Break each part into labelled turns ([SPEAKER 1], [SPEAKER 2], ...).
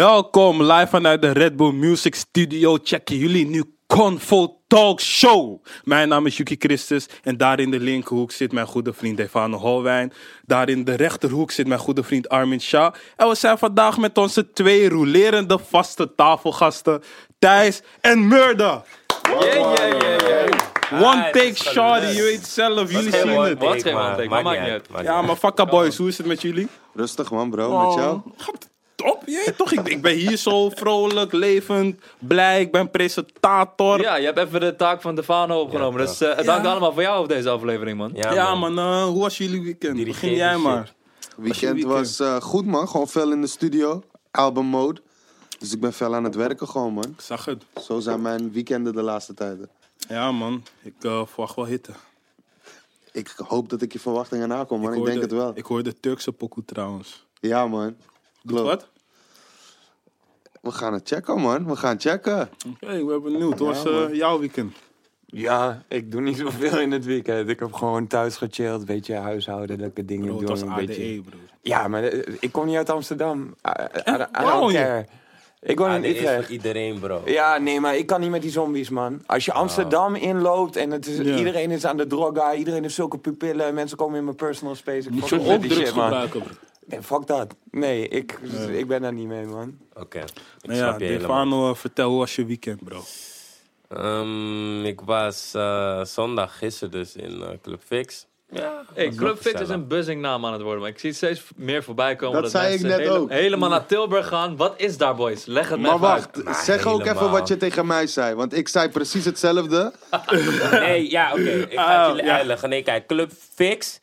[SPEAKER 1] Welkom live vanuit de Red Bull Music Studio. Checken jullie nu Convo Talk Show. Mijn naam is Yuki Christus en daar in de linkerhoek zit mijn goede vriend Devane Holwijn. Daar in de rechterhoek zit mijn goede vriend Armin Shah. En we zijn vandaag met onze twee rolerende vaste tafelgasten Thijs en Murda.
[SPEAKER 2] Yeah, yeah, yeah, yeah.
[SPEAKER 1] One take shot, je weet zelf, jullie zien
[SPEAKER 2] one
[SPEAKER 1] het.
[SPEAKER 2] take. Wat geen one take, maar maakt niet uit.
[SPEAKER 1] Ja, maar fucka boys, hoe is het met jullie?
[SPEAKER 3] Rustig man, bro, met jou?
[SPEAKER 1] Gaat Top, jee, toch? Ik, ik ben hier zo vrolijk, levend, blij. Ik ben presentator. Ja,
[SPEAKER 2] Ja, je hebt even de taak van Defano opgenomen. dus eh, het hangt
[SPEAKER 1] Ja.
[SPEAKER 2] allemaal van jou op deze aflevering, man.
[SPEAKER 4] Ja,
[SPEAKER 1] man, eh, hoe was jullie weekend? Begin
[SPEAKER 4] Dirigeer
[SPEAKER 1] jij
[SPEAKER 4] die
[SPEAKER 1] maar.
[SPEAKER 3] Weekend
[SPEAKER 1] weekend?
[SPEAKER 3] was eh, goed man, gewoon fel in de studio, album mode. Dus ik ben fel aan het werken gewoon man.
[SPEAKER 1] Ik zag het.
[SPEAKER 3] Zo zijn mijn weekenden de laatste tijden.
[SPEAKER 1] Ja, man, ik eh, verwacht wel hitte.
[SPEAKER 3] Ik hoop dat ik je verwachtingen nakom man, ik,
[SPEAKER 1] hoorde-
[SPEAKER 3] denk het wel.
[SPEAKER 1] Ik hoor de Turkse pokoe trouwens.
[SPEAKER 3] Ja man, klopt.
[SPEAKER 1] Wat?
[SPEAKER 3] We gaan het checken man, we gaan checken.
[SPEAKER 1] Oké, ik ben benieuwd. Hoe was eh, jouw weekend?
[SPEAKER 4] Ja, ik doe niet zoveel in het weekend. Ik heb gewoon thuis gechilled, een beetje huishoudelijke dingen
[SPEAKER 1] Bro, het
[SPEAKER 4] doen.
[SPEAKER 1] was
[SPEAKER 4] een
[SPEAKER 1] ADE,
[SPEAKER 4] beetje...
[SPEAKER 1] bro.
[SPEAKER 4] Ja, maar eh, ik kom niet uit Amsterdam. I, I- I
[SPEAKER 1] Waar woon
[SPEAKER 4] don't
[SPEAKER 1] je?
[SPEAKER 4] care. Ik woon in
[SPEAKER 5] ADE is voor
[SPEAKER 4] Utrecht.
[SPEAKER 5] iedereen, bro.
[SPEAKER 4] Ja, nee, maar ik kan niet met die zombies, man. Als je Amsterdam inloopt en het is,
[SPEAKER 1] Oh. Ja.
[SPEAKER 4] iedereen is aan de droga, iedereen heeft zulke pupillen, mensen komen in mijn personal space. Ik
[SPEAKER 1] Moet
[SPEAKER 4] fuck
[SPEAKER 1] je
[SPEAKER 4] met
[SPEAKER 1] ook
[SPEAKER 4] die
[SPEAKER 1] drugs
[SPEAKER 4] shit, man.
[SPEAKER 1] gebruiken, bro?
[SPEAKER 4] Nee, fuck dat. Nee, ik, ik ben daar niet mee, man.
[SPEAKER 5] Oké, ik
[SPEAKER 1] Nou ja,
[SPEAKER 5] snap je helemaal.
[SPEAKER 1] Defano, eh, vertel, hoe was je weekend, bro?
[SPEAKER 5] Ehm, ik was eh, zondag gisteren dus in eh, Club Fix. Ja,
[SPEAKER 2] Hey,
[SPEAKER 5] was
[SPEAKER 2] Club
[SPEAKER 5] wel
[SPEAKER 2] Fix is
[SPEAKER 5] gezellig.
[SPEAKER 2] een buzzingnaam aan het worden, maar ik zie het steeds meer voorbij komen.
[SPEAKER 3] Dat zei
[SPEAKER 2] mensen
[SPEAKER 3] ik net
[SPEAKER 2] hele-
[SPEAKER 3] ook.
[SPEAKER 2] Helemaal naar Tilburg gaan. Wat is daar, boys? Leg het mij
[SPEAKER 3] Maar wacht,
[SPEAKER 5] maar
[SPEAKER 3] zeg ook even
[SPEAKER 5] helemaal.
[SPEAKER 3] wat je tegen mij zei, want ik zei precies hetzelfde.
[SPEAKER 5] Nee, Ah, ja, oké. Ik ga het jullie
[SPEAKER 1] ja.
[SPEAKER 5] uitleggen. Nee, kijk, Club Fix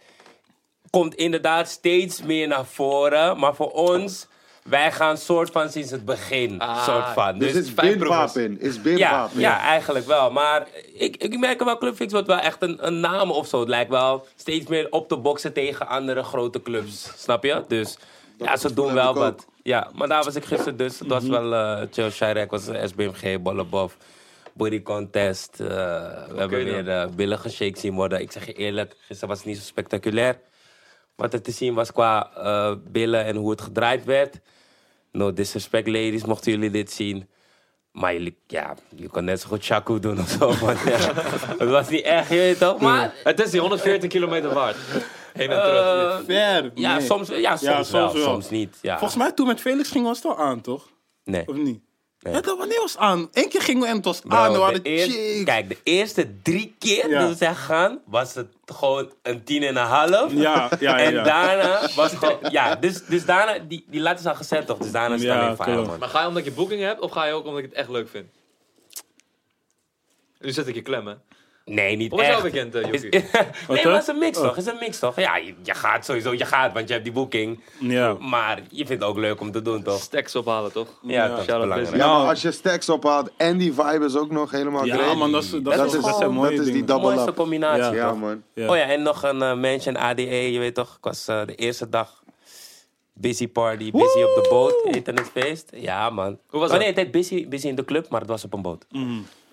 [SPEAKER 5] komt inderdaad steeds meer naar voren. Maar voor ons, wij gaan soort van sinds het begin.
[SPEAKER 2] Ah,
[SPEAKER 5] soort van.
[SPEAKER 3] Dus
[SPEAKER 5] Dus,
[SPEAKER 3] is
[SPEAKER 2] vijf
[SPEAKER 3] Bin
[SPEAKER 2] broers.
[SPEAKER 3] Papin, is Bin
[SPEAKER 5] ja,
[SPEAKER 3] Papin.
[SPEAKER 5] ja, eigenlijk wel. Maar ik, ik merk wel, Club Fix wordt wel echt een, een naam of zo. Het lijkt wel steeds meer op te boksen tegen andere grote clubs. Snap je? Dus ja, ze
[SPEAKER 3] gevoel
[SPEAKER 5] doen
[SPEAKER 3] heb
[SPEAKER 5] wel
[SPEAKER 3] ik ook.
[SPEAKER 5] wat. Ja, maar daar was ik gisteren dus. Het was wel eh, chill. Shirek was een SBMG, Bollebof. Body contest. eh, we hebben
[SPEAKER 2] dan.
[SPEAKER 5] weer eh, billige shakes zien worden. Ik zeg je eerlijk, gisteren was het niet zo spectaculair. Wat er te zien was qua eh, billen en hoe het gedraaid werd. No disrespect, ladies, mochten jullie dit zien. Maar jullie, ja, je kon net zo goed Chaco doen of zo. Want, ja, het was niet echt, je weet toch? Maar
[SPEAKER 2] Het is die 114 kilometer waard. Heen en terug.
[SPEAKER 5] eh,
[SPEAKER 1] Ver.
[SPEAKER 5] ja,
[SPEAKER 1] nee.
[SPEAKER 5] soms, ja, soms,
[SPEAKER 1] soms
[SPEAKER 5] wel,
[SPEAKER 1] wel.
[SPEAKER 5] soms niet. Ja.
[SPEAKER 1] Volgens Ah, mij toen met Felix ging was het wel aan, toch?
[SPEAKER 5] nee.
[SPEAKER 1] Of niet? Ja, dat, wanneer was het aan? Eén keer gingen we en het was aan. We
[SPEAKER 5] Bro,
[SPEAKER 1] hadden
[SPEAKER 5] de eerste-
[SPEAKER 1] chicks.
[SPEAKER 5] kijk, de eerste drie keer
[SPEAKER 1] Ja.
[SPEAKER 5] dat we zijn gegaan, was het gewoon een tien en een half.
[SPEAKER 1] Ja, ja, ja.
[SPEAKER 5] En
[SPEAKER 1] ja.
[SPEAKER 5] daarna was het gewoon, ja, dus, dus daarna, die, die laatste is al gezet toch? Dus daarna is het
[SPEAKER 1] Ja,
[SPEAKER 5] alleen veilig,
[SPEAKER 1] klopt.
[SPEAKER 5] man.
[SPEAKER 2] Maar ga je omdat je boeking hebt of ga je ook omdat ik het echt leuk vind? Nu zet ik je klem, hè?
[SPEAKER 5] Nee, niet
[SPEAKER 2] Hoe was
[SPEAKER 5] echt.
[SPEAKER 2] jouw weekend, eh, Joekie?
[SPEAKER 5] Is-
[SPEAKER 1] Wat,
[SPEAKER 5] nee,
[SPEAKER 1] hè? Oh.
[SPEAKER 5] maar het is een mix toch? Het is een mix toch? Ja, je, je gaat sowieso, je gaat, want je hebt die boeking.
[SPEAKER 1] Ja.
[SPEAKER 5] Maar je vindt het ook leuk om te doen, toch?
[SPEAKER 2] Stacks ophalen, toch?
[SPEAKER 5] Ja, dat is
[SPEAKER 2] Shout-out
[SPEAKER 5] belangrijk.
[SPEAKER 2] Busy.
[SPEAKER 3] Ja, maar
[SPEAKER 1] Nou.
[SPEAKER 3] als je stacks ophaalt en die vibe is ook nog helemaal
[SPEAKER 1] Ja,
[SPEAKER 3] great.
[SPEAKER 1] man, dat is, dat
[SPEAKER 3] Dat
[SPEAKER 1] is,
[SPEAKER 3] is-
[SPEAKER 1] dat zijn mooie
[SPEAKER 3] dat is die
[SPEAKER 1] dingen.
[SPEAKER 3] double
[SPEAKER 5] Mooiste
[SPEAKER 3] up.
[SPEAKER 5] combinatie.
[SPEAKER 1] Ja.
[SPEAKER 3] Ja
[SPEAKER 5] toch?
[SPEAKER 3] man.
[SPEAKER 1] Ja.
[SPEAKER 5] Oh ja, en nog een eh, mention ADE, je weet toch? Ik was eh, de eerste dag busy party, busy op de boot, eten en feest. Ja man.
[SPEAKER 2] Hoe
[SPEAKER 5] oh,
[SPEAKER 2] was dat?
[SPEAKER 5] nee, het Mhm. heet busy, busy in de club, maar het was op een boot.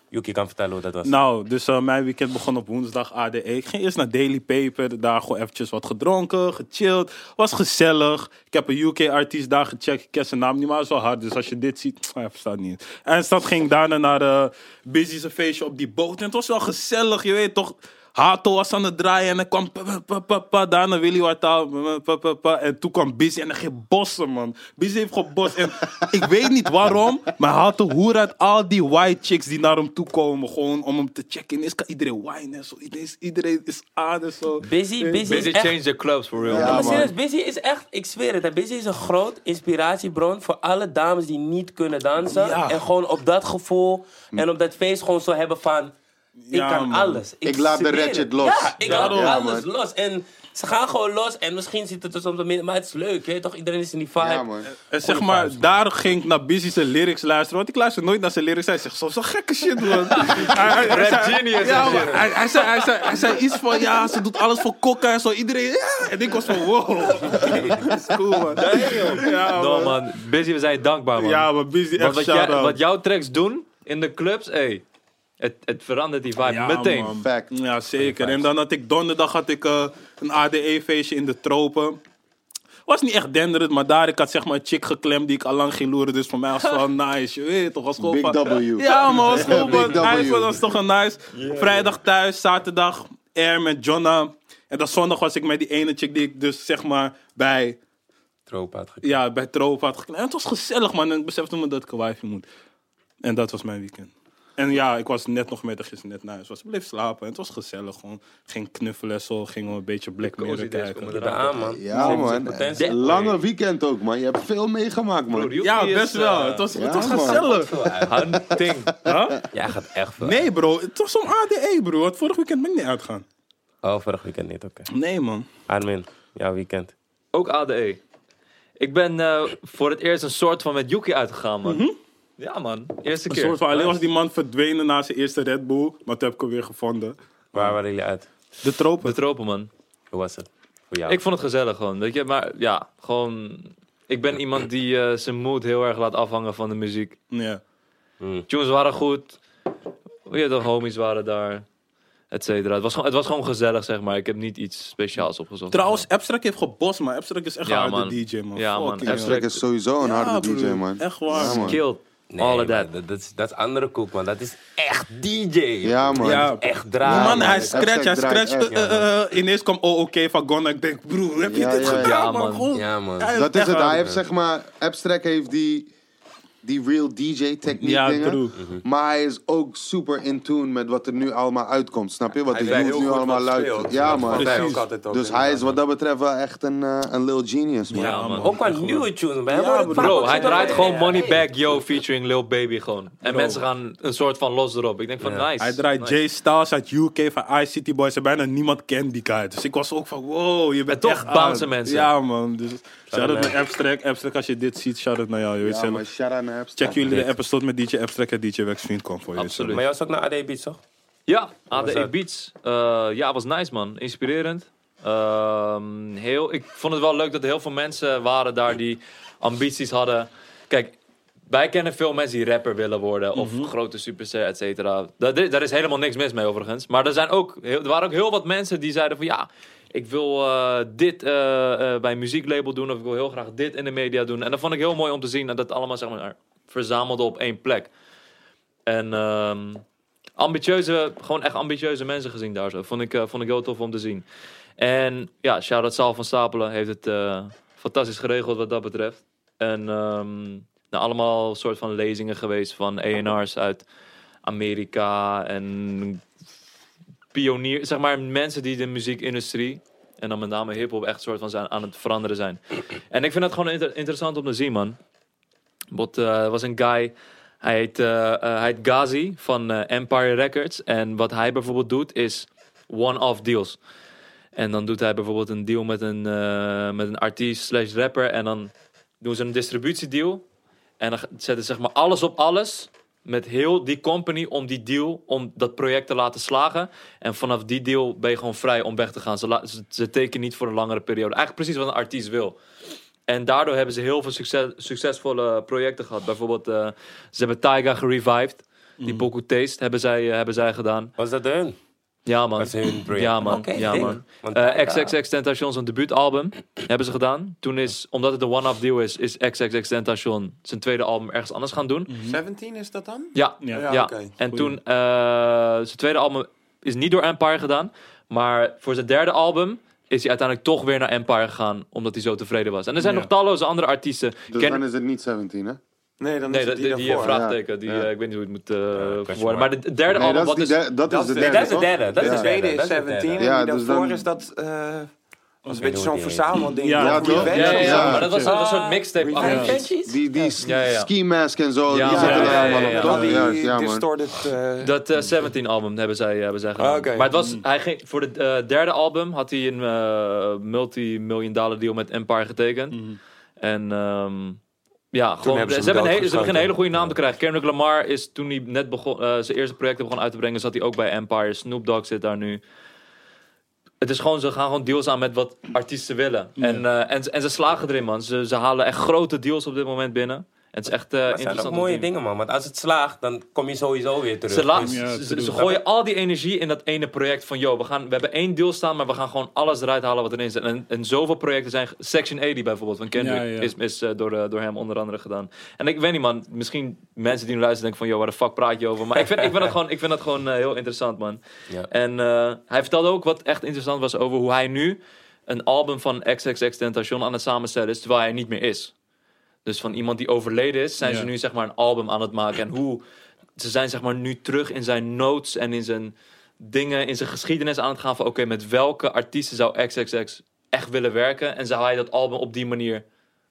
[SPEAKER 5] Yuki kan vertellen hoe dat was.
[SPEAKER 1] Nou, dus eh, mijn weekend begon op woensdag ADE. Ik ging eerst naar Daily Paper, daar gewoon eventjes wat gedronken, gechilled. Was gezellig. Ik heb een UK-artiest daar gecheckt. Ik ken zijn naam niet, maar hij is wel hard. Dus als je dit ziet, hij verstaat niet. En stad ging ik daarna naar eh Busy's een feestje op die boot. En het was wel gezellig, je weet toch. Hato was aan het draaien en dan kwam pa, pa, pa, pa, pa, daarna Willy Wartaal. pa, pa, pa, pa. En toen kwam Busy en dan ging bossen, man. Busy heeft gebost. En ik weet niet waarom, maar Hato hoer uit al die white chicks die naar hem toe komen. Gewoon om hem te checken. Ineens kan iedereen wine en zo. Ineens, iedereen is aan en zo.
[SPEAKER 5] busy, busy,
[SPEAKER 2] Busy
[SPEAKER 5] is echt
[SPEAKER 2] change the clubs, for real.
[SPEAKER 3] Ja,
[SPEAKER 5] Ja, maar
[SPEAKER 3] man.
[SPEAKER 5] serieus, Busy is echt, ik zweer het, hè, Busy is een groot inspiratiebron voor alle dames die niet kunnen dansen.
[SPEAKER 1] Ja.
[SPEAKER 5] En gewoon op dat gevoel en op dat feest gewoon zo hebben van, ik
[SPEAKER 1] Ja,
[SPEAKER 5] kan
[SPEAKER 1] man.
[SPEAKER 5] alles.
[SPEAKER 3] Ik laat de
[SPEAKER 5] zweer
[SPEAKER 3] ratchet
[SPEAKER 5] het.
[SPEAKER 3] los.
[SPEAKER 5] Ja, ik
[SPEAKER 1] Daarom.
[SPEAKER 5] laat
[SPEAKER 3] Ja,
[SPEAKER 5] alles
[SPEAKER 3] man.
[SPEAKER 5] los. En ze gaan gewoon los en misschien zit het er soms wat minder, maar het is leuk, je weet toch? Iedereen is in die vibe.
[SPEAKER 3] Ja man.
[SPEAKER 1] En zeg maar, daar ging ik naar Busy zijn lyrics luisteren. Want ik luister nooit naar zijn lyrics. Hij zegt soms wel gekke shit, man. Hij- hij- hij zei-
[SPEAKER 2] genius
[SPEAKER 1] Ja,
[SPEAKER 2] is
[SPEAKER 1] maar hij, hij, zei, hij, zei, hij zei iets van, ja, ze doet alles voor kokken en zo. Iedereen, ja. En ik was van, wow. Dat is cool, man. Ja,
[SPEAKER 2] No,
[SPEAKER 1] man.
[SPEAKER 2] man. Busy, we zijn je dankbaar, man.
[SPEAKER 1] Ja, maar Busy
[SPEAKER 2] Want
[SPEAKER 1] echt
[SPEAKER 2] wat, jij, wat
[SPEAKER 1] shout-out.
[SPEAKER 2] jouw tracks doen in de clubs, hey, het, het verandert die vibe
[SPEAKER 1] Ja,
[SPEAKER 2] meteen.
[SPEAKER 1] man.
[SPEAKER 3] Fact.
[SPEAKER 1] Ja, zeker. En dan had ik donderdag had ik, eh, een ADE-feestje in de tropen. Was niet echt denderend, maar daar ik had zeg maar een chick geklemd die ik al lang ging loeren. Dus voor mij was het wel nice. Je weet toch, was gewoon
[SPEAKER 3] Big
[SPEAKER 1] van-
[SPEAKER 3] W.
[SPEAKER 1] Ja man, was gewoon
[SPEAKER 3] Big
[SPEAKER 1] van,
[SPEAKER 3] W.
[SPEAKER 1] nice, man, dat was toch een nice. Vrijdag thuis, zaterdag Air met Jonna. En dan zondag was ik met die ene chick die ik dus zeg maar bij,
[SPEAKER 5] Troop uitgekomen.
[SPEAKER 1] ja, bij Troop had geklemd. En het was gezellig man, en ik besefte me dat ik een wijfje moet. En dat was mijn weekend. En ja, ik was net nog middag gisteren net naar huis. Was, bleef slapen en het was gezellig gewoon. Ging knuffelen zo, ging een beetje Black
[SPEAKER 2] Cozy
[SPEAKER 1] Mirror
[SPEAKER 2] days
[SPEAKER 1] kijken.
[SPEAKER 2] komen
[SPEAKER 5] Ja, aan, man.
[SPEAKER 3] Ja,
[SPEAKER 5] Ze- ze
[SPEAKER 3] man.
[SPEAKER 5] potentie.
[SPEAKER 3] Een Lange weekend ook, man. Je hebt veel meegemaakt, man.
[SPEAKER 2] Broer,
[SPEAKER 1] Ja,
[SPEAKER 2] Yuki is,
[SPEAKER 1] best wel.
[SPEAKER 2] eh,
[SPEAKER 1] Het was,
[SPEAKER 3] ja,
[SPEAKER 1] het was
[SPEAKER 3] man.
[SPEAKER 1] gezellig.
[SPEAKER 2] Hunting.
[SPEAKER 1] Huh?
[SPEAKER 5] Jij gaat echt veel.
[SPEAKER 1] Nee, bro. Het was om ADE, bro. Het vorig weekend ben ik niet uitgaan.
[SPEAKER 5] Oh, vorig weekend niet, oké.
[SPEAKER 1] Nee, man.
[SPEAKER 5] Armin, jouw weekend.
[SPEAKER 2] Ook ADE. Ik ben eh, voor het eerst een soort van met Yuki uitgegaan, man. Ja, man. Eerste
[SPEAKER 1] Mhm. Een
[SPEAKER 2] keer.
[SPEAKER 1] soort van, alleen was die man verdwenen na zijn eerste Red Bull. Maar toen heb ik hem weer gevonden.
[SPEAKER 5] Waar waren jullie uit?
[SPEAKER 1] De tropen.
[SPEAKER 2] Betropen, man.
[SPEAKER 5] Hoe was het? Voor jou?
[SPEAKER 2] Ik vond het gezellig gewoon, weet je. Maar ja, gewoon... Ik ben iemand die eh, zijn mood heel erg laat afhangen van de muziek.
[SPEAKER 1] Ja.
[SPEAKER 2] Tunes waren goed. Ja, de homies waren daar. Et cetera. Het was, gewoon, het was gewoon gezellig, zeg maar. Ik heb niet iets speciaals opgezocht.
[SPEAKER 1] Trouwens, Abstract heeft gebost, maar Abstract is echt
[SPEAKER 2] Ja,
[SPEAKER 1] een harde
[SPEAKER 2] man.
[SPEAKER 1] DJ, man.
[SPEAKER 2] Ja, man.
[SPEAKER 1] Fucking
[SPEAKER 2] Abstract
[SPEAKER 3] Trek is sowieso een
[SPEAKER 1] Ja,
[SPEAKER 3] harde DJ,
[SPEAKER 1] broer.
[SPEAKER 3] man.
[SPEAKER 1] Echt waar.
[SPEAKER 3] Ja, man.
[SPEAKER 2] Killed.
[SPEAKER 5] Nee,
[SPEAKER 2] All
[SPEAKER 5] man,
[SPEAKER 2] of that.
[SPEAKER 5] Dat, dat is, dat is andere koek, man. Dat is echt DJ.
[SPEAKER 3] Ja, man.
[SPEAKER 1] Ja.
[SPEAKER 5] Dat is echt
[SPEAKER 1] Die
[SPEAKER 5] draaien.
[SPEAKER 1] man, hij
[SPEAKER 3] Abstract
[SPEAKER 1] scratcht, hij
[SPEAKER 3] draait
[SPEAKER 1] scratchte.
[SPEAKER 3] echt,
[SPEAKER 1] eh, eh, eh, ineens kwam OOK van Gonna. Ik denk, broer, heb je
[SPEAKER 3] Ja,
[SPEAKER 1] dit
[SPEAKER 3] ja, ja.
[SPEAKER 1] gedaan,
[SPEAKER 2] Ja,
[SPEAKER 1] man?
[SPEAKER 2] man.
[SPEAKER 1] Gewoon-
[SPEAKER 5] Ja, man.
[SPEAKER 1] Hij is
[SPEAKER 3] Dat is
[SPEAKER 1] echt
[SPEAKER 3] het.
[SPEAKER 1] hard.
[SPEAKER 3] Hij heeft zeg maar... Abstract heeft die... Die real DJ techniek
[SPEAKER 1] Ja,
[SPEAKER 3] dingen. Mhm.
[SPEAKER 1] true.
[SPEAKER 3] Maar hij is ook super in tune met wat er nu allemaal uitkomt. Snap je? Wat
[SPEAKER 4] Hij
[SPEAKER 3] de
[SPEAKER 4] weet
[SPEAKER 3] youth
[SPEAKER 4] heel
[SPEAKER 3] nu
[SPEAKER 4] goed
[SPEAKER 3] allemaal
[SPEAKER 4] wat
[SPEAKER 3] luistert.
[SPEAKER 4] speelt.
[SPEAKER 3] Ja,
[SPEAKER 4] Dat
[SPEAKER 3] man.
[SPEAKER 4] vond ik ook
[SPEAKER 1] Precies.
[SPEAKER 4] altijd ook,
[SPEAKER 3] Dus hij is
[SPEAKER 4] inderdaad,
[SPEAKER 3] wat dat betreft wel echt een, eh, een lil genius, man.
[SPEAKER 2] Ja, man.
[SPEAKER 5] Ook qua nieuwe tunes, man. Hij
[SPEAKER 1] Ja,
[SPEAKER 5] wordt
[SPEAKER 1] bro.
[SPEAKER 5] vaak
[SPEAKER 2] Bro,
[SPEAKER 5] ook
[SPEAKER 2] hij
[SPEAKER 5] gedaan.
[SPEAKER 2] draait gewoon
[SPEAKER 5] Ja,
[SPEAKER 2] Money
[SPEAKER 5] ja.
[SPEAKER 2] Back Yo featuring Lil Baby gewoon. En mensen gaan een soort van los erop. Ik denk van,
[SPEAKER 5] Ja.
[SPEAKER 2] nice.
[SPEAKER 1] Hij draait
[SPEAKER 2] nice.
[SPEAKER 1] Jay Styles uit UK van ICT Boys en bijna niemand kent die guy. Dus ik was ook van, wow, je bent
[SPEAKER 2] En toch
[SPEAKER 1] echt
[SPEAKER 2] bouncen
[SPEAKER 1] aan.
[SPEAKER 2] mensen.
[SPEAKER 1] Ja man, dus shout-out
[SPEAKER 5] naar-
[SPEAKER 1] naar Abstract. Abstract, als je dit ziet, shout-out naar jou. Je weet
[SPEAKER 3] Ja,
[SPEAKER 1] zelf.
[SPEAKER 3] maar shout-out naar Abstract.
[SPEAKER 1] Check jullie de episode met DJ Abstract en DJ Wex Fiend kom voor je.
[SPEAKER 2] Absoluut.
[SPEAKER 5] Maar jij was ook naar AD Beats, toch?
[SPEAKER 2] Ja, aan
[SPEAKER 5] was
[SPEAKER 2] de
[SPEAKER 5] dat?
[SPEAKER 2] beats. Eh, ja, was nice man. Inspirerend. Ehm, heel, ik vond het wel leuk dat er heel veel mensen waren daar die ambities hadden. Kijk, wij kennen veel mensen die rapper willen worden of
[SPEAKER 5] Mhm.
[SPEAKER 2] grote superster, et cetera. Daar, daar is helemaal niks mis mee overigens. Maar er, zijn ook, heel- er waren ook heel wat mensen die zeiden van ja, ik wil eh, dit eh, eh, bij een muzieklabel doen of ik wil heel graag dit in de media doen. En dat vond ik heel mooi om te zien dat dat allemaal zeg maar, verzamelde op één plek. En ehm, ambitieuze, gewoon echt ambitieuze mensen gezien daar zo. Vond ik, eh, vond ik heel tof om te zien. En ja, shout-out Saal van Stapelen heeft het eh, fantastisch geregeld wat dat betreft. En ehm nou, allemaal soort van lezingen geweest van ENR's uit Amerika en pionier, zeg maar mensen die de muziekindustrie en dan met name hip-hop echt soort van zijn, aan het veranderen zijn. En ik vind dat gewoon inter- interessant om te zien, man. Bot eh, was een guy. Hij heet, eh, eh, hij heet Ghazi van eh, Empire Records. En wat hij bijvoorbeeld doet is one-off deals. En dan doet hij bijvoorbeeld een deal met een, eh, met een artiest slash rapper. En dan doen ze een distributiedeal. En dan zetten ze zeg maar alles op alles met heel die company om die deal, om dat project te laten slagen. En vanaf die deal ben je gewoon vrij om weg te gaan. Ze, la- ze, ze tekenen niet voor een langere periode. Eigenlijk precies wat een artiest wil. En daardoor hebben ze heel veel succes, succesvolle projecten gehad. Bijvoorbeeld, eh, ze hebben Taiga gerevived. Die Boku Taste hebben zij, eh, hebben zij gedaan.
[SPEAKER 5] Was dat hun?
[SPEAKER 2] Ja, man.
[SPEAKER 5] Was hun project?
[SPEAKER 2] Ja, man.
[SPEAKER 5] Oké,
[SPEAKER 2] ja,
[SPEAKER 5] ding.
[SPEAKER 2] man.
[SPEAKER 5] Want
[SPEAKER 2] Eh
[SPEAKER 5] Tyga-
[SPEAKER 2] XXX Tentation, zijn debuutalbum, hebben ze gedaan. Toen is, omdat het een one-off deal is, is XXX Tentation zijn tweede album ergens anders gaan doen.
[SPEAKER 4] 17 is dat dan?
[SPEAKER 2] Ja,
[SPEAKER 1] Ja.
[SPEAKER 2] ja.
[SPEAKER 4] Mhm. Ja, oké.
[SPEAKER 2] En
[SPEAKER 1] Goeie.
[SPEAKER 2] toen, eh, zijn tweede album is niet door Empire gedaan. Maar voor zijn derde album is hij uiteindelijk toch weer naar Empire gegaan. Omdat hij zo tevreden was. En er zijn
[SPEAKER 1] Ja.
[SPEAKER 2] nog talloze andere artiesten.
[SPEAKER 3] Dus
[SPEAKER 2] Ken-
[SPEAKER 3] dan is het niet 17, hè?
[SPEAKER 4] Nee, dan
[SPEAKER 2] Nee,
[SPEAKER 4] is
[SPEAKER 2] dat,
[SPEAKER 4] het die,
[SPEAKER 2] die, die eh,
[SPEAKER 4] daarvoor.
[SPEAKER 2] vraagteken. Die,
[SPEAKER 3] Ja.
[SPEAKER 2] eh, ik weet niet hoe het moet eh,
[SPEAKER 5] question
[SPEAKER 2] worden. Maar het derde
[SPEAKER 3] Nee,
[SPEAKER 2] album,
[SPEAKER 3] dat,
[SPEAKER 2] wat
[SPEAKER 3] is
[SPEAKER 2] is...
[SPEAKER 3] die derde- dat
[SPEAKER 4] dat
[SPEAKER 3] is de
[SPEAKER 4] is-
[SPEAKER 3] derde,
[SPEAKER 5] Dat is de
[SPEAKER 3] toch?
[SPEAKER 5] derde. Dat is
[SPEAKER 4] De
[SPEAKER 5] de
[SPEAKER 4] tweede
[SPEAKER 5] derde.
[SPEAKER 4] is 17 en
[SPEAKER 3] Ja,
[SPEAKER 4] die
[SPEAKER 3] dus
[SPEAKER 4] daarvoor
[SPEAKER 3] dan-
[SPEAKER 4] is dat... eh, was een
[SPEAKER 5] weet
[SPEAKER 4] beetje
[SPEAKER 5] hoe
[SPEAKER 4] zo'n
[SPEAKER 5] die heet.
[SPEAKER 4] verzamelding.
[SPEAKER 1] Ja,
[SPEAKER 4] van
[SPEAKER 3] toch?
[SPEAKER 2] Ja, ja, ja,
[SPEAKER 3] Ja,
[SPEAKER 2] maar dat was dat was een soort
[SPEAKER 5] Ah,
[SPEAKER 2] mixtape.
[SPEAKER 4] Revenge.
[SPEAKER 2] achter.
[SPEAKER 4] Ja.
[SPEAKER 3] Die, die s-
[SPEAKER 2] Ja, ja, ja.
[SPEAKER 3] ski mask en zo,
[SPEAKER 2] Ja,
[SPEAKER 3] die
[SPEAKER 2] ja,
[SPEAKER 3] zitten
[SPEAKER 2] ja,
[SPEAKER 3] er
[SPEAKER 2] ja,
[SPEAKER 3] allemaal
[SPEAKER 2] ja,
[SPEAKER 3] op,
[SPEAKER 2] ja.
[SPEAKER 3] toch?
[SPEAKER 4] Al die
[SPEAKER 3] Juist, ja, man.
[SPEAKER 4] distorted... eh,
[SPEAKER 2] Dat eh, 17 album hebben zij, eh, hebben zij gedaan.
[SPEAKER 4] Ah, oké.
[SPEAKER 2] Maar het was, hij ging, voor het eh, derde album had hij een eh multi-miljoen dollar deal met Empire getekend. En ehm, ja, gewoon,
[SPEAKER 4] Hmm. hebben ze
[SPEAKER 2] ze, hebben een hele, ze
[SPEAKER 4] hem doodgeschoten.
[SPEAKER 2] beginnen een hele goede naam te krijgen. Kendrick Lamar is toen hij net begon, eh, zijn eerste projecten begon uit te brengen, zat hij ook bij Empire. Snoop Dogg zit daar nu. Het is gewoon, ze gaan gewoon deals aan met wat artiesten willen. En, eh, en, en ze slagen erin, man. Ze, ze halen echt grote deals op dit moment binnen. het is echt
[SPEAKER 5] Dat
[SPEAKER 2] eh,
[SPEAKER 5] zijn
[SPEAKER 2] interessant.
[SPEAKER 5] ook
[SPEAKER 2] om
[SPEAKER 5] mooie
[SPEAKER 2] te doen.
[SPEAKER 5] dingen, man. Want als het slaagt, dan kom je sowieso weer terug. Dus-
[SPEAKER 2] Ze, la-
[SPEAKER 1] Ja,
[SPEAKER 2] ze- ze-
[SPEAKER 1] te doen.
[SPEAKER 2] ze gooien al die energie in dat ene project van... Yo, we, gaan, we hebben één deal staan, maar we gaan gewoon alles eruit halen wat erin zit. En, en zoveel projecten zijn... ge- Section 80 bijvoorbeeld van Kendrick
[SPEAKER 1] Ja, ja.
[SPEAKER 2] is, is eh, door, eh, door hem onder andere gedaan. En ik weet niet, man. Misschien mensen die nu luisteren denken van... Yo, waar de fuck praat je over? Maar ik vind, ik vind dat gewoon, ik vind dat gewoon eh, heel interessant, man.
[SPEAKER 5] Ja.
[SPEAKER 2] En eh, hij vertelde ook wat echt interessant was over hoe hij nu... een album van XXX Tentation aan het samenstellen is... terwijl hij niet meer is. Dus van iemand die overleden is, zijn
[SPEAKER 1] Ja.
[SPEAKER 2] ze nu zeg maar een album aan het maken. En hoe ze zijn zeg maar nu terug in zijn notes en in zijn dingen, in zijn geschiedenis aan het gaan van oké, met welke artiesten zou XXX echt willen werken en zou hij dat album op die manier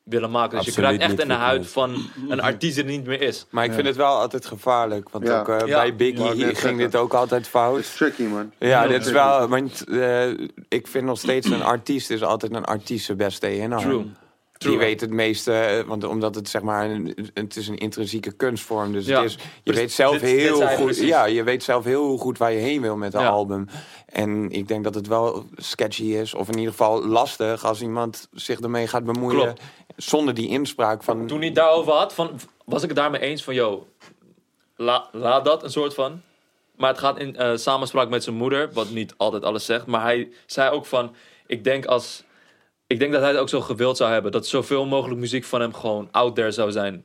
[SPEAKER 2] willen maken. Dus
[SPEAKER 5] Absoluut
[SPEAKER 2] je kruipt echt
[SPEAKER 5] niet
[SPEAKER 2] in de
[SPEAKER 5] goed,
[SPEAKER 2] huid
[SPEAKER 5] nee.
[SPEAKER 2] van een artiest die er niet meer is.
[SPEAKER 4] Maar ik vind het wel altijd gevaarlijk. Want
[SPEAKER 3] Ja.
[SPEAKER 4] ook eh,
[SPEAKER 2] Ja.
[SPEAKER 4] bij Biggie
[SPEAKER 3] Ja, ik wou net
[SPEAKER 4] ging dit
[SPEAKER 3] zeggen.
[SPEAKER 4] ook altijd
[SPEAKER 3] Dat
[SPEAKER 4] fout.
[SPEAKER 3] is tricky, man.
[SPEAKER 4] Ja,
[SPEAKER 3] Heel
[SPEAKER 4] dit is
[SPEAKER 3] tricky.
[SPEAKER 4] wel. Want eh, ik vind nog steeds een artiest is altijd een artiest zijn beste inhoud.
[SPEAKER 2] True. True.
[SPEAKER 4] Die weet het meeste, eh, want omdat het zeg maar een, het is een intrinsieke kunstvorm. Dus
[SPEAKER 2] Ja.
[SPEAKER 4] het is, je
[SPEAKER 2] Precies.
[SPEAKER 4] weet zelf
[SPEAKER 2] Dit- dit
[SPEAKER 4] heel
[SPEAKER 2] zei hij
[SPEAKER 4] goed.
[SPEAKER 2] precies.
[SPEAKER 4] Ja, je weet zelf heel goed waar je heen wil met een
[SPEAKER 2] Ja.
[SPEAKER 4] album. En ik denk dat het wel sketchy is, of in ieder geval lastig als iemand zich ermee gaat bemoeien
[SPEAKER 2] Klopt.
[SPEAKER 4] zonder die inspraak van.
[SPEAKER 2] Toen hij het daarover had, van, was ik het daarmee eens van yo, la, laat dat een soort van. Maar het gaat in eh, samenspraak met zijn moeder, wat niet altijd alles zegt. Maar hij zei ook van, ik denk als... Ik denk dat hij het ook zo gewild zou hebben. Dat zoveel mogelijk muziek van hem gewoon out there zou zijn.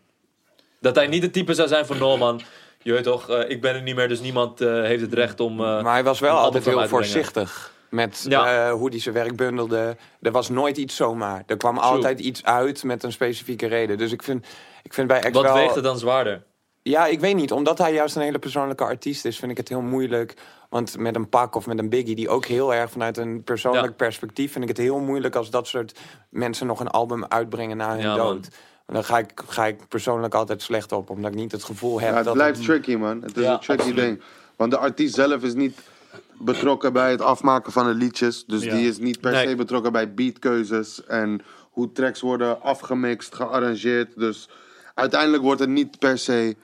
[SPEAKER 2] Dat hij niet het type zou zijn van... No man, je weet toch, eh, ik ben er niet meer. Dus niemand eh, heeft het recht om... eh,
[SPEAKER 4] Maar hij was wel
[SPEAKER 2] een
[SPEAKER 4] altijd
[SPEAKER 2] album
[SPEAKER 4] heel
[SPEAKER 2] uit te brengen.
[SPEAKER 4] voorzichtig met
[SPEAKER 2] Ja.
[SPEAKER 4] eh, hoe hij zijn werk bundelde. Er was nooit iets zomaar. Er kwam altijd iets uit met een specifieke reden. Dus ik vind, ik vind bij X
[SPEAKER 2] Wat
[SPEAKER 4] wel...
[SPEAKER 2] weegt er dan zwaarder?
[SPEAKER 4] Ja, ik weet niet. Omdat hij juist een hele persoonlijke artiest is, vind ik het heel moeilijk. Want met een pak of met een biggie, die ook heel erg vanuit een persoonlijk
[SPEAKER 2] Ja.
[SPEAKER 4] perspectief, vind ik het heel moeilijk als dat soort mensen nog een album uitbrengen na hun
[SPEAKER 2] Ja, man.
[SPEAKER 4] dood. En daar ga ik, ga ik persoonlijk altijd slecht op, omdat ik niet het gevoel heb
[SPEAKER 3] Ja, het
[SPEAKER 4] dat.
[SPEAKER 3] blijft tricky, man. Het is
[SPEAKER 2] Ja,
[SPEAKER 3] een tricky
[SPEAKER 2] absoluut.
[SPEAKER 3] ding. Want de artiest zelf is niet betrokken bij het afmaken van de liedjes. Dus
[SPEAKER 1] Ja.
[SPEAKER 3] die is niet per
[SPEAKER 2] Nee.
[SPEAKER 3] se betrokken bij beatkeuzes en hoe tracks worden afgemixt, gearrangeerd. Dus uiteindelijk wordt het niet per se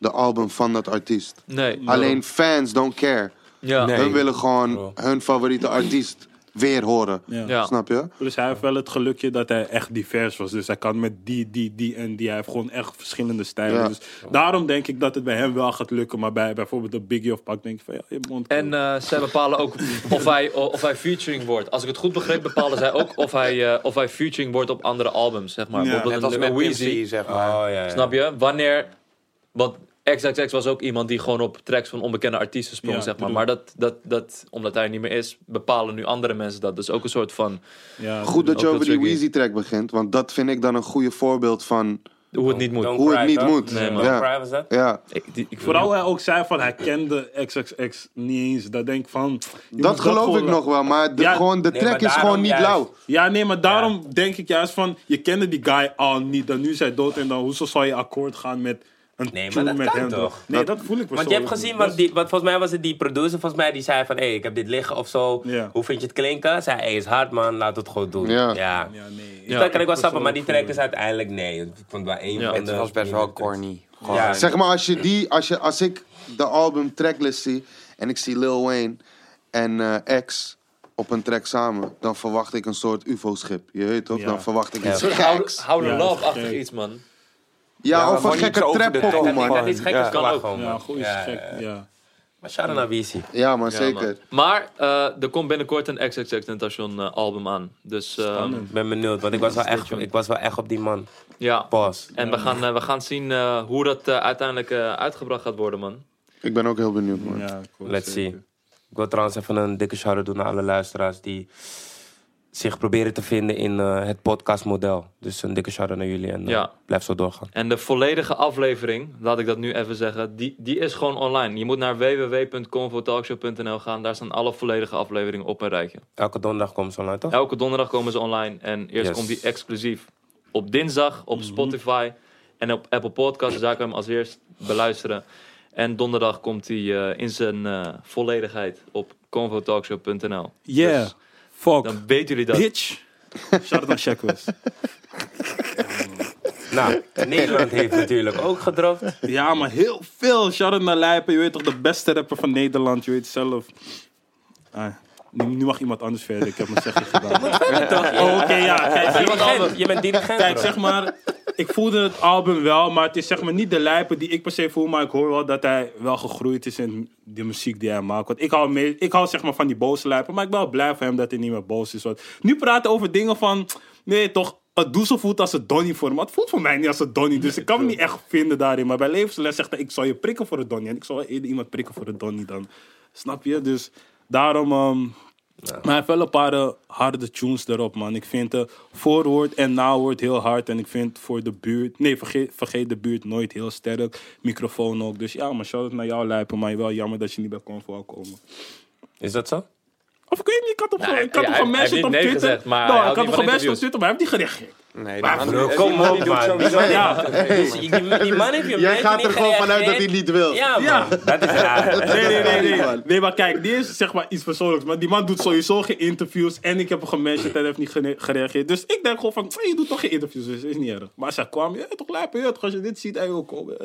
[SPEAKER 3] de album van dat artiest.
[SPEAKER 2] Nee.
[SPEAKER 3] Alleen fans don't care.
[SPEAKER 2] Ja.
[SPEAKER 4] Nee.
[SPEAKER 3] Hun willen
[SPEAKER 5] Bro.
[SPEAKER 3] gewoon hun favoriete artiest weer horen.
[SPEAKER 1] Ja.
[SPEAKER 2] Ja.
[SPEAKER 3] Snap je?
[SPEAKER 1] Dus hij heeft wel het gelukje dat hij echt divers was. Dus hij kan met die, die, die en die. Hij heeft gewoon echt verschillende stijlen.
[SPEAKER 3] Ja.
[SPEAKER 1] Dus daarom denk ik dat het bij hem wel gaat lukken. Maar bij bijvoorbeeld de Biggie of Pak denk ik van ja, je mond.
[SPEAKER 2] En eh, zij bepalen ook of hij, eh, of hij featuring wordt. Als ik het goed begreep, bepalen zij ook of hij, eh, of hij featuring wordt op andere albums, zeg maar.
[SPEAKER 1] Ja.
[SPEAKER 2] Bijvoorbeeld
[SPEAKER 4] Net als
[SPEAKER 2] een
[SPEAKER 4] met
[SPEAKER 2] Weezy.
[SPEAKER 4] Weezy, zeg
[SPEAKER 5] Oh,
[SPEAKER 4] maar.
[SPEAKER 5] ja, ja.
[SPEAKER 2] Snap je? Wanneer. Want XXX was ook iemand die gewoon op tracks van onbekende artiesten sprong,
[SPEAKER 1] Ja,
[SPEAKER 2] zeg maar.
[SPEAKER 1] bedoel-
[SPEAKER 2] Maar dat, dat, dat, omdat hij er niet meer is, bepalen nu andere mensen dat. Dus ook een soort van
[SPEAKER 1] ja,
[SPEAKER 3] Goed dat je
[SPEAKER 2] Ook
[SPEAKER 3] over
[SPEAKER 2] heel
[SPEAKER 3] die
[SPEAKER 2] tricky.
[SPEAKER 3] Weezy-track begint, want dat vind ik dan een goede voorbeeld van
[SPEAKER 2] hoe het niet moet.
[SPEAKER 5] Don't
[SPEAKER 3] hoe het
[SPEAKER 5] cry,
[SPEAKER 3] niet
[SPEAKER 5] toch?
[SPEAKER 3] moet.
[SPEAKER 2] Nee, man.
[SPEAKER 5] Don't
[SPEAKER 3] ja.
[SPEAKER 5] cry was dat?
[SPEAKER 3] ja.
[SPEAKER 2] Ik, die- ik-
[SPEAKER 1] Vooral hij ook zei van hij kende XXX niet eens. Dat denk ik van. je
[SPEAKER 3] Dat
[SPEAKER 1] moet
[SPEAKER 3] geloof ik
[SPEAKER 1] gewoon-
[SPEAKER 3] nog wel, maar de,
[SPEAKER 1] Ja,
[SPEAKER 3] gewoon, de
[SPEAKER 5] nee,
[SPEAKER 3] track
[SPEAKER 5] maar
[SPEAKER 3] is gewoon
[SPEAKER 5] daarom
[SPEAKER 3] niet
[SPEAKER 5] juist.
[SPEAKER 3] lauw.
[SPEAKER 1] Ja, nee, maar daarom denk ik juist van. Je kende die guy al niet. Dan nu is hij dood. En dan hoezo zou je akkoord gaan met een
[SPEAKER 5] Nee, maar
[SPEAKER 1] tune
[SPEAKER 5] dat
[SPEAKER 1] met
[SPEAKER 5] kan
[SPEAKER 1] hem?
[SPEAKER 5] toch?
[SPEAKER 1] Nee, dat, voel ik
[SPEAKER 5] Want je hebt
[SPEAKER 1] persoonlijk
[SPEAKER 5] gezien,
[SPEAKER 1] niet.
[SPEAKER 5] want, die, want volgens mij was het die producer volgens mij die zei van... hé, ik heb dit liggen of zo.
[SPEAKER 1] Ja.
[SPEAKER 5] Hoe vind je het klinken? Zei, hé, is hard man, laat het gewoon doen.
[SPEAKER 3] Ja.
[SPEAKER 1] Ja, nee.
[SPEAKER 5] Dus dat kan ik wel snappen, maar die track is uiteindelijk nee. Ik vond wel één
[SPEAKER 2] Ja.
[SPEAKER 5] van de...
[SPEAKER 4] Dus Het was best wel corny. Gewoon.
[SPEAKER 5] Ja.
[SPEAKER 3] Zeg maar, als, je die, als, je, als ik de album tracklist zie en ik zie Lil Wayne en eh X op een track samen, dan verwacht ik een soort UFO-schip. Je weet toch?
[SPEAKER 1] Ja.
[SPEAKER 3] Dan verwacht ik
[SPEAKER 5] Ja.
[SPEAKER 3] iets
[SPEAKER 2] Een soort hou-
[SPEAKER 3] geks.
[SPEAKER 2] Hou de
[SPEAKER 1] Ja, dat is
[SPEAKER 2] love achter
[SPEAKER 1] gek.
[SPEAKER 2] iets, man.
[SPEAKER 3] Ja,
[SPEAKER 4] Ja,
[SPEAKER 3] of een
[SPEAKER 4] gewoon iets
[SPEAKER 3] gekke
[SPEAKER 4] over de top,
[SPEAKER 3] trap
[SPEAKER 4] man.
[SPEAKER 5] Dat
[SPEAKER 3] man.
[SPEAKER 5] is gek,
[SPEAKER 4] Ja.
[SPEAKER 5] is kan
[SPEAKER 4] Ja,
[SPEAKER 5] ook man.
[SPEAKER 1] Ja, goed is
[SPEAKER 5] Ja,
[SPEAKER 1] gek.
[SPEAKER 5] ja.
[SPEAKER 1] Ja.
[SPEAKER 5] Maar shout-out naar Weezy.
[SPEAKER 3] Ja, man,
[SPEAKER 2] Ja, man.
[SPEAKER 3] zeker.
[SPEAKER 2] Maar eh, er komt binnenkort een XXX Tentation eh, album aan. Dus eh,
[SPEAKER 5] Ik ben benieuwd, want ik was wel echt, ik was wel echt op die man.
[SPEAKER 2] ja.
[SPEAKER 5] Pas.
[SPEAKER 2] En we gaan, eh, we gaan zien eh, hoe dat eh, uiteindelijk eh, uitgebracht gaat worden, man.
[SPEAKER 3] Ik ben ook heel benieuwd, man.
[SPEAKER 1] Ja, cool,
[SPEAKER 5] Let's
[SPEAKER 1] zeker.
[SPEAKER 5] see. Ik wil trouwens even een dikke shout-out doen naar alle luisteraars die zich proberen te vinden in eh, het podcastmodel. Dus een dikke shout-out naar jullie en eh,
[SPEAKER 2] Ja.
[SPEAKER 5] blijf zo doorgaan.
[SPEAKER 2] En de volledige aflevering, laat ik dat nu even zeggen, die, die is gewoon online. Je moet naar www.convotalkshow.nl gaan. Daar staan alle volledige afleveringen op een rijtje.
[SPEAKER 5] Elke donderdag komen ze online, toch?
[SPEAKER 2] Elke donderdag komen ze online. En eerst
[SPEAKER 5] Yes.
[SPEAKER 2] komt die exclusief op dinsdag op Spotify en op Apple Podcasts. Dus daar kan je hem als eerst beluisteren. En donderdag komt hij eh, in zijn eh, volledigheid op convotalkshow.nl.
[SPEAKER 1] Yeah.
[SPEAKER 2] Dus
[SPEAKER 1] Fuck.
[SPEAKER 2] dan weten jullie dat.
[SPEAKER 1] Bitch. Shout out naar Shackwest.
[SPEAKER 5] Nou, Nederland heeft natuurlijk ook gedropt.
[SPEAKER 1] ja, maar heel veel. Shout out naar Lijpen. Je weet toch, de beste rapper van Nederland. Je weet zelf. Ah, nu, nu mag iemand anders verder. Ik heb mijn zegje gedaan. Oh, Oké, ja. Kijk,
[SPEAKER 5] Je bent dirigent, je bent dirigent,
[SPEAKER 1] Kijk,
[SPEAKER 5] bro.
[SPEAKER 1] zeg maar, ik voelde het album wel, maar het is zeg maar niet de lijpen die ik per se voel. Maar ik hoor wel dat hij wel gegroeid is in de muziek die hij maakt. Want ik hou, mee, ik hou zeg maar van die boze lijpen, maar ik ben wel blij voor hem dat hij niet meer boos is. Want nu praten over dingen van, nee toch, het doezel voelt als een Donnie voor hem. Het voelt voor mij niet als een Donnie, dus ik kan me niet echt vinden daarin. Maar bij levensles zegt hij, ik zal je prikken voor een Donnie. En ik zal wel eerder iemand prikken voor een Donnie dan. Snap je? Dus daarom... ehm, maar hij heeft wel een paar eh, harde tunes erop, man. Ik vind de voorwoord en nawoord heel hard. En ik vind voor de buurt... Nee, vergeet, vergeet de buurt nooit heel sterk. Microfoon ook. Dus ja, maar shout-out naar jou, Lijpen. Maar wel jammer dat je niet bij Convo wou komen.
[SPEAKER 5] Is dat zo?
[SPEAKER 1] Of ik weet niet, ik had hem gewoon... Ik had
[SPEAKER 2] Nou, ja,
[SPEAKER 1] hem gewoon
[SPEAKER 2] hij- hij
[SPEAKER 1] mensen
[SPEAKER 2] heeft
[SPEAKER 1] op
[SPEAKER 2] niet nee
[SPEAKER 1] Twitter...
[SPEAKER 2] gezegd, maar
[SPEAKER 1] Nou,
[SPEAKER 2] hij
[SPEAKER 1] ik
[SPEAKER 2] houdt
[SPEAKER 1] had
[SPEAKER 2] niet
[SPEAKER 1] hem gewoon
[SPEAKER 2] van
[SPEAKER 1] mensen op Twitter, maar hij heeft niet gereageerd.
[SPEAKER 4] Nee,
[SPEAKER 1] Maar
[SPEAKER 4] die
[SPEAKER 1] bro,
[SPEAKER 4] man-
[SPEAKER 5] kom
[SPEAKER 4] die man
[SPEAKER 5] op,
[SPEAKER 4] die doet
[SPEAKER 5] man.
[SPEAKER 4] sowieso
[SPEAKER 1] Ja,
[SPEAKER 5] Dus die, die man heeft je
[SPEAKER 3] Jij gaat er gewoon vanuit dat hij
[SPEAKER 5] die
[SPEAKER 3] niet wil.
[SPEAKER 5] Ja, man.
[SPEAKER 1] Ja.
[SPEAKER 5] Dat is raar.
[SPEAKER 1] Nee, nee, nee,
[SPEAKER 3] niet,
[SPEAKER 1] nee.
[SPEAKER 3] man.
[SPEAKER 1] Nee, maar kijk, die is zeg maar iets persoonlijks. Maar die man doet sowieso geen interviews. En ik heb hem gemanaged en heeft niet gene- gereageerd. Dus ik denk gewoon van, "Hey, je doet toch geen interviews, dus is niet erg. Maar als hij kwam, ja, toch lijp, ja, toch als je dit ziet, hij wil komen. ja,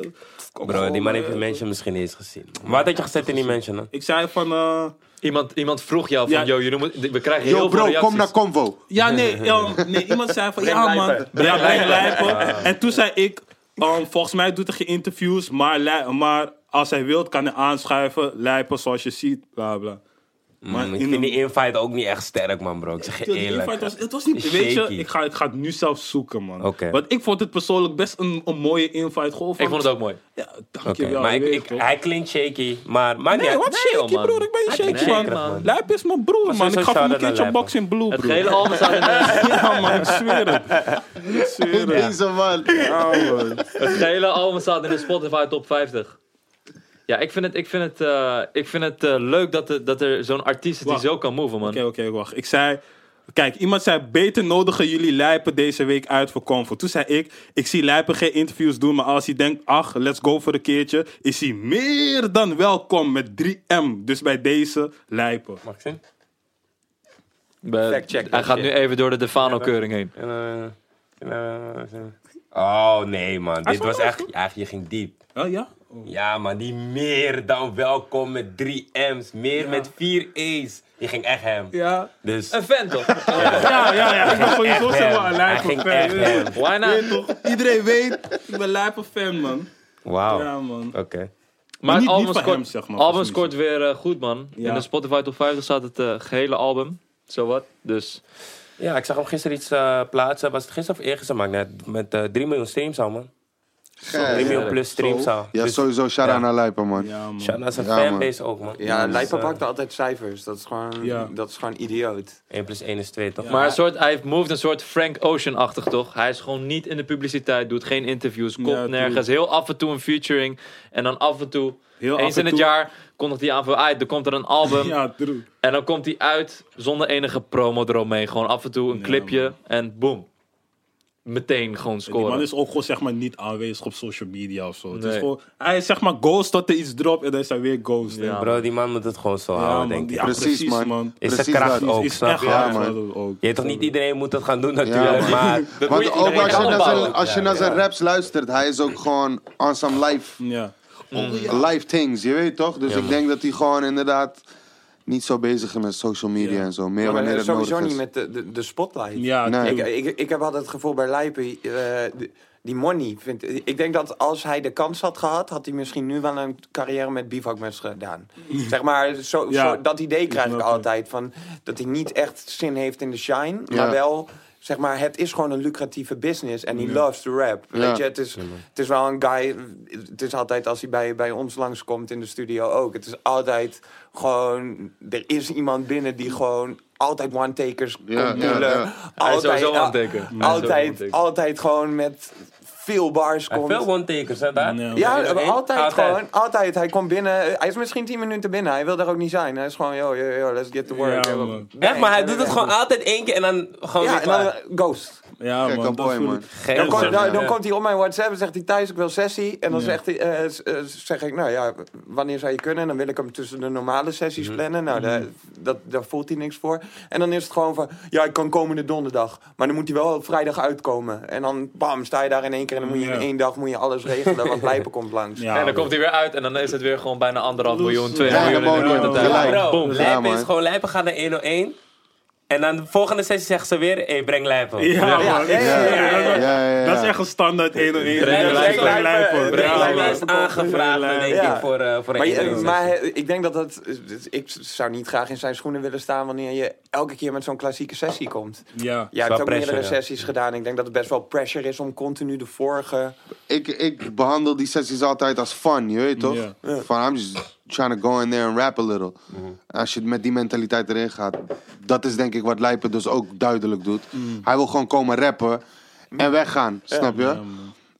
[SPEAKER 1] kom
[SPEAKER 5] Bro,
[SPEAKER 1] gewoon,
[SPEAKER 5] die man heeft
[SPEAKER 1] ja."
[SPEAKER 5] de mensen misschien niet eens gezien. Wat had je gezet in die mensen, dan?
[SPEAKER 1] Ik zei van, eh,
[SPEAKER 2] Iemand, iemand vroeg jou van,
[SPEAKER 1] Ja.
[SPEAKER 2] yo, jullie moeten- we krijgen heel
[SPEAKER 3] Yo
[SPEAKER 2] veel
[SPEAKER 3] bro,
[SPEAKER 2] reacties.
[SPEAKER 3] kom naar Convo.
[SPEAKER 1] ja, nee, ja, nee, iemand zei van,
[SPEAKER 2] Breng
[SPEAKER 1] ja man,
[SPEAKER 2] lijpen.
[SPEAKER 1] ja, breng lijpen.
[SPEAKER 5] Ah.
[SPEAKER 1] En toen zei ik, ehm, volgens mij doet hij geen interviews, maar, lij- maar als hij wilt kan hij aanschuiven, lijpen zoals je ziet, bla bla. Maar
[SPEAKER 5] Mm,
[SPEAKER 1] in
[SPEAKER 5] ik vind
[SPEAKER 1] een-
[SPEAKER 5] die invite ook niet echt sterk, man, bro. Ik zeg je
[SPEAKER 1] Dude, die invite
[SPEAKER 5] eerlijk.
[SPEAKER 1] was, het was niet,
[SPEAKER 5] Shaky.
[SPEAKER 1] weet je, ik ga, ik ga het nu zelf zoeken, man.
[SPEAKER 5] Oké.
[SPEAKER 1] Want ik vond het persoonlijk best een, een mooie invite. Gewoon van,
[SPEAKER 2] Ik vond het ook mooi.
[SPEAKER 1] Ja,
[SPEAKER 5] Oké,
[SPEAKER 1] dankjewel.
[SPEAKER 5] maar
[SPEAKER 1] je
[SPEAKER 5] ik,
[SPEAKER 1] weet
[SPEAKER 5] ik,
[SPEAKER 1] toch.
[SPEAKER 5] hij klinkt shaky, maar... maar
[SPEAKER 1] nee, wat
[SPEAKER 2] Nee,
[SPEAKER 1] shaky,
[SPEAKER 2] man.
[SPEAKER 1] broer. Ik ben je
[SPEAKER 2] Hij
[SPEAKER 1] shaky,
[SPEAKER 2] klinkt
[SPEAKER 1] man.
[SPEAKER 2] shaky, man.
[SPEAKER 1] Lijp is mijn broer, man.
[SPEAKER 5] sowieso
[SPEAKER 1] Ik gaf hem een
[SPEAKER 5] shout-out naar
[SPEAKER 1] keertje
[SPEAKER 5] Lijp,
[SPEAKER 1] box in blue,
[SPEAKER 2] Het
[SPEAKER 1] broer.
[SPEAKER 2] gele album staat in de,
[SPEAKER 1] Ja, man, ik zweer het. Ik zweer het.
[SPEAKER 3] Deze man.
[SPEAKER 2] het gele album staat in de Spotify top 50. Ja, ik vind het, ik vind het, eh, ik vind het eh, leuk dat, er- dat er zo'n artiest is die
[SPEAKER 1] Wacht.
[SPEAKER 2] zo kan moven, man.
[SPEAKER 1] Oké, oké, wacht. Ik zei... Kijk, iemand zei, beter nodigen jullie lijpen deze week uit voor comfort. Toen zei ik, ik zie lijpen geen interviews doen, maar als hij denkt, ach, let's go voor een keertje, is hij meer dan welkom met 3M. Dus bij deze lijpen.
[SPEAKER 5] Mag ik zien?
[SPEAKER 2] Bij-
[SPEAKER 5] Fact check,
[SPEAKER 2] hij
[SPEAKER 5] fact
[SPEAKER 2] gaat
[SPEAKER 5] check.
[SPEAKER 2] nu even door de Defano-keuring heen.
[SPEAKER 5] Eh, eh, eh, Oh, nee, man. Dit
[SPEAKER 1] vond
[SPEAKER 5] was
[SPEAKER 1] het
[SPEAKER 5] echt... Ja, je ging diep.
[SPEAKER 1] Oh ja?
[SPEAKER 5] Ja, man, die meer dan welkom met drie M's. Meer met vier E's. Je ging echt hem.
[SPEAKER 1] Ja.
[SPEAKER 5] Dus...
[SPEAKER 2] Een fan, toch?
[SPEAKER 1] Ja, ja, ja. Ik ben sowieso
[SPEAKER 5] echt
[SPEAKER 1] zeg
[SPEAKER 5] hem.
[SPEAKER 1] maar een
[SPEAKER 5] Hij ging echt
[SPEAKER 1] lijpen
[SPEAKER 5] hem.
[SPEAKER 2] Why not?
[SPEAKER 1] fan. Iedereen weet, ik ben lijpen fan, man. Ja,
[SPEAKER 5] Wauw.
[SPEAKER 1] man.
[SPEAKER 5] Oké.
[SPEAKER 1] Maar
[SPEAKER 2] Maar het
[SPEAKER 1] niet-
[SPEAKER 2] album
[SPEAKER 1] niet van
[SPEAKER 2] scoort,
[SPEAKER 1] hem, zeg maar,
[SPEAKER 2] album
[SPEAKER 1] van zijn
[SPEAKER 2] scoort weer eh, goed, man.
[SPEAKER 1] Ja.
[SPEAKER 2] In de Spotify top 50 staat het eh, gehele album. Zowat. Dus
[SPEAKER 5] Ja, ik zag hem gisteren iets eh, plaatsen. Was het gisteren of eergisteren? Maakt niet uit. Met eh 3 miljoen streams al, man. 3 miljoen plus streams al.
[SPEAKER 3] Ja,
[SPEAKER 5] Dus
[SPEAKER 3] sowieso shout-out
[SPEAKER 5] Ja.
[SPEAKER 3] naar Lijpen, man.
[SPEAKER 1] Ja, man.
[SPEAKER 5] Shout-out zijn
[SPEAKER 3] Ja, man.
[SPEAKER 5] fanbase ook, man.
[SPEAKER 4] Ja,
[SPEAKER 5] Dus,
[SPEAKER 4] Lijper
[SPEAKER 5] eh,
[SPEAKER 4] pakt altijd cijfers. Dat is gewoon,
[SPEAKER 1] Ja.
[SPEAKER 4] dat is gewoon idioot.
[SPEAKER 5] 1 plus 1 is 2, toch?
[SPEAKER 2] Maar een soort, hij heeft moved een soort Frank Ocean-achtig, toch? Hij is gewoon niet in de publiciteit, doet geen interviews, komt
[SPEAKER 1] Ja,
[SPEAKER 2] nergens. Heel af en toe een featuring. En dan af en toe,
[SPEAKER 1] Heel
[SPEAKER 2] eens
[SPEAKER 1] af en
[SPEAKER 2] in het
[SPEAKER 1] toe.
[SPEAKER 2] jaar, kondigt hij aan voor... uit. dan komt er een album
[SPEAKER 1] Ja, true.
[SPEAKER 2] en dan komt hij uit zonder enige promo eromheen. Gewoon af en toe een clipje en boom. Meteen gewoon
[SPEAKER 1] Die man
[SPEAKER 2] scoren.
[SPEAKER 1] is ook gewoon zeg maar niet aanwezig op social media of zo. Het is
[SPEAKER 2] Nee.
[SPEAKER 1] gewoon, hij is zeg maar ghost tot er iets dropt en dan is hij weer ghost. hè.
[SPEAKER 2] Ja,
[SPEAKER 5] Bro, die man moet het gewoon zo
[SPEAKER 1] Ja,
[SPEAKER 5] houden,
[SPEAKER 1] man.
[SPEAKER 5] denk ik.
[SPEAKER 1] Ja,
[SPEAKER 3] Precies, man.
[SPEAKER 5] Is de
[SPEAKER 3] precies
[SPEAKER 5] kracht
[SPEAKER 3] dat.
[SPEAKER 5] ook,
[SPEAKER 1] is
[SPEAKER 5] snap
[SPEAKER 1] echt
[SPEAKER 5] je?
[SPEAKER 1] hard,
[SPEAKER 3] Ja, man.
[SPEAKER 1] man. Ook.
[SPEAKER 5] Je weet toch niet iedereen moet dat gaan doen, natuurlijk.
[SPEAKER 3] man.
[SPEAKER 5] maar
[SPEAKER 2] moet
[SPEAKER 3] Want
[SPEAKER 2] je
[SPEAKER 3] ook
[SPEAKER 2] iedereen
[SPEAKER 3] als je, naar
[SPEAKER 2] opbouwen.
[SPEAKER 3] zijn, als je naar zijn raps luistert, hij is ook gewoon on some live,
[SPEAKER 1] Mm. Oh, Ja.
[SPEAKER 3] live things, je weet toch? Dus ik denk dat hij gewoon inderdaad niet zo bezig is met social media en zo. Meer
[SPEAKER 4] Maar eh,
[SPEAKER 3] wanneer het
[SPEAKER 4] sowieso
[SPEAKER 3] nodig is.
[SPEAKER 4] niet met de, de, de spotlight.
[SPEAKER 1] Ja,
[SPEAKER 3] Nee.
[SPEAKER 1] tuurlijk.
[SPEAKER 4] Ik, ik, ik heb altijd het gevoel bij Lijpen, eh, d- die money. Vind, ik denk dat als hij de kans had gehad, had hij misschien nu wel een carrière met bivakmes gedaan. Zeg maar, zo,
[SPEAKER 1] Mm. Ja.
[SPEAKER 4] zo, dat idee krijg ik
[SPEAKER 1] snap
[SPEAKER 4] altijd. Van, dat hij niet echt zin heeft in de shine,
[SPEAKER 3] Ja.
[SPEAKER 4] maar wel... Zeg maar, het is gewoon een lucratieve business en hij loves to rap. Weet je, het is, het is wel een guy... Het is altijd, als hij bij, bij ons langskomt in de studio ook... Het is altijd gewoon... Er is iemand binnen die gewoon altijd one-takers
[SPEAKER 3] Ja,
[SPEAKER 4] komt
[SPEAKER 3] ja,
[SPEAKER 4] lullen.
[SPEAKER 3] ja.
[SPEAKER 2] Hij is
[SPEAKER 4] Altijd,
[SPEAKER 2] sowieso
[SPEAKER 4] al-
[SPEAKER 2] one-taker. Hij is sowieso
[SPEAKER 4] Altijd,
[SPEAKER 2] one-taker.
[SPEAKER 4] altijd gewoon met veel bars
[SPEAKER 5] Hij heeft
[SPEAKER 4] komt.
[SPEAKER 5] Veel one-takers, hè, daar?
[SPEAKER 1] Nee, man.
[SPEAKER 4] Ja,
[SPEAKER 5] Eén op één?
[SPEAKER 4] altijd, gewoon. Altijd. Hij komt binnen. Hij is misschien 10 minuten binnen. Hij wil er ook niet zijn. Hij is gewoon, yo, yo, yo, let's get to work.
[SPEAKER 1] Ja,
[SPEAKER 4] Yo,
[SPEAKER 1] man.
[SPEAKER 4] bang,
[SPEAKER 5] Echt, maar hij
[SPEAKER 4] bang,
[SPEAKER 5] doet het
[SPEAKER 4] bang.
[SPEAKER 5] gewoon altijd één keer en dan gewoon
[SPEAKER 4] Ja,
[SPEAKER 5] weer
[SPEAKER 4] en dan
[SPEAKER 5] klaar.
[SPEAKER 4] eh, ghost.
[SPEAKER 1] ja
[SPEAKER 3] Gekke
[SPEAKER 1] man. dat
[SPEAKER 3] boy,
[SPEAKER 1] voel
[SPEAKER 3] man.
[SPEAKER 1] ik.
[SPEAKER 5] Geen
[SPEAKER 4] Dan, komt, nou,
[SPEAKER 5] zin.
[SPEAKER 4] dan, dan
[SPEAKER 5] Ja.
[SPEAKER 4] komt hij op mijn WhatsApp en zegt hij, Thijs, ik wil sessie. En dan
[SPEAKER 1] Ja.
[SPEAKER 4] zegt hij, eh, s- eh, zeg ik, nou ja, wanneer zou je kunnen? En dan wil ik hem tussen de normale sessies plannen. Nou, daar, dat, daar voelt hij niks voor. En dan is het gewoon van, ja, ik kan komende donderdag. Maar dan moet hij wel op vrijdag uitkomen. En dan, bam, sta je daar in één keer. En dan moet je
[SPEAKER 1] Ja.
[SPEAKER 4] in één dag moet je alles regelen, want Lijpen komt langs.
[SPEAKER 1] Ja,
[SPEAKER 2] en dan
[SPEAKER 1] man.
[SPEAKER 2] komt hij weer uit en dan is het weer gewoon bijna anderhalf
[SPEAKER 1] Loes.
[SPEAKER 2] miljoen, twee
[SPEAKER 3] Ja,
[SPEAKER 2] miljoen. in de
[SPEAKER 3] gewoon
[SPEAKER 2] korte
[SPEAKER 3] door.
[SPEAKER 2] tijd.
[SPEAKER 3] Gelijk.
[SPEAKER 5] Ja, bro.
[SPEAKER 3] Boom. Ja,
[SPEAKER 5] Lijpen
[SPEAKER 3] man.
[SPEAKER 5] is gewoon... Lijpen gaat naar 101. En dan de volgende sessie zegt ze weer, hey, breng lijp op.
[SPEAKER 1] Ja, man.
[SPEAKER 4] ja, ja, ja, ja,
[SPEAKER 1] Dat-
[SPEAKER 3] Ja, ja, ja.
[SPEAKER 1] Dat is echt een standaard 1 1
[SPEAKER 2] Breng lijpen.
[SPEAKER 5] Breng
[SPEAKER 4] Ja,
[SPEAKER 5] lijp
[SPEAKER 4] man.
[SPEAKER 5] is aangevraagd,
[SPEAKER 1] Breng
[SPEAKER 5] denk
[SPEAKER 4] lijp.
[SPEAKER 5] ik, voor, eh, voor
[SPEAKER 4] Maar,
[SPEAKER 5] een
[SPEAKER 4] je-
[SPEAKER 5] training
[SPEAKER 4] maar
[SPEAKER 5] sessie.
[SPEAKER 4] he- ik denk dat dat... dus Ik zou niet graag in zijn schoenen willen staan wanneer je elke keer met zo'n klassieke sessie komt.
[SPEAKER 1] Ja.
[SPEAKER 4] Jij
[SPEAKER 5] wel
[SPEAKER 4] hebt ook
[SPEAKER 5] pressure,
[SPEAKER 4] meerdere
[SPEAKER 5] ja.
[SPEAKER 4] sessies gedaan. Ik denk dat het best wel pressure is om continu de vorige...
[SPEAKER 3] ik, ik behandel die sessies altijd als fun, je weet toch?
[SPEAKER 1] Ja.
[SPEAKER 3] Van, I'm just trying to go in there and rap a little. Als je met die mentaliteit erin gaat, dat is denk ik wat Lijpen dus ook duidelijk doet.
[SPEAKER 1] Mm.
[SPEAKER 3] Hij wil gewoon komen rappen en weggaan, snap je?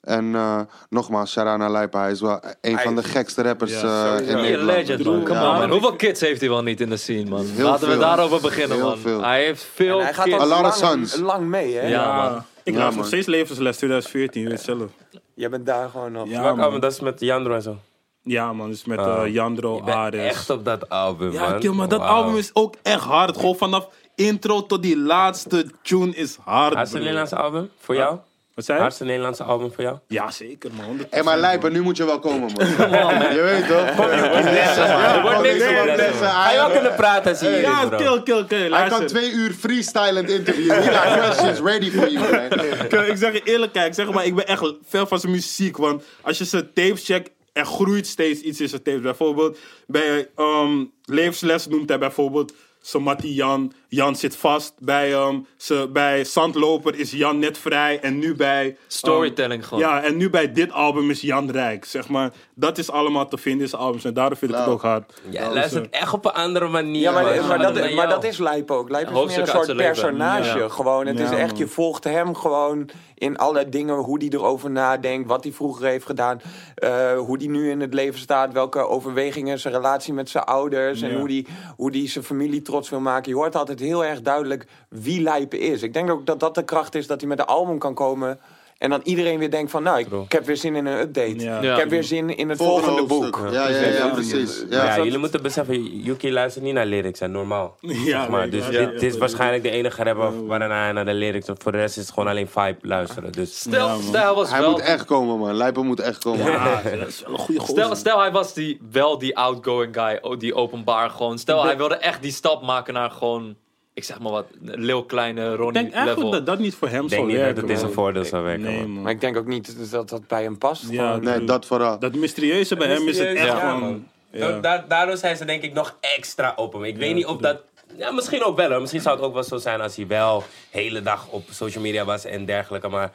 [SPEAKER 3] en eh, nogmaals, Shara naar Lijpen, hij is wel een van de gekste rappers
[SPEAKER 1] Ja,
[SPEAKER 3] eh, in
[SPEAKER 4] sowieso.
[SPEAKER 2] Hey,
[SPEAKER 3] Nederland.
[SPEAKER 2] legend, man. Come
[SPEAKER 3] Ja,
[SPEAKER 2] on,
[SPEAKER 3] man.
[SPEAKER 2] man. Hoeveel kids heeft hij wel niet in de scene, man?
[SPEAKER 3] Heel
[SPEAKER 2] Laten we
[SPEAKER 3] veel.
[SPEAKER 2] daarover beginnen,
[SPEAKER 3] Heel
[SPEAKER 2] man.
[SPEAKER 3] veel.
[SPEAKER 2] Hij heeft veel
[SPEAKER 4] Hij gaat
[SPEAKER 2] kids.
[SPEAKER 4] al
[SPEAKER 3] A lot
[SPEAKER 4] lang,
[SPEAKER 3] of sons.
[SPEAKER 4] lang mee, hè?
[SPEAKER 2] Ja.
[SPEAKER 1] Ja,
[SPEAKER 2] man.
[SPEAKER 1] ik
[SPEAKER 3] Ja,
[SPEAKER 1] luister nog
[SPEAKER 3] man.
[SPEAKER 1] steeds Levensles 2014, je weet zelf.
[SPEAKER 4] Jij bent daar gewoon op.
[SPEAKER 1] Ja,
[SPEAKER 5] Welk album?
[SPEAKER 1] man.
[SPEAKER 5] Dat is met Jandro en zo.
[SPEAKER 1] Ja, man. Dus met eh, Jandro,
[SPEAKER 5] Ik ben
[SPEAKER 1] Ares.
[SPEAKER 5] echt op dat album, man.
[SPEAKER 1] Ja, kill, maar dat
[SPEAKER 5] Wauw.
[SPEAKER 1] album is ook echt hard. Gewoon vanaf intro tot die laatste tune is hard.
[SPEAKER 5] Hardste
[SPEAKER 1] broer.
[SPEAKER 5] Nederlandse album voor jou?
[SPEAKER 1] Wat zei je?
[SPEAKER 5] Hardste Nederlandse album voor jou?
[SPEAKER 1] Ja, zeker, man. 100%.
[SPEAKER 3] Hé, maar Lijpen, nu moet je wel komen, man. Je weet toch? Kom, je wordt lessen,
[SPEAKER 5] Er wordt niks
[SPEAKER 3] man.
[SPEAKER 5] gedaan. Ga je ook kunnen praten, zie je.
[SPEAKER 1] Ja,
[SPEAKER 5] dit, bro.
[SPEAKER 1] kill, kill, kill.
[SPEAKER 3] Hij
[SPEAKER 1] Luister.
[SPEAKER 3] kan twee uur freestylend interviewen. We got questions ready for you, man.
[SPEAKER 1] Ik, ik zeg je eerlijk, kijk, ik zeg maar, ik ben echt fan van zijn muziek. Want als je zijn tapes checkt, er groeit steeds iets in zijn tapes. Bijvoorbeeld, bij ehm Levensles noemt hij bijvoorbeeld zijn Mattie Jan. Jan zit vast. Bij, ehm ze, bij Zandloper is Jan net vrij. En nu bij... ehm,
[SPEAKER 2] Storytelling gewoon.
[SPEAKER 1] Ja, en nu bij dit album is Jan rijk. Zeg maar, dat is allemaal te vinden in zijn albums. En daarom vind ik het
[SPEAKER 3] Nou.
[SPEAKER 1] ook hard.
[SPEAKER 5] Jij luistert echt op een andere manier.
[SPEAKER 4] Ja, maar,
[SPEAKER 5] man.
[SPEAKER 4] maar, dat,
[SPEAKER 2] naar
[SPEAKER 4] maar
[SPEAKER 2] jou.
[SPEAKER 4] dat is Lijp ook. Lijp is meer
[SPEAKER 2] Hoofdstuk
[SPEAKER 4] een
[SPEAKER 2] uit
[SPEAKER 4] soort
[SPEAKER 2] zijn leven.
[SPEAKER 4] personage.
[SPEAKER 1] Ja.
[SPEAKER 4] Gewoon, het
[SPEAKER 1] Ja,
[SPEAKER 4] is echt, je
[SPEAKER 1] man.
[SPEAKER 4] volgt hem gewoon in alle dingen. Hoe hij erover nadenkt, wat hij vroeger heeft gedaan. eh, hoe hij nu in het leven staat. Welke overwegingen, zijn relatie met zijn ouders. En
[SPEAKER 1] Ja.
[SPEAKER 4] hoe die hoe die zijn familie trots wil maken. Je hoort altijd heel erg duidelijk wie Lijp is. Ik denk ook dat dat de kracht is dat hij met een album kan komen... En dan iedereen weer denkt van, nou, ik, ik heb weer zin in een update.
[SPEAKER 1] Ja.
[SPEAKER 4] Ik heb weer zin in het volgende boek.
[SPEAKER 3] Ja, ja, ja, precies.
[SPEAKER 5] Ja,
[SPEAKER 3] Ja.
[SPEAKER 5] jullie moeten beseffen, Yuki luistert niet naar lyrics, hè, normaal. zeg maar.
[SPEAKER 1] nee,
[SPEAKER 5] Dus
[SPEAKER 1] ja,
[SPEAKER 5] dit,
[SPEAKER 1] ja,
[SPEAKER 5] dit
[SPEAKER 1] ja,
[SPEAKER 5] is
[SPEAKER 1] ja.
[SPEAKER 5] waarschijnlijk de enige rapper waarna hij naar de lyrics... Voor de rest is het gewoon alleen vibe luisteren. Dus
[SPEAKER 2] Stel, stel was
[SPEAKER 3] Hij
[SPEAKER 2] wel...
[SPEAKER 3] moet echt komen, man. Lijpen moet echt komen.
[SPEAKER 1] Ja, dat is wel een goede gozer.
[SPEAKER 2] Stel, stel hij was die, wel die outgoing guy, o- die openbaar gewoon. Stel hij wilde echt die stap maken naar gewoon, ik zeg maar wat, Lil Kleine,
[SPEAKER 1] Ik denk
[SPEAKER 2] Ronnie
[SPEAKER 1] eigenlijk
[SPEAKER 2] level.
[SPEAKER 1] dat dat niet voor hem
[SPEAKER 5] ik denk
[SPEAKER 1] zou
[SPEAKER 5] niet dat
[SPEAKER 1] werken.
[SPEAKER 5] het in zijn
[SPEAKER 1] man.
[SPEAKER 5] voordeel zou werken.
[SPEAKER 1] Nee,
[SPEAKER 5] man.
[SPEAKER 1] man.
[SPEAKER 4] Maar ik denk ook niet dat dat bij hem past.
[SPEAKER 1] Ja,
[SPEAKER 4] Gewoon-
[SPEAKER 3] Nee, dat vooral.
[SPEAKER 1] Dat mysterieuze bij hem is het echt
[SPEAKER 5] Mysterieus, ja,
[SPEAKER 1] gewoon...
[SPEAKER 5] man. Da- da- daardoor zijn ze denk ik nog extra open. Maar Ik weet niet of dat... Ja, misschien ook wel. Hoor. Misschien zou het ook wel zo zijn als hij wel hele dag op social media was en dergelijke. Maar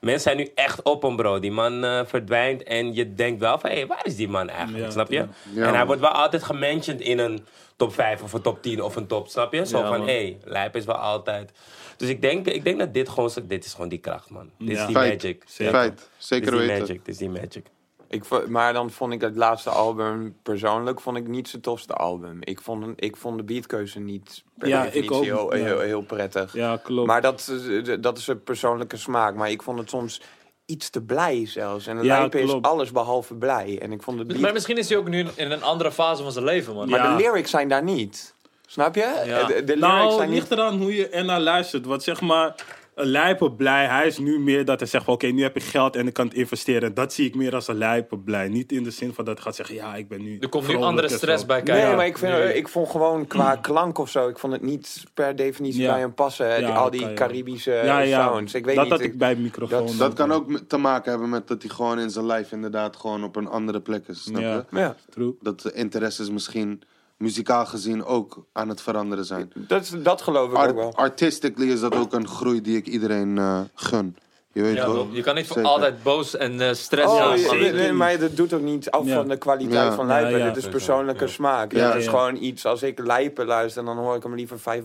[SPEAKER 5] mensen zijn nu echt open, bro. Die man eh, verdwijnt en je denkt wel van... Hé, waar is die man eigenlijk?
[SPEAKER 1] Ja,
[SPEAKER 5] snap je?
[SPEAKER 1] ja.
[SPEAKER 5] en hij
[SPEAKER 3] man.
[SPEAKER 5] wordt wel altijd gementiond in een top 5 of een top 10 of een top. Snap je? Zo
[SPEAKER 2] Ja,
[SPEAKER 5] van,
[SPEAKER 2] man.
[SPEAKER 5] hé, hey, lijp is wel altijd... Dus ik denk, ik denk dat dit gewoon... zo- Dit is gewoon die kracht, man. Dit
[SPEAKER 1] Ja.
[SPEAKER 5] is die
[SPEAKER 3] Feit.
[SPEAKER 5] magic.
[SPEAKER 1] Zeker.
[SPEAKER 5] Ja,
[SPEAKER 3] Feit.
[SPEAKER 5] Dit is
[SPEAKER 3] Zeker
[SPEAKER 5] die
[SPEAKER 3] weten.
[SPEAKER 5] magic. Dit is die magic.
[SPEAKER 4] Ik, vo- maar dan vond ik het laatste album persoonlijk vond ik niet zijn tofste album. Ik vond, ik vond de beatkeuze niet per
[SPEAKER 1] Ja, ik
[SPEAKER 4] definitie
[SPEAKER 1] ook,
[SPEAKER 4] heel,
[SPEAKER 1] ja.
[SPEAKER 4] heel, heel prettig.
[SPEAKER 1] Ja, klopt.
[SPEAKER 4] Maar dat, eh, eh, dat is een persoonlijke smaak. Maar ik vond het soms iets te blij zelfs. En
[SPEAKER 1] Ja,
[SPEAKER 4] Lijpen is
[SPEAKER 1] klopt.
[SPEAKER 4] alles behalve blij. En ik vond de beat...
[SPEAKER 2] Maar misschien is hij ook nu in een andere fase van zijn leven, man.
[SPEAKER 1] Ja.
[SPEAKER 4] Maar de lyrics zijn daar niet. Snap je?
[SPEAKER 2] Ja.
[SPEAKER 4] eh, De, de lyrics
[SPEAKER 1] nou,
[SPEAKER 4] zijn niet...
[SPEAKER 1] ligt eraan hoe je ernaar luistert. Want zeg maar, een lijpe blij, hij is nu meer dat hij zegt: van, Oké, nu heb ik geld en ik kan het investeren. Dat zie ik meer als een lijpe blij. Niet in de zin van dat hij gaat zeggen: Ja, ik ben nu.
[SPEAKER 2] Er komt nu
[SPEAKER 1] vrolijk
[SPEAKER 2] andere
[SPEAKER 1] en zo."
[SPEAKER 2] stress bij kijken.
[SPEAKER 4] Nee, maar ik, vind, ik vond gewoon qua klank of zo... Ik vond het niet per definitie
[SPEAKER 1] Ja.
[SPEAKER 4] bij hem passen.
[SPEAKER 1] Ja,
[SPEAKER 4] al
[SPEAKER 1] dat
[SPEAKER 4] die
[SPEAKER 1] kan, ja.
[SPEAKER 4] Caribische
[SPEAKER 1] Ja, ja.
[SPEAKER 4] Eh, sounds. Ik weet
[SPEAKER 1] dat
[SPEAKER 4] niet.
[SPEAKER 1] had ik bij microfoon.
[SPEAKER 4] dat-
[SPEAKER 3] Dat kan ook te maken hebben met dat hij gewoon in zijn lijf inderdaad gewoon op een andere plek is. Snap
[SPEAKER 1] Ja.
[SPEAKER 3] je?
[SPEAKER 4] Ja.
[SPEAKER 1] True.
[SPEAKER 3] Dat de interesses misschien muzikaal gezien ook aan het veranderen zijn.
[SPEAKER 4] Dat, is- dat geloof ik ook wel.
[SPEAKER 3] Art artistically is dat ook een groei die ik iedereen eh, gun. Je weet
[SPEAKER 2] Ja,
[SPEAKER 3] toch?
[SPEAKER 2] bro, je kan niet voor
[SPEAKER 3] Zeker.
[SPEAKER 2] altijd boos en eh stress
[SPEAKER 4] Oh,
[SPEAKER 2] zijn.
[SPEAKER 4] je-
[SPEAKER 2] man.
[SPEAKER 1] zeker.
[SPEAKER 4] nee, maar dat doet ook niet af
[SPEAKER 1] Ja.
[SPEAKER 4] van de kwaliteit
[SPEAKER 3] Ja.
[SPEAKER 4] van Lijpen.
[SPEAKER 1] Ja, ja.
[SPEAKER 4] Dit is persoonlijke smaak.
[SPEAKER 3] Ja,
[SPEAKER 4] Het is
[SPEAKER 1] ja.
[SPEAKER 4] gewoon iets, als ik Lijpen luister, dan hoor ik hem liever vijf,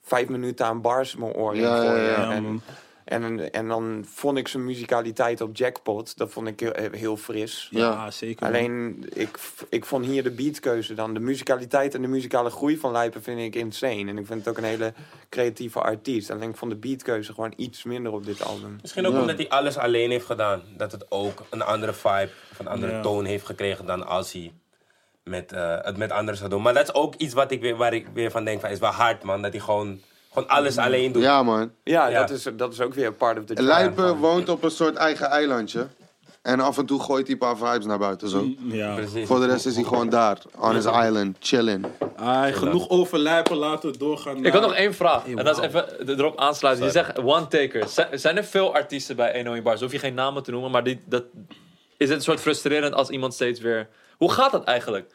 [SPEAKER 4] vijf minuten aan bars in mijn oren
[SPEAKER 3] Ja, ja,
[SPEAKER 4] gooien.
[SPEAKER 3] ja.
[SPEAKER 1] Ja,
[SPEAKER 4] en,
[SPEAKER 1] man.
[SPEAKER 4] en, en dan vond ik zijn muzikaliteit op Jackpot, dat vond ik heel, heel fris.
[SPEAKER 1] Ja,
[SPEAKER 3] Ja.
[SPEAKER 1] zeker. man.
[SPEAKER 4] Alleen, ik, ik vond hier de beatkeuze dan. De muzikaliteit en de muzikale groei van Lijpen vind ik insane. En ik vind het ook een hele creatieve artiest. Alleen ik vond de beatkeuze gewoon iets minder op dit album.
[SPEAKER 5] Misschien ook omdat hij alles alleen heeft gedaan. Dat het ook een andere vibe of een andere
[SPEAKER 1] Ja.
[SPEAKER 5] toon heeft gekregen dan als hij met, eh, het met anderen zou doen. Maar dat is ook iets wat ik weer, waar ik weer van denk van is wel hard man. Dat hij gewoon, gewoon alles alleen doet.
[SPEAKER 3] Ja, man.
[SPEAKER 4] Ja,
[SPEAKER 5] Ja.
[SPEAKER 4] Dat, is, dat is ook weer part of the charm
[SPEAKER 3] Lijpen
[SPEAKER 4] van-
[SPEAKER 3] woont op een soort eigen eilandje. En af en toe gooit hij een paar vibes naar buiten zo.
[SPEAKER 1] Ja.
[SPEAKER 5] Precies.
[SPEAKER 3] Voor de rest is hij gewoon daar, on his island, chillen.
[SPEAKER 1] Ai, Ah, genoeg overlijpen, laten we doorgaan.
[SPEAKER 2] Ik
[SPEAKER 1] naar-
[SPEAKER 2] had nog één vraag.
[SPEAKER 1] Hey,
[SPEAKER 2] En dat is
[SPEAKER 1] wauw.
[SPEAKER 2] even erop aansluiten. Je zegt one-taker. Zijn er veel artiesten bij 101 Bars? Hoef je geen namen te noemen, maar die, dat, is het een soort frustrerend als iemand steeds weer... Hoe gaat dat eigenlijk?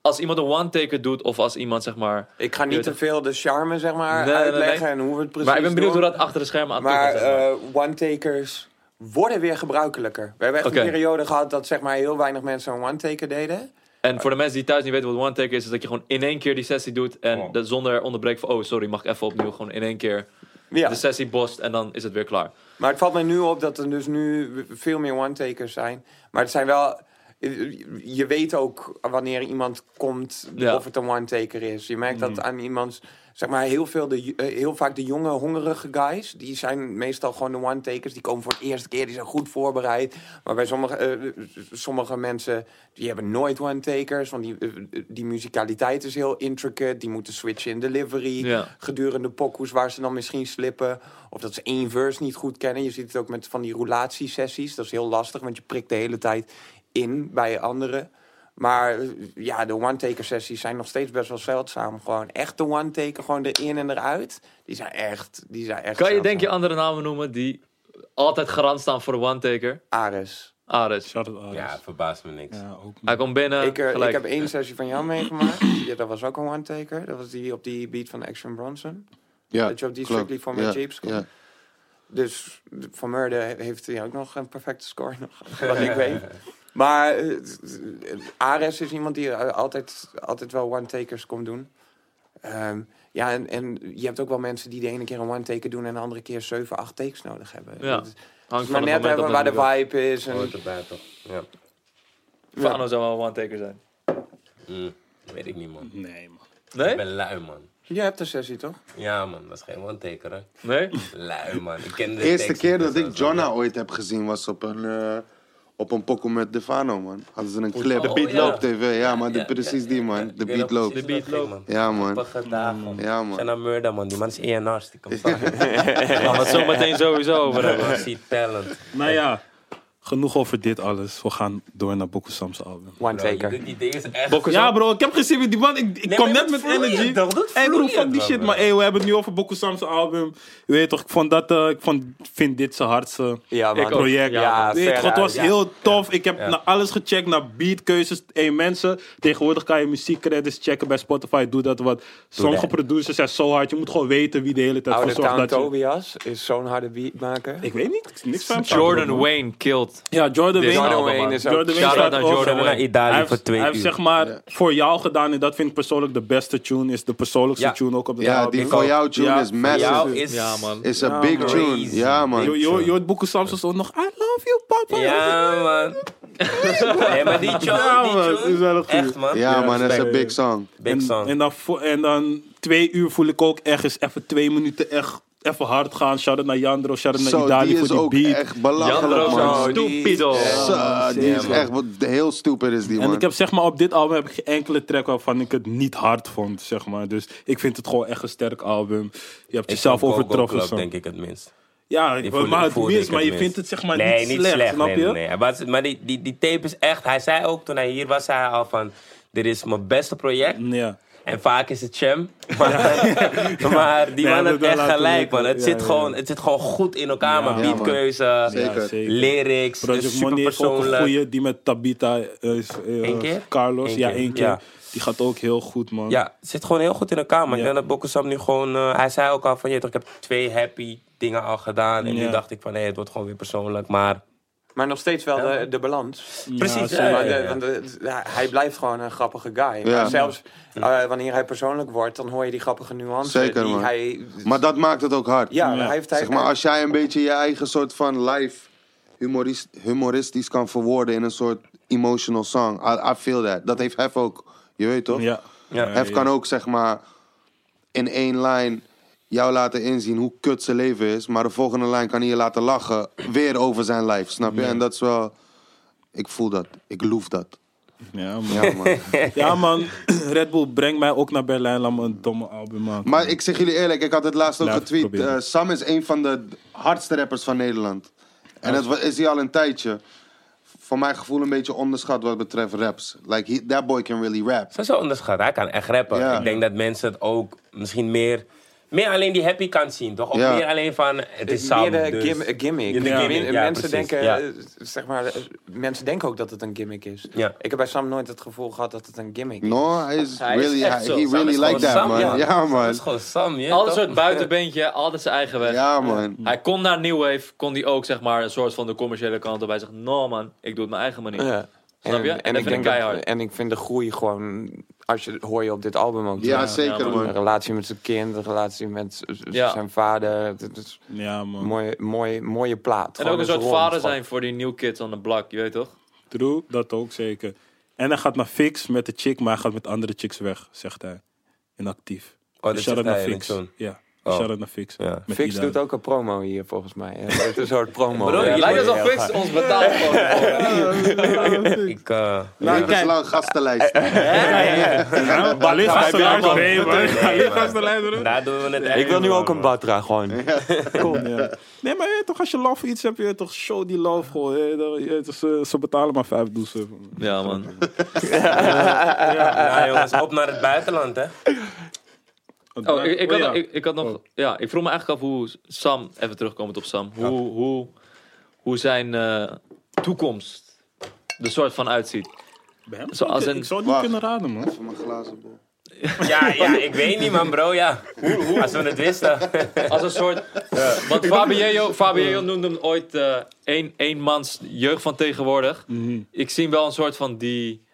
[SPEAKER 2] Als iemand een one-taker doet of als iemand zeg maar...
[SPEAKER 4] Ik ga
[SPEAKER 2] Je
[SPEAKER 4] niet
[SPEAKER 2] weet
[SPEAKER 4] te veel de charme, zeg maar,
[SPEAKER 2] Nee, nee, nee.
[SPEAKER 4] uitleggen en hoe we het precies
[SPEAKER 2] maar ik ben benieuwd
[SPEAKER 4] doen.
[SPEAKER 2] hoe dat achter de schermen aan toe
[SPEAKER 4] Maar
[SPEAKER 2] gaat. zeg maar.
[SPEAKER 4] eh, one-takers worden weer gebruikelijker. We hebben echt
[SPEAKER 2] Oké.
[SPEAKER 4] een periode gehad dat zeg maar, heel weinig mensen een one-taker deden.
[SPEAKER 2] En voor de mensen die thuis niet weten wat one-taker is... is dat je gewoon in één keer die sessie doet en
[SPEAKER 5] Oh.
[SPEAKER 2] dat zonder onderbreken van... oh, sorry, mag ik even opnieuw gewoon in één keer
[SPEAKER 4] Ja.
[SPEAKER 2] de sessie bost en dan is het weer klaar.
[SPEAKER 4] Maar het valt mij nu op dat er dus nu veel meer one-takers zijn. Maar het zijn wel... Je weet ook wanneer iemand komt
[SPEAKER 2] Ja. Mm.
[SPEAKER 4] of het een one-taker is. Je merkt dat aan iemands... Zeg maar heel, veel de, eh, heel vaak de jonge, hongerige guys... die zijn meestal gewoon de one-takers. Die komen voor het eerste keer, die zijn goed voorbereid. Maar bij sommige, eh, sommige mensen... die hebben nooit one-takers. Want die, eh, die musicaliteit is heel intricate. Die moeten switchen in delivery
[SPEAKER 2] Ja.
[SPEAKER 4] gedurende pokoes waar ze dan misschien slippen. Of dat ze één verse niet goed kennen. Je ziet het ook met van die roulatiesessies. Dat is heel lastig, want je prikt de hele tijd in bij anderen. Maar eh, ja, de one-taker sessies zijn nog steeds best wel zeldzaam. Gewoon echt de one-taker, gewoon erin en eruit. Die zijn echt, die zijn echt
[SPEAKER 2] Kan je
[SPEAKER 4] zeldzaam.
[SPEAKER 2] denk je andere namen noemen die altijd garant staan voor de one-taker?
[SPEAKER 4] Ares.
[SPEAKER 2] Ares.
[SPEAKER 1] Shout out Aris.
[SPEAKER 5] Ja, verbaast me niks.
[SPEAKER 1] Ja, ook
[SPEAKER 2] Hij komt binnen,
[SPEAKER 4] ik, eh,
[SPEAKER 2] gelijk.
[SPEAKER 4] ik heb één sessie van jou meegemaakt. Ja, dat was ook een one-taker. Dat was die op die beat van Action Bronson.
[SPEAKER 3] Ja,
[SPEAKER 4] Dat je op die
[SPEAKER 3] klopt.
[SPEAKER 4] Strictly For My
[SPEAKER 3] Ja,
[SPEAKER 4] Jeeps komt.
[SPEAKER 3] ja.
[SPEAKER 4] Dus Van Meurde heeft hij ook nog een perfecte score, nog, wat ik weet. Maar eh, Ares is iemand die eh, altijd, altijd wel one-takers komt doen. Ehm, ja, en, en je hebt ook wel mensen die de ene keer een one-taker doen... en de andere keer 7, 8 takes nodig hebben.
[SPEAKER 2] Ja,
[SPEAKER 4] Dat is-
[SPEAKER 2] Hangt
[SPEAKER 4] maar
[SPEAKER 2] van
[SPEAKER 4] net
[SPEAKER 2] het moment
[SPEAKER 4] hebben
[SPEAKER 2] af
[SPEAKER 4] waar de
[SPEAKER 2] natuurlijk.
[SPEAKER 4] vibe is. En,
[SPEAKER 5] Hoort erbij toch? Ja.
[SPEAKER 2] Fano zou wel een one-taker zijn.
[SPEAKER 5] Mm, Weet ik niet, man.
[SPEAKER 1] Nee, man.
[SPEAKER 5] Ik
[SPEAKER 2] Nee?
[SPEAKER 5] ben lui, man.
[SPEAKER 4] je hebt een sessie, toch?
[SPEAKER 5] Ja, man, dat is geen one-taker, hè?
[SPEAKER 2] Nee?
[SPEAKER 5] Lui, man. Ik ken de
[SPEAKER 3] De eerste
[SPEAKER 5] tekst
[SPEAKER 3] keer
[SPEAKER 5] niet,
[SPEAKER 3] dat
[SPEAKER 5] dus
[SPEAKER 3] ik
[SPEAKER 5] is wel-
[SPEAKER 3] Jonna ooit heb gezien was op een, eh op een pokoe met Defano, man. Hadden ze een clip.
[SPEAKER 5] De Beat Oh, ja.
[SPEAKER 3] op tv, ja, maar de-
[SPEAKER 5] Ja,
[SPEAKER 3] precies
[SPEAKER 5] ja,
[SPEAKER 3] die,
[SPEAKER 5] ja,
[SPEAKER 3] man.
[SPEAKER 5] ja.
[SPEAKER 3] De
[SPEAKER 5] Ik weet nog
[SPEAKER 3] beat loopt.
[SPEAKER 5] precies
[SPEAKER 2] De
[SPEAKER 5] hoe dat
[SPEAKER 2] beat
[SPEAKER 5] ging, man.
[SPEAKER 3] Ja, man.
[SPEAKER 5] Grappige dagen, man.
[SPEAKER 3] Ja, man.
[SPEAKER 5] Zijn murder, man. Die man is één hartstikke fan.
[SPEAKER 2] Gaan we het zo meteen sowieso over hebben.
[SPEAKER 5] Ik zie talent.
[SPEAKER 1] Nou ja, genoeg over dit alles. We gaan door naar Boku Sam's album.
[SPEAKER 5] Bro,
[SPEAKER 4] One-taker.
[SPEAKER 5] die- die ding is echt...
[SPEAKER 1] Ja bro, ik heb gezien met die man. Ik, ik
[SPEAKER 5] Nee,
[SPEAKER 1] kwam net
[SPEAKER 5] maar dat
[SPEAKER 1] met
[SPEAKER 5] voel je
[SPEAKER 1] energy.
[SPEAKER 5] toch? Dat
[SPEAKER 1] Hey
[SPEAKER 5] voel
[SPEAKER 1] bro,
[SPEAKER 5] je
[SPEAKER 1] fuck die
[SPEAKER 5] toch,
[SPEAKER 1] shit.
[SPEAKER 5] bro?
[SPEAKER 1] Maar hey, we hebben het nu over Boku Sam's album. Je weet toch, ik vond dat, eh, ik vond, vind dit zijn hardste
[SPEAKER 4] Ja, man.
[SPEAKER 2] Ik ook.
[SPEAKER 1] project.
[SPEAKER 4] Ja,
[SPEAKER 1] Ja, weet je,
[SPEAKER 4] veruit,
[SPEAKER 1] het was
[SPEAKER 4] ja.
[SPEAKER 1] heel tof. Ik heb
[SPEAKER 5] Ja.
[SPEAKER 1] naar alles gecheckt, naar beatkeuzes. Hey mensen, tegenwoordig kan je muziekcredits checken bij Spotify. Doe dat wat. Sommige
[SPEAKER 5] dat.
[SPEAKER 1] producers zijn zo hard. Je moet gewoon weten wie de hele tijd voor
[SPEAKER 4] Out of
[SPEAKER 1] zorgt
[SPEAKER 4] Town
[SPEAKER 1] dat je...
[SPEAKER 4] Tobias is zo'n harde beatmaker.
[SPEAKER 1] Ik weet niet, niks van hem staat erop,
[SPEAKER 2] Jordan
[SPEAKER 1] man.
[SPEAKER 2] Wayne killed.
[SPEAKER 1] Ja, Jordan
[SPEAKER 2] Dit
[SPEAKER 1] Wayne.
[SPEAKER 2] album,
[SPEAKER 4] Jordan
[SPEAKER 2] man.
[SPEAKER 4] Wayne is ook...
[SPEAKER 1] Jordan Wayne
[SPEAKER 2] Shout-out
[SPEAKER 1] staat
[SPEAKER 2] naar
[SPEAKER 1] ook-
[SPEAKER 2] Jordan
[SPEAKER 5] Gaan we naar
[SPEAKER 1] hij
[SPEAKER 5] Italië
[SPEAKER 1] heeft,
[SPEAKER 5] voor twee
[SPEAKER 1] hij
[SPEAKER 5] uur.
[SPEAKER 1] heeft zeg maar voor jou gedaan en dat vind ik persoonlijk de beste tune. Is de persoonlijkste
[SPEAKER 5] Ja.
[SPEAKER 1] tune ook op de
[SPEAKER 3] Ja, die voor jou tune
[SPEAKER 1] Ja,
[SPEAKER 3] is
[SPEAKER 1] voor
[SPEAKER 5] Voor jou
[SPEAKER 3] massive.
[SPEAKER 5] is...
[SPEAKER 2] Ja, man.
[SPEAKER 3] Is a
[SPEAKER 1] Ja,
[SPEAKER 3] big
[SPEAKER 1] man.
[SPEAKER 3] tune. Ja,
[SPEAKER 1] Je,
[SPEAKER 3] man.
[SPEAKER 1] je, je hoort Boeken Samsons ook nog. I love you, papa.
[SPEAKER 5] Ja, man. Nee, maar die
[SPEAKER 1] Ja,
[SPEAKER 5] John,
[SPEAKER 1] man,
[SPEAKER 5] die
[SPEAKER 1] is wel een
[SPEAKER 5] John.
[SPEAKER 1] goeie.
[SPEAKER 5] Echt, man.
[SPEAKER 3] Ja, man, dat is
[SPEAKER 1] respect.
[SPEAKER 3] een big song.
[SPEAKER 5] Big
[SPEAKER 1] En,
[SPEAKER 5] song.
[SPEAKER 1] en, dan, vo- en dan twee uur voel ik ook echt eens even twee minuten echt even hard gaan. Shout out naar Jandro, shout out naar
[SPEAKER 3] Zo, die
[SPEAKER 1] Idali
[SPEAKER 3] is
[SPEAKER 1] voor
[SPEAKER 3] ook
[SPEAKER 1] die beat.
[SPEAKER 3] echt belachelijk,
[SPEAKER 2] Jandro
[SPEAKER 3] man.
[SPEAKER 4] Oh,
[SPEAKER 2] zo, stupido.
[SPEAKER 3] Zo, die is echt... wat- Heel stupid is die,
[SPEAKER 1] En
[SPEAKER 3] man.
[SPEAKER 1] ik heb zeg maar op dit album heb ik geen enkele track waarvan ik het niet hard vond, zeg maar. Dus ik vind het gewoon echt een sterk album. Je hebt
[SPEAKER 5] Ik
[SPEAKER 1] jezelf
[SPEAKER 5] vond Go Go
[SPEAKER 1] overtroffen.
[SPEAKER 5] Club,
[SPEAKER 1] zo.
[SPEAKER 5] denk ik het minst.
[SPEAKER 1] Ja,
[SPEAKER 5] Die
[SPEAKER 1] maar-
[SPEAKER 5] voelde-
[SPEAKER 1] maar het
[SPEAKER 5] voelde
[SPEAKER 1] minst,
[SPEAKER 5] ik
[SPEAKER 1] maar je
[SPEAKER 5] minst.
[SPEAKER 1] vindt het zeg maar
[SPEAKER 5] nee,
[SPEAKER 1] niet, slecht, snap
[SPEAKER 5] nee,
[SPEAKER 1] je?
[SPEAKER 5] nee, nee. Hij was- maar die, die, die tape is echt... Hij zei ook toen hij hier was, zei hij al van... Dit is mijn beste project.
[SPEAKER 1] Ja.
[SPEAKER 5] En vaak is het jam. Maar, maar die
[SPEAKER 1] Nee,
[SPEAKER 5] man
[SPEAKER 1] dat
[SPEAKER 5] had
[SPEAKER 1] wel
[SPEAKER 5] echt
[SPEAKER 1] laten
[SPEAKER 5] gelijk,
[SPEAKER 1] lukken.
[SPEAKER 5] man. Het,
[SPEAKER 1] Ja,
[SPEAKER 5] zit
[SPEAKER 1] ja,
[SPEAKER 5] Gewoon, het zit gewoon goed in elkaar, man.
[SPEAKER 3] man.
[SPEAKER 5] Beatkeuze,
[SPEAKER 3] Zeker.
[SPEAKER 1] Ja, zeker.
[SPEAKER 5] lyrics, is
[SPEAKER 1] Project Money
[SPEAKER 5] super
[SPEAKER 1] heeft ook een
[SPEAKER 5] persoonlijk.
[SPEAKER 1] goeie, die met Tabita eh, is, eh,
[SPEAKER 5] Eén keer?
[SPEAKER 1] Carlos.
[SPEAKER 5] Eén
[SPEAKER 1] ja,
[SPEAKER 5] keer,
[SPEAKER 1] één keer.
[SPEAKER 5] ja.
[SPEAKER 1] Die gaat ook heel goed, man.
[SPEAKER 5] Ja, het zit gewoon heel goed in elkaar, man.
[SPEAKER 1] Ja.
[SPEAKER 5] Ik denk dat Bokkesam nu gewoon... eh, hij zei ook al van, je, weet toch, ik heb twee happy dingen al gedaan. En
[SPEAKER 1] Ja.
[SPEAKER 5] nu dacht ik van, nee, het wordt gewoon weer persoonlijk. Maar
[SPEAKER 4] Maar nog steeds wel de, de balans.
[SPEAKER 5] precies,
[SPEAKER 1] zeker.
[SPEAKER 5] ja, ja,
[SPEAKER 4] Maar
[SPEAKER 5] ja.
[SPEAKER 4] de- want de- ja, hij blijft gewoon een grappige guy.
[SPEAKER 3] Ja.
[SPEAKER 4] Maar zelfs eh, wanneer hij persoonlijk wordt, dan hoor je die grappige nuances.
[SPEAKER 3] Zeker,
[SPEAKER 4] die
[SPEAKER 3] man.
[SPEAKER 4] Hij,
[SPEAKER 3] Maar dat maakt het ook hard.
[SPEAKER 4] ja, hij heeft hij,
[SPEAKER 3] Zeg maar, als jij een beetje je eigen soort van live humorist, humoristisch kan verwoorden in een soort emotional song. I, I feel that. Dat heeft Hef ook. Je weet toch?
[SPEAKER 1] Ja.
[SPEAKER 5] Ja.
[SPEAKER 3] Hef kan ook, zeg maar, in één lijn jou laten inzien hoe kut zijn leven is. Maar de volgende lijn kan hij je laten lachen. Weer over zijn lijf, snap je? En dat is wel... Ik voel dat. Ik loef dat.
[SPEAKER 1] Ja, man.
[SPEAKER 3] Ja, man.
[SPEAKER 1] Ja, man. Red Bull brengt mij ook naar Berlijn. Laat me een domme album maken.
[SPEAKER 3] Maar ik zeg jullie eerlijk, ik had het laatst ook
[SPEAKER 1] Laat het
[SPEAKER 3] getweet.
[SPEAKER 1] proberen.
[SPEAKER 3] Eh, Sam is een van de hardste rappers van Nederland. En dat wa- is hij al een tijdje. voor mijn gevoel een beetje onderschat wat betreft raps. Like, he- that boy can really rap.
[SPEAKER 5] Zo zo onderschat. Hij kan echt rappen.
[SPEAKER 3] Ja.
[SPEAKER 5] Ik denk dat mensen het ook misschien meer, meer alleen die happy kant zien, toch? Of
[SPEAKER 3] Ja.
[SPEAKER 5] meer alleen van het is
[SPEAKER 4] meer
[SPEAKER 5] samen.
[SPEAKER 4] de
[SPEAKER 5] dus.
[SPEAKER 4] gim- gimmick.
[SPEAKER 5] Ja, de
[SPEAKER 4] Ja,
[SPEAKER 5] gimmick,
[SPEAKER 4] men-
[SPEAKER 5] ja,
[SPEAKER 4] mensen,
[SPEAKER 5] precies,
[SPEAKER 4] denken,
[SPEAKER 5] ja.
[SPEAKER 4] eh, zeg maar, eh, mensen denken ook dat het een gimmick is.
[SPEAKER 5] Ja.
[SPEAKER 4] Ik heb bij Sam nooit het gevoel gehad dat het een gimmick is.
[SPEAKER 3] No, hij is
[SPEAKER 2] Hij is
[SPEAKER 3] really,
[SPEAKER 2] echt
[SPEAKER 3] hij-
[SPEAKER 2] zo.
[SPEAKER 3] he
[SPEAKER 2] Sam
[SPEAKER 3] really
[SPEAKER 2] is
[SPEAKER 3] like
[SPEAKER 5] gewoon
[SPEAKER 3] that,
[SPEAKER 5] Sam,
[SPEAKER 3] man.
[SPEAKER 5] ja.
[SPEAKER 3] Ja,
[SPEAKER 5] Dat
[SPEAKER 3] man.
[SPEAKER 5] is gewoon Sam, ja.
[SPEAKER 2] Altijd
[SPEAKER 5] toch?
[SPEAKER 2] een soort buitenbeentje, altijd zijn eigen weg.
[SPEAKER 3] Ja, man.
[SPEAKER 2] Hij kon naar New Wave, kon die ook zeg maar een soort van de commerciële kant op. Hij zegt, no man, ik doe het mijn eigen manier.
[SPEAKER 4] Ja.
[SPEAKER 2] Snap je?
[SPEAKER 4] En,
[SPEAKER 2] En
[SPEAKER 4] en,
[SPEAKER 2] dat vind
[SPEAKER 4] ik
[SPEAKER 2] ik
[SPEAKER 4] denk dat,
[SPEAKER 2] keihard.
[SPEAKER 4] en ik vind de groei gewoon, als je hoor je op dit album ook.
[SPEAKER 3] Ja,
[SPEAKER 4] terug.
[SPEAKER 3] zeker,
[SPEAKER 2] ja, man.
[SPEAKER 4] Een
[SPEAKER 3] man.
[SPEAKER 4] relatie met zijn kind, een relatie met z- z-
[SPEAKER 2] Ja.
[SPEAKER 4] zijn vader. Het is
[SPEAKER 1] Ja, man.
[SPEAKER 4] een mooie, mooie, mooie plaat.
[SPEAKER 2] En
[SPEAKER 4] Gewoon
[SPEAKER 2] ook een
[SPEAKER 4] eens
[SPEAKER 2] soort
[SPEAKER 4] rond,
[SPEAKER 2] vader
[SPEAKER 4] gewoon.
[SPEAKER 2] zijn voor die new kids on the block, je weet toch?
[SPEAKER 1] True, dat ook zeker. En hij gaat naar Fix met de chick, maar hij gaat met andere chicks weg, zegt hij. Inactief.
[SPEAKER 5] Oh, dat
[SPEAKER 1] Dus
[SPEAKER 5] zegt
[SPEAKER 1] naar
[SPEAKER 5] hij in
[SPEAKER 1] Fix.
[SPEAKER 5] het zoen.
[SPEAKER 1] Ja,
[SPEAKER 5] Oh.
[SPEAKER 1] shout-out naar Fix.
[SPEAKER 5] Ja.
[SPEAKER 1] Met
[SPEAKER 4] Fix
[SPEAKER 1] Ida.
[SPEAKER 4] doet ook een promo hier volgens mij. Ja, Het is een soort promo.
[SPEAKER 5] Bro, je
[SPEAKER 2] Lijkt
[SPEAKER 5] lijkt
[SPEAKER 2] alsof Fix ons betaalt gewoon.
[SPEAKER 5] Ik, eh,
[SPEAKER 3] Levenslang gastenlijst.
[SPEAKER 1] Ja, Alleen
[SPEAKER 2] Hij belt
[SPEAKER 1] gastenlijst
[SPEAKER 2] man.
[SPEAKER 1] erin,
[SPEAKER 5] Nee,
[SPEAKER 1] man. Alleen
[SPEAKER 5] man.
[SPEAKER 1] gastenlijst erin.
[SPEAKER 5] daar doen we het
[SPEAKER 4] Ik wil nu ook een
[SPEAKER 5] bad.
[SPEAKER 4] Batra gewoon.
[SPEAKER 1] Ja. Nee, maar je, weet toch, als je love iets hebt, je, weet toch show die love gewoon. Je, weet toch, je, weet toch, ze, ze betalen maar vijf doezen.
[SPEAKER 2] Ja man.
[SPEAKER 5] Ja, jongens, op naar het buitenland, hè.
[SPEAKER 2] Oh, ik, ik, had,
[SPEAKER 1] ja.
[SPEAKER 2] ik, ik had nog. Ja, ik vroeg me eigenlijk af hoe Sam, even terugkomend op Sam, hoe, hoe, hoe zijn eh, toekomst er soort van uitziet.
[SPEAKER 1] Bij hem
[SPEAKER 2] Zo
[SPEAKER 1] zou ik-
[SPEAKER 2] als een-
[SPEAKER 1] Ik zou het niet
[SPEAKER 3] Wacht.
[SPEAKER 1] kunnen raden, man.
[SPEAKER 3] Voor mijn glazen bol.
[SPEAKER 5] Ja, ja, ik weet niet, man, bro, ja. Als we het wisten.
[SPEAKER 2] Als een soort. Want Fabio, Fabio noemde hem ooit eh een, eenmans jeugd van tegenwoordig. Ik zie hem wel een soort van die.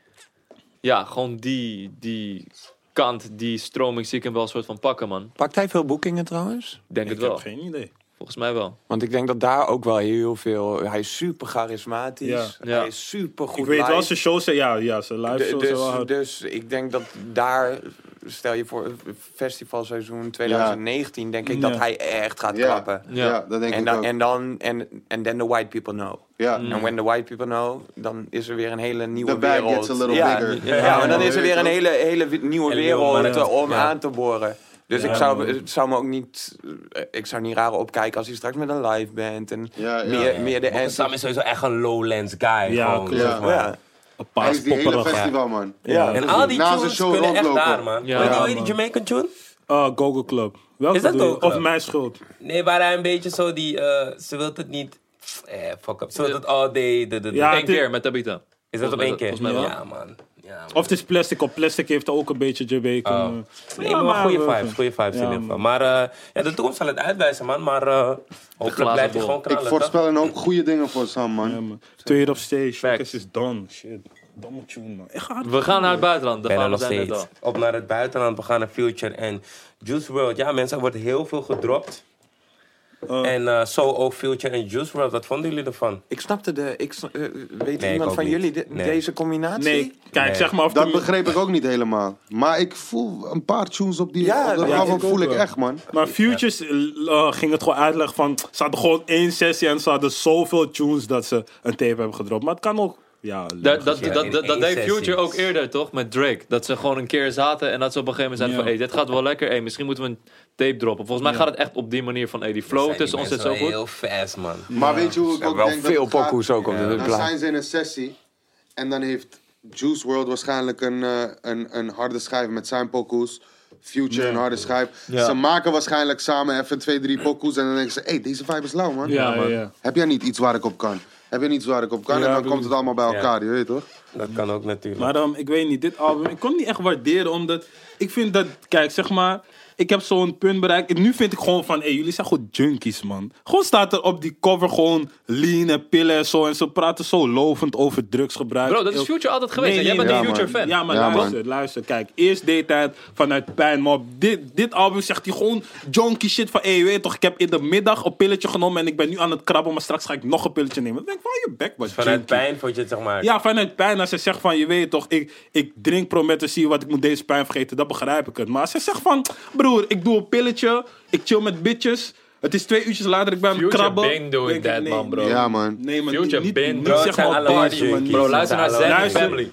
[SPEAKER 2] Ja, gewoon die, die kant, die stroming zie ik hem wel een soort van pakken, man.
[SPEAKER 4] Pakt hij veel boekingen trouwens?
[SPEAKER 2] Ik Denk
[SPEAKER 1] Ik
[SPEAKER 2] het
[SPEAKER 1] heb
[SPEAKER 2] wel.
[SPEAKER 1] geen idee.
[SPEAKER 2] Volgens mij wel.
[SPEAKER 4] Want ik denk dat daar ook wel heel veel. Hij is super charismatisch.
[SPEAKER 1] Ja.
[SPEAKER 2] Ja.
[SPEAKER 4] Hij is super goed.
[SPEAKER 1] Ik weet wel, zijn shows zijn, ja, ja, zijn live shows zijn wel
[SPEAKER 4] dus,
[SPEAKER 1] hard.
[SPEAKER 4] dus ik denk dat daar, stel je voor, festivalseizoen 2019, denk ik dat
[SPEAKER 1] Ja.
[SPEAKER 4] hij echt gaat
[SPEAKER 3] Ja,
[SPEAKER 4] klappen.
[SPEAKER 2] Ja.
[SPEAKER 3] ja, dat denk
[SPEAKER 4] En
[SPEAKER 3] ik
[SPEAKER 4] dan,
[SPEAKER 3] ook.
[SPEAKER 4] en dan, en en then the white people know.
[SPEAKER 3] Ja.
[SPEAKER 4] En
[SPEAKER 5] Mhm.
[SPEAKER 4] when the white people know, dan is er weer een hele nieuwe
[SPEAKER 3] The bag
[SPEAKER 4] wereld.
[SPEAKER 3] gets a little
[SPEAKER 4] ja,
[SPEAKER 3] bigger.
[SPEAKER 4] Ja,
[SPEAKER 3] Ja,
[SPEAKER 4] maar dan is er
[SPEAKER 3] weet
[SPEAKER 4] weer
[SPEAKER 3] je
[SPEAKER 4] een
[SPEAKER 3] wel.
[SPEAKER 4] hele, hele wi- nieuwe
[SPEAKER 5] Hele
[SPEAKER 4] wereld
[SPEAKER 5] nieuwe markt,
[SPEAKER 4] eh, om
[SPEAKER 5] ja.
[SPEAKER 4] aan te boren. Dus
[SPEAKER 5] Ja,
[SPEAKER 4] ik zou,
[SPEAKER 5] man.
[SPEAKER 4] het zou me ook niet, eh, ik zou niet raar opkijken als hij straks met een live band en
[SPEAKER 3] Ja, ja.
[SPEAKER 4] meer, meer de
[SPEAKER 5] En Dus Sam is sowieso echt een lowlands guy.
[SPEAKER 1] Ja,
[SPEAKER 5] gewoon,
[SPEAKER 1] klopt.
[SPEAKER 5] zeg maar.
[SPEAKER 4] Ja.
[SPEAKER 1] Een
[SPEAKER 3] Hij is die hele
[SPEAKER 1] paaspopperig.
[SPEAKER 3] festival, man.
[SPEAKER 4] Ja.
[SPEAKER 5] En al die
[SPEAKER 3] Na zijn
[SPEAKER 5] tunes
[SPEAKER 3] show
[SPEAKER 5] kunnen echt
[SPEAKER 3] rondlopen.
[SPEAKER 5] daar, man.
[SPEAKER 2] Ja.
[SPEAKER 5] Weet je
[SPEAKER 2] Ja,
[SPEAKER 5] wel die Jamaican tune?
[SPEAKER 1] Ah, Google Club. Welke
[SPEAKER 5] Is dat
[SPEAKER 1] bedoel je?
[SPEAKER 5] Google
[SPEAKER 1] Of
[SPEAKER 5] Club?
[SPEAKER 1] Mijn Schuld.
[SPEAKER 5] Nee, waar hij een beetje zo die... eh, ze wilt het niet... Eh, fuck up. Ze wilt het all day... de- de- de-
[SPEAKER 1] Ja,
[SPEAKER 2] Eén
[SPEAKER 1] het is-
[SPEAKER 2] keer met Tabita.
[SPEAKER 5] Ah, Is dat op één keer?
[SPEAKER 2] Volgens mij wel.
[SPEAKER 5] Ja, man. Ja, man.
[SPEAKER 1] Of het is Plastic. Op Plastic heeft ook een beetje Jamaican.
[SPEAKER 5] Oh.
[SPEAKER 1] kunnen.
[SPEAKER 5] Nee, maar, goede vibes, goede vibes
[SPEAKER 1] Ja,
[SPEAKER 5] in ieder geval.
[SPEAKER 1] man.
[SPEAKER 5] Maar eh, ja, de toekomst zal het uitwijzen, man. Maar eh hopelijk
[SPEAKER 2] glazen
[SPEAKER 5] blijft hij
[SPEAKER 2] bol.
[SPEAKER 5] gewoon
[SPEAKER 3] Ik
[SPEAKER 5] knallen, toch?
[SPEAKER 3] voorspel een hoop goede dingen voor Sam, man.
[SPEAKER 1] Tweede op stage.
[SPEAKER 2] Facts.
[SPEAKER 1] Focus is done. Shit. Domme tune, man. Echt hard.
[SPEAKER 2] We gaan naar het buitenland. Daar
[SPEAKER 5] ben
[SPEAKER 2] gaan
[SPEAKER 5] er
[SPEAKER 2] we
[SPEAKER 5] nog
[SPEAKER 2] zijn net al.
[SPEAKER 5] steeds. Op naar het buitenland, we gaan naar Future en Juice World. Ja, mensen, er wordt heel veel gedropt.
[SPEAKER 1] Eh.
[SPEAKER 5] En eh, zo ook Future en Juice World. Wat vonden jullie ervan?
[SPEAKER 4] Ik snapte de. Ik, sna- eh, weet
[SPEAKER 5] Nee, ik
[SPEAKER 4] iemand
[SPEAKER 5] ook
[SPEAKER 4] van
[SPEAKER 5] niet.
[SPEAKER 4] jullie de-
[SPEAKER 5] Nee.
[SPEAKER 4] deze combinatie?
[SPEAKER 1] Nee, kijk,
[SPEAKER 5] Nee.
[SPEAKER 1] zeg maar. Of
[SPEAKER 3] Dat
[SPEAKER 1] de-
[SPEAKER 3] begreep ik ook niet helemaal. Maar ik voel een paar tunes op die
[SPEAKER 4] Ja,
[SPEAKER 3] op dat
[SPEAKER 4] ja,
[SPEAKER 3] album
[SPEAKER 1] ik ook
[SPEAKER 3] voel ik
[SPEAKER 1] wel.
[SPEAKER 3] echt, man.
[SPEAKER 1] Maar Futures eh, eh, ging het gewoon uitleggen van... Ze hadden gewoon één sessie en ze hadden zoveel tunes dat ze een tape hebben gedropt. Maar het kan ook... Ja,
[SPEAKER 2] Dat, dat,
[SPEAKER 5] Ja, in
[SPEAKER 2] dat, dat, dat
[SPEAKER 5] één
[SPEAKER 2] deed
[SPEAKER 5] sessie.
[SPEAKER 2] Future ook eerder, toch? Met Drake. Dat ze gewoon een keer zaten en dat ze op een gegeven moment zeiden
[SPEAKER 1] Ja.
[SPEAKER 2] van... hey, dit gaat wel lekker. Hey, misschien moeten we een tape droppen. Volgens mij gaat het echt op die manier van... hey, die flow
[SPEAKER 5] Zijn die
[SPEAKER 2] tussen ons zit
[SPEAKER 5] mensen
[SPEAKER 2] zo
[SPEAKER 5] wel
[SPEAKER 2] goed.
[SPEAKER 5] Heel fast, man.
[SPEAKER 3] Maar weet je hoe ik ook
[SPEAKER 4] Wel
[SPEAKER 3] denk dat
[SPEAKER 4] veel
[SPEAKER 3] het gaat?
[SPEAKER 4] pokoes ook op de
[SPEAKER 3] Dan
[SPEAKER 4] plaat.
[SPEAKER 3] zijn ze in een sessie. En dan heeft Juice World waarschijnlijk een, eh, een, een harde schijf met zijn pokoes. Future een harde schijf. Ze maken waarschijnlijk samen even twee, drie pokoes. En dan denken ze, hé, hey, deze vibe is lauw, man.
[SPEAKER 1] Ja, ja, ja.
[SPEAKER 3] Heb jij niet iets waar ik op kan? Heb je niet iets waar ik op kan?
[SPEAKER 1] Ja,
[SPEAKER 3] en dan
[SPEAKER 1] precies.
[SPEAKER 3] komt het allemaal bij elkaar, je weet toch?
[SPEAKER 5] Dat kan ook natuurlijk.
[SPEAKER 1] Maar ehm, ik weet niet, dit album, ik kon het niet echt waarderen, omdat ik vind dat, kijk, zeg maar, ik heb zo'n punt bereikt. En nu vind ik gewoon van, hé, jullie zijn gewoon junkies, man. Gewoon staat er op die cover gewoon lean en pillen en zo. En ze praten zo lovend over drugsgebruik.
[SPEAKER 2] Bro, dat is
[SPEAKER 1] Heel-
[SPEAKER 2] Future altijd geweest.
[SPEAKER 1] Nee,
[SPEAKER 2] en jij
[SPEAKER 1] nee,
[SPEAKER 2] bent
[SPEAKER 3] nee.
[SPEAKER 2] een
[SPEAKER 3] Ja,
[SPEAKER 2] Future-fan.
[SPEAKER 1] Ja, maar
[SPEAKER 3] Ja,
[SPEAKER 1] luister, luister. Kijk, eerst deed hij het vanuit pijn. Maar op dit, dit album zegt hij gewoon junkie shit van... Hé, weet je toch, ik heb in de middag een pilletje genomen... en ik ben nu aan het krabben, maar straks ga ik nog een pilletje nemen. Dan denk ik, waar je bek, man.
[SPEAKER 5] Vanuit
[SPEAKER 1] junkie.
[SPEAKER 5] pijn vond je het, zeg maar.
[SPEAKER 1] Ja, vanuit pijn. Als ze zegt van, je weet toch, ik, ik drink promethazine, wat ik moet deze pijn vergeten, dat begrijp ik het. Maar als ze zegt van, broer, ik doe een pilletje, ik chill met bitches. Het is twee uurtjes later, ik ben aan het
[SPEAKER 2] Future
[SPEAKER 1] krabben.
[SPEAKER 2] been doing
[SPEAKER 1] denk ik,
[SPEAKER 2] that, man, bro.
[SPEAKER 1] Nee,
[SPEAKER 3] Ja, man.
[SPEAKER 1] Nee, man,
[SPEAKER 2] Future
[SPEAKER 1] niet,
[SPEAKER 2] been
[SPEAKER 1] niet
[SPEAKER 5] doing-
[SPEAKER 1] zeg
[SPEAKER 5] Het zijn
[SPEAKER 1] maar
[SPEAKER 5] allemaal
[SPEAKER 1] party, man.
[SPEAKER 5] junkies.
[SPEAKER 1] Bro,
[SPEAKER 2] Bro, luister naar
[SPEAKER 5] Luister.
[SPEAKER 2] Zack Family.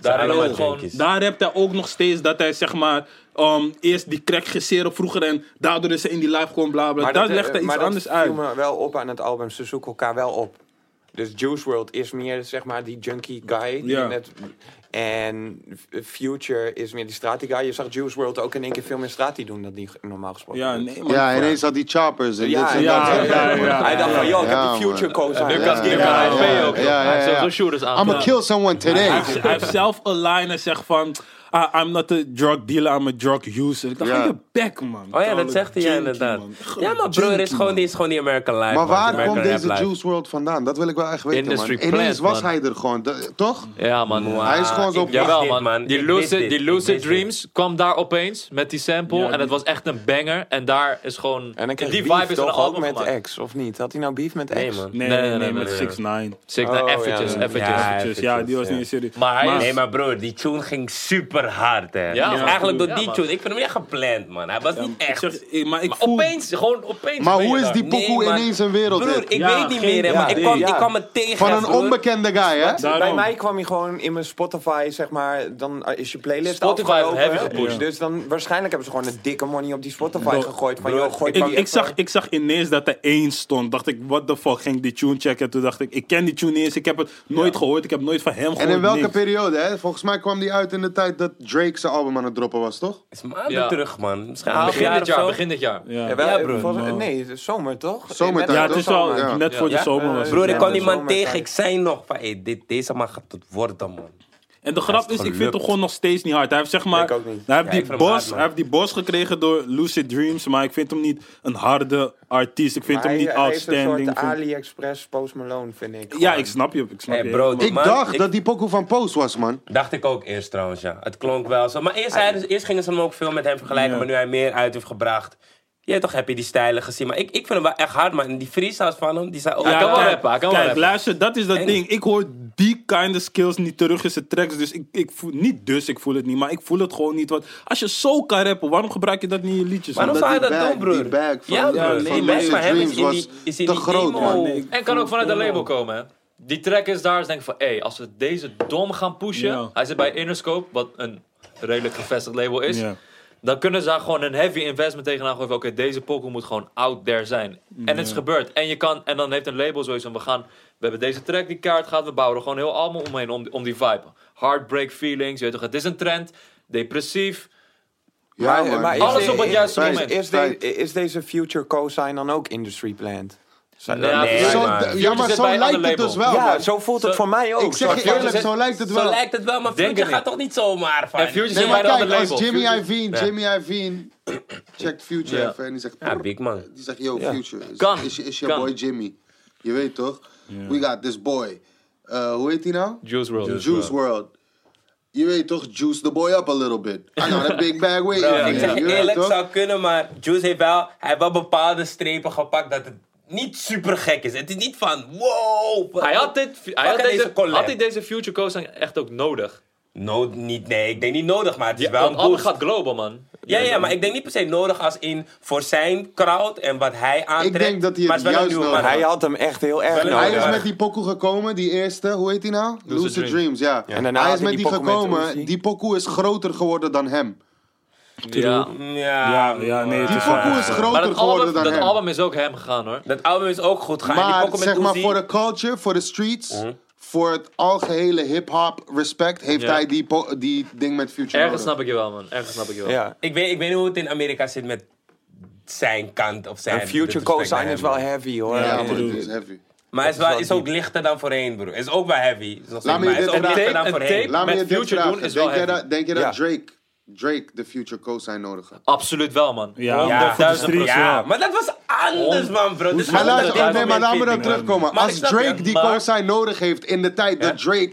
[SPEAKER 2] Daar hebben we
[SPEAKER 5] allemaal
[SPEAKER 2] gewoon...
[SPEAKER 5] junkies.
[SPEAKER 1] daar heb hij ook nog steeds dat hij, zeg maar, ehm, eerst die crack geseren vroeger en daardoor is ze in die live gewoon bla bla.
[SPEAKER 4] Maar
[SPEAKER 1] Daar
[SPEAKER 4] dat, eh,
[SPEAKER 1] legt hij iets
[SPEAKER 4] maar dat
[SPEAKER 1] anders
[SPEAKER 4] viel
[SPEAKER 1] uit.
[SPEAKER 4] me wel op aan het album. Ze zoeken elkaar wel op. Dus Juice World is meer zeg maar die junkie guy.
[SPEAKER 1] Ja.
[SPEAKER 4] Die net, en F- Future is meer die strati guy. Je zag Juice World ook in één keer veel meer strati doen dan die ge- normaal gesproken.
[SPEAKER 1] Ja,
[SPEAKER 4] doet.
[SPEAKER 1] nee, man.
[SPEAKER 3] Ja, ineens had die choppers en dit
[SPEAKER 4] Ja,
[SPEAKER 3] en
[SPEAKER 1] ja,
[SPEAKER 3] dat.
[SPEAKER 1] ja, ja.
[SPEAKER 4] Hij dacht van, yo, ik
[SPEAKER 3] Ja,
[SPEAKER 4] heb die
[SPEAKER 3] man.
[SPEAKER 4] Future coach.
[SPEAKER 2] Nu
[SPEAKER 4] aan.
[SPEAKER 2] kan hij
[SPEAKER 1] ja,
[SPEAKER 2] naar
[SPEAKER 1] ja,
[SPEAKER 2] HP ook.
[SPEAKER 3] ja,
[SPEAKER 2] joh. Hij heeft
[SPEAKER 3] ja.
[SPEAKER 2] sowieso shooters aan.
[SPEAKER 3] I'ma kill someone
[SPEAKER 1] Hij
[SPEAKER 3] today.
[SPEAKER 1] heeft- hij heeft zelf een lijn en zegt van... "Ah, I'm not a drug dealer, I'm a drug user. Ik dacht,
[SPEAKER 3] Ja.
[SPEAKER 1] ga je bek, man.
[SPEAKER 5] Oh ja, dat
[SPEAKER 1] Trouwens,
[SPEAKER 5] zegt hij ja,
[SPEAKER 1] junkie,
[SPEAKER 5] inderdaad.
[SPEAKER 1] man.
[SPEAKER 5] Ja, maar broer, is gewoon, die is gewoon die American Life. man.
[SPEAKER 3] Maar
[SPEAKER 5] Die
[SPEAKER 3] waar
[SPEAKER 5] American
[SPEAKER 3] komt
[SPEAKER 5] Rap
[SPEAKER 3] deze
[SPEAKER 5] Life.
[SPEAKER 3] Juice World vandaan? Dat wil ik wel echt weten,
[SPEAKER 2] Industry
[SPEAKER 3] man. Ineens
[SPEAKER 2] plant,
[SPEAKER 3] was
[SPEAKER 2] man.
[SPEAKER 3] hij er gewoon, d- toch?
[SPEAKER 2] Ja, man.
[SPEAKER 5] Wow,
[SPEAKER 3] Hij is gewoon zo-
[SPEAKER 5] Ah, ik wist
[SPEAKER 2] Jawel,
[SPEAKER 5] dit,
[SPEAKER 2] man. Die
[SPEAKER 5] Ik wist
[SPEAKER 2] Lucid,
[SPEAKER 5] dit.
[SPEAKER 2] die
[SPEAKER 5] Ik
[SPEAKER 2] Lucid
[SPEAKER 5] wist dit.
[SPEAKER 2] Dreams kwam daar opeens met die sample.
[SPEAKER 1] Ja,
[SPEAKER 2] en
[SPEAKER 1] die-
[SPEAKER 2] het was echt een banger. En daar is gewoon...
[SPEAKER 4] En dan kreeg
[SPEAKER 2] die
[SPEAKER 4] beef
[SPEAKER 2] vibe is er
[SPEAKER 4] toch ook
[SPEAKER 2] al
[SPEAKER 4] met
[SPEAKER 2] met
[SPEAKER 4] ex, of niet? Had hij nou beef met ex?
[SPEAKER 5] Nee, man.
[SPEAKER 1] Nee,
[SPEAKER 2] Nee,
[SPEAKER 1] nee,
[SPEAKER 2] nee,
[SPEAKER 1] nee,
[SPEAKER 2] nee,
[SPEAKER 1] met
[SPEAKER 5] nee, Ah,
[SPEAKER 1] 6 9
[SPEAKER 2] Six,
[SPEAKER 4] Oh, ja,
[SPEAKER 2] nou, eventjes,
[SPEAKER 4] ja.
[SPEAKER 2] eventjes.
[SPEAKER 5] Ja.
[SPEAKER 1] Ja,
[SPEAKER 5] eventjes,
[SPEAKER 1] die was
[SPEAKER 5] ja.
[SPEAKER 1] niet serieus.
[SPEAKER 2] Maar hij is-
[SPEAKER 5] Nee, maar broer, die tune ging super hard, hè.
[SPEAKER 2] Ja,
[SPEAKER 5] Dus
[SPEAKER 2] man.
[SPEAKER 5] eigenlijk door
[SPEAKER 2] Ja,
[SPEAKER 5] die
[SPEAKER 2] man.
[SPEAKER 5] tune. Ik vind hem echt gepland, man. Hij was niet
[SPEAKER 1] Ik
[SPEAKER 5] echt.
[SPEAKER 1] zeg, eh, maar ik
[SPEAKER 2] Maar
[SPEAKER 1] voel...
[SPEAKER 2] opeens, gewoon opeens.
[SPEAKER 3] Maar
[SPEAKER 2] ben
[SPEAKER 3] hoe
[SPEAKER 2] je daar.
[SPEAKER 3] is die pokoe
[SPEAKER 5] man.
[SPEAKER 3] ineens een wereld
[SPEAKER 5] Broer,
[SPEAKER 3] in?
[SPEAKER 5] ik
[SPEAKER 1] Ja,
[SPEAKER 5] weet niet
[SPEAKER 1] geen
[SPEAKER 5] meer, hè,
[SPEAKER 1] idee.
[SPEAKER 5] maar ik kwam,
[SPEAKER 4] Ja.
[SPEAKER 5] ik kwam het tegen.
[SPEAKER 3] Van een
[SPEAKER 5] broer.
[SPEAKER 3] onbekende guy, hè?
[SPEAKER 1] Daarom.
[SPEAKER 4] Bij mij kwam je gewoon in mijn Spotify, zeg maar, dan eh, is je playlist
[SPEAKER 2] Spotify
[SPEAKER 4] afgelopen.
[SPEAKER 2] heeft heavy gepusht.
[SPEAKER 4] Dus dan waarschijnlijk hebben ze gewoon een dikke money op die Spotify gegooid. Van, joh, gooi
[SPEAKER 1] Ik,
[SPEAKER 4] die
[SPEAKER 1] ik,
[SPEAKER 4] even-
[SPEAKER 1] zag, ik zag ineens dat er één stond. Dacht ik, what the fuck, ging ik die tune checken. Toen dacht ik, ik ken die tune niet eens. Ik heb het nooit gehoord. Ik heb nooit van hem gehoord.
[SPEAKER 3] En in welke
[SPEAKER 1] niks.
[SPEAKER 3] periode, hè? Volgens mij kwam die uit in de tijd dat Drake zijn album aan het droppen was, toch?
[SPEAKER 5] Is maanden
[SPEAKER 2] Ja.
[SPEAKER 5] terug, man. Misschien een half
[SPEAKER 2] Begin
[SPEAKER 5] jaar
[SPEAKER 2] dit
[SPEAKER 5] of
[SPEAKER 2] jaar,
[SPEAKER 5] zo.
[SPEAKER 2] begin dit jaar.
[SPEAKER 1] Ja.
[SPEAKER 4] Ja, wel,
[SPEAKER 5] Ja,
[SPEAKER 4] eh,
[SPEAKER 5] broer,
[SPEAKER 4] volgens-
[SPEAKER 1] man.
[SPEAKER 4] nee, het is zomer toch?
[SPEAKER 3] Zomertijd,
[SPEAKER 4] Eh,
[SPEAKER 1] Ja,
[SPEAKER 4] net
[SPEAKER 1] het is
[SPEAKER 4] als
[SPEAKER 1] wel
[SPEAKER 4] zomer.
[SPEAKER 1] eh, net
[SPEAKER 3] Ja.
[SPEAKER 1] voor de
[SPEAKER 5] Ja?
[SPEAKER 1] zomer. Was het. dus-
[SPEAKER 5] Broer, ik
[SPEAKER 4] Ja,
[SPEAKER 5] kwam
[SPEAKER 4] dat
[SPEAKER 5] die
[SPEAKER 4] is
[SPEAKER 5] man
[SPEAKER 4] zomaar
[SPEAKER 5] tegen.
[SPEAKER 4] tijd.
[SPEAKER 5] Ik zei nog van, hey, dit, deze man gaat het worden, man.
[SPEAKER 1] En de grap
[SPEAKER 5] het
[SPEAKER 1] is, ik vind
[SPEAKER 5] gelukt.
[SPEAKER 1] hem gewoon nog steeds niet hard. Hij heeft zeg maar,
[SPEAKER 4] Ik ook niet.
[SPEAKER 1] hij heeft
[SPEAKER 5] Ja, ik
[SPEAKER 1] die
[SPEAKER 5] vind hem
[SPEAKER 1] bos,
[SPEAKER 5] hard, man.
[SPEAKER 1] hij heeft die bos gekregen door Lucid Dreams, maar ik vind hem niet een harde artiest. Ik vind
[SPEAKER 4] Maar
[SPEAKER 1] hem niet
[SPEAKER 4] hij- hij is
[SPEAKER 1] outstanding.
[SPEAKER 4] Een soort
[SPEAKER 1] Ik vind-
[SPEAKER 4] AliExpress, Post Malone, vind ik.
[SPEAKER 1] Ja,
[SPEAKER 4] gewoon.
[SPEAKER 1] ik snap je, ik snap
[SPEAKER 5] Hey,
[SPEAKER 1] je.
[SPEAKER 5] bro, die
[SPEAKER 3] Ik
[SPEAKER 5] man-
[SPEAKER 3] dacht
[SPEAKER 5] ik-
[SPEAKER 3] dat die pokoe van Post was, man.
[SPEAKER 5] Dacht ik ook eerst trouwens, ja. Het klonk wel zo. Maar eerst, hij, eerst gingen ze hem ook veel met hem vergelijken,
[SPEAKER 1] Ja.
[SPEAKER 5] maar nu hij meer uit heeft gebracht. Ja, toch heb je die stijlen gezien. Maar ik, ik vind hem wel echt hard, man. En die freestyles van hem, die zijn ook...
[SPEAKER 2] Hij kan wel
[SPEAKER 1] kijk,
[SPEAKER 2] rappen, hij kan wel
[SPEAKER 1] kijk,
[SPEAKER 2] rappen.
[SPEAKER 1] luister, dat is dat
[SPEAKER 5] En-
[SPEAKER 1] ding. Ik hoor die kind of skills niet terug in zijn tracks. Dus ik, ik voel, niet dus, ik voel het niet, maar ik voel het gewoon niet. Want als je zo kan rappen, waarom gebruik je dat niet in je liedjes?
[SPEAKER 5] Waarom
[SPEAKER 1] man?
[SPEAKER 5] zou hij dat
[SPEAKER 3] die bag-
[SPEAKER 5] doen, broer?
[SPEAKER 3] die bag van-
[SPEAKER 5] ja,
[SPEAKER 3] ja,
[SPEAKER 5] broer.
[SPEAKER 1] nee,
[SPEAKER 5] die
[SPEAKER 1] maar-
[SPEAKER 5] bag van hem is in
[SPEAKER 3] was
[SPEAKER 5] die, is in
[SPEAKER 3] te
[SPEAKER 5] die
[SPEAKER 3] groot,
[SPEAKER 5] emo-
[SPEAKER 3] man.
[SPEAKER 1] Nee, ik
[SPEAKER 2] En kan ook vanuit een label komen, hè. Die trackers daar is denk ik van, hé, als we deze dom gaan pushen...
[SPEAKER 1] Ja.
[SPEAKER 2] Hij zit bij Interscope, wat een redelijk gevestigd label is.
[SPEAKER 1] Ja.
[SPEAKER 2] Dan kunnen ze daar gewoon een heavy investment tegenaan gooien van... Oké, deze pokoe moet gewoon out there zijn. En het is gebeurd. En, je kan, en dan heeft een label zoiets van, we gaan... We hebben deze track die kaart gaat, we bouwen er gewoon heel allemaal omheen om, om die vibe. Heartbreak feelings, je weet toch, het is een trend. Depressief.
[SPEAKER 3] Ja,
[SPEAKER 4] Maar-
[SPEAKER 3] man.
[SPEAKER 4] maar is-
[SPEAKER 2] Alles op het
[SPEAKER 4] is-
[SPEAKER 2] juiste
[SPEAKER 4] is-
[SPEAKER 2] moment.
[SPEAKER 4] Is, de- is deze future co-sign dan ook industry planned? Zijn-
[SPEAKER 2] Ja,
[SPEAKER 4] dat-
[SPEAKER 5] nee,
[SPEAKER 3] Zo-
[SPEAKER 5] man.
[SPEAKER 3] ja,
[SPEAKER 2] Future
[SPEAKER 3] maar
[SPEAKER 2] zit
[SPEAKER 3] zo
[SPEAKER 2] bij een
[SPEAKER 3] lijkt
[SPEAKER 2] ander
[SPEAKER 3] het dus
[SPEAKER 2] label.
[SPEAKER 3] wel.
[SPEAKER 4] ja,
[SPEAKER 3] man.
[SPEAKER 4] zo oh, voelt het voor mij ook.
[SPEAKER 3] Ik zeg je
[SPEAKER 4] Future
[SPEAKER 3] eerlijk,
[SPEAKER 2] zit-
[SPEAKER 3] zo lijkt het
[SPEAKER 5] Zo
[SPEAKER 3] wel.
[SPEAKER 5] lijkt het wel, maar
[SPEAKER 2] Denk
[SPEAKER 5] Future
[SPEAKER 2] het
[SPEAKER 5] gaat
[SPEAKER 2] niet.
[SPEAKER 5] toch niet zomaar van...
[SPEAKER 2] En Future zit
[SPEAKER 3] Nee,
[SPEAKER 2] bij
[SPEAKER 3] maar
[SPEAKER 2] een ander
[SPEAKER 3] kijk,
[SPEAKER 2] label.
[SPEAKER 3] als Jimmy
[SPEAKER 2] Future-
[SPEAKER 3] Iovine, Jimmy Iovine checkt Future
[SPEAKER 2] Ja.
[SPEAKER 3] even en die zegt...
[SPEAKER 5] Ja, big man.
[SPEAKER 3] Die zegt, yo, Future, is,
[SPEAKER 2] Kan.
[SPEAKER 3] is, is je
[SPEAKER 2] Kan.
[SPEAKER 3] boy Jimmy. Je weet toch? We got this boy. Eh, hoe heet hij nou?
[SPEAKER 2] Juice WRLD.
[SPEAKER 3] Juice World. Je weet toch, juice the boy up a little bit. I got a big bag waiting
[SPEAKER 5] Bro,
[SPEAKER 3] for
[SPEAKER 5] ik zeg
[SPEAKER 3] you.
[SPEAKER 5] je
[SPEAKER 3] Je weet
[SPEAKER 5] eerlijk,
[SPEAKER 3] toch?
[SPEAKER 5] zou kunnen, maar Juice heeft wel, hij heeft wel bepaalde strepen gepakt dat het niet super gek is. Het is niet van, wow.
[SPEAKER 2] Hij had, dit, hij had,
[SPEAKER 5] Pakken
[SPEAKER 2] deze,
[SPEAKER 5] deze collab.
[SPEAKER 2] had hij deze Future co-sign echt ook nodig?
[SPEAKER 5] No, niet, nee, ik denk niet nodig, maar het is
[SPEAKER 2] Ja,
[SPEAKER 5] wel
[SPEAKER 2] want
[SPEAKER 5] een
[SPEAKER 2] alles
[SPEAKER 5] boost.
[SPEAKER 2] gaat global, man.
[SPEAKER 5] Ja, ja, maar ik denk niet per se nodig als in voor zijn crowd en wat hij aantrekt.
[SPEAKER 3] denk dat hij het
[SPEAKER 5] maar wel een
[SPEAKER 3] juist
[SPEAKER 5] nieuwe
[SPEAKER 3] nodig
[SPEAKER 5] man.
[SPEAKER 4] Hij had hem echt heel erg
[SPEAKER 5] Hij
[SPEAKER 4] nodig.
[SPEAKER 3] Hij is
[SPEAKER 5] ja.
[SPEAKER 3] met die pokoe gekomen, die eerste, hoe heet die nou? Lucid,
[SPEAKER 2] Dreams.
[SPEAKER 3] Dreams, ja.
[SPEAKER 4] En daarna
[SPEAKER 3] hij
[SPEAKER 4] had
[SPEAKER 3] is
[SPEAKER 4] hij
[SPEAKER 3] met die,
[SPEAKER 4] die pokoe met
[SPEAKER 3] gekomen,
[SPEAKER 4] Uzi.
[SPEAKER 3] die pokoe is groter geworden dan hem.
[SPEAKER 2] Ja.
[SPEAKER 5] Ja,
[SPEAKER 1] Ja, ja, nee, het
[SPEAKER 5] man.
[SPEAKER 1] is
[SPEAKER 3] Die pokoe is
[SPEAKER 2] Maar
[SPEAKER 3] groter
[SPEAKER 2] dat
[SPEAKER 3] geworden
[SPEAKER 2] album,
[SPEAKER 3] dan
[SPEAKER 2] dat
[SPEAKER 3] hem.
[SPEAKER 2] album is ook hem gegaan, hoor.
[SPEAKER 5] Dat album is ook goed gaan. die
[SPEAKER 3] Maar
[SPEAKER 5] pokken met Mhm.
[SPEAKER 3] zeg maar
[SPEAKER 5] Uzi.
[SPEAKER 3] voor de culture, voor de streets, voor het algehele hip-hop respect, heeft
[SPEAKER 2] Ja.
[SPEAKER 3] hij die, po- die ding met Future.
[SPEAKER 2] Ergens
[SPEAKER 3] nodig.
[SPEAKER 2] snap ik je wel, man. Ergens snap ik je wel.
[SPEAKER 4] Ja.
[SPEAKER 5] ik, weet, ik weet niet hoe het in Amerika zit met zijn kant of zijn...
[SPEAKER 4] En future
[SPEAKER 5] disrespect
[SPEAKER 4] co-sign
[SPEAKER 5] naar hem,
[SPEAKER 4] is wel
[SPEAKER 5] man.
[SPEAKER 4] heavy hoor.
[SPEAKER 3] Ja,
[SPEAKER 4] Ja.
[SPEAKER 3] maar het is heavy.
[SPEAKER 5] Maar het is, wel,
[SPEAKER 4] wel
[SPEAKER 5] is ook lichter dan voorheen, broer. Is ook wel heavy. Is nog
[SPEAKER 3] Laat
[SPEAKER 5] steeds-
[SPEAKER 3] me
[SPEAKER 5] maar
[SPEAKER 3] je
[SPEAKER 5] is
[SPEAKER 3] dit
[SPEAKER 5] ook lichter
[SPEAKER 3] vragen.
[SPEAKER 5] dan
[SPEAKER 2] Een
[SPEAKER 5] voorheen.
[SPEAKER 2] tape-
[SPEAKER 3] Laat me
[SPEAKER 2] Met
[SPEAKER 3] je dit
[SPEAKER 2] Future
[SPEAKER 3] vragen.
[SPEAKER 2] doen is wel
[SPEAKER 3] denk, jij
[SPEAKER 2] heavy.
[SPEAKER 3] dat, denk je dat
[SPEAKER 4] Ja.
[SPEAKER 3] Drake, Drake de Future co-sign nodig had?
[SPEAKER 2] Absoluut wel, man.
[SPEAKER 1] Ja,
[SPEAKER 5] Ja,
[SPEAKER 1] maar voor de
[SPEAKER 2] 100.000
[SPEAKER 1] streets
[SPEAKER 5] ja,
[SPEAKER 1] wel.
[SPEAKER 5] maar dat was anders, man, bro. Dit is
[SPEAKER 3] Maar
[SPEAKER 5] anders.
[SPEAKER 3] luister,
[SPEAKER 5] Dit
[SPEAKER 3] ik
[SPEAKER 5] is
[SPEAKER 3] neem maar laat me
[SPEAKER 5] meer
[SPEAKER 3] dan
[SPEAKER 5] fitting, man.
[SPEAKER 3] terugkomen.
[SPEAKER 5] Maar
[SPEAKER 3] Als
[SPEAKER 5] ik snap
[SPEAKER 3] Drake
[SPEAKER 5] je,
[SPEAKER 3] die
[SPEAKER 5] maar-
[SPEAKER 3] co-sign nodig heeft in de tijd dat Drake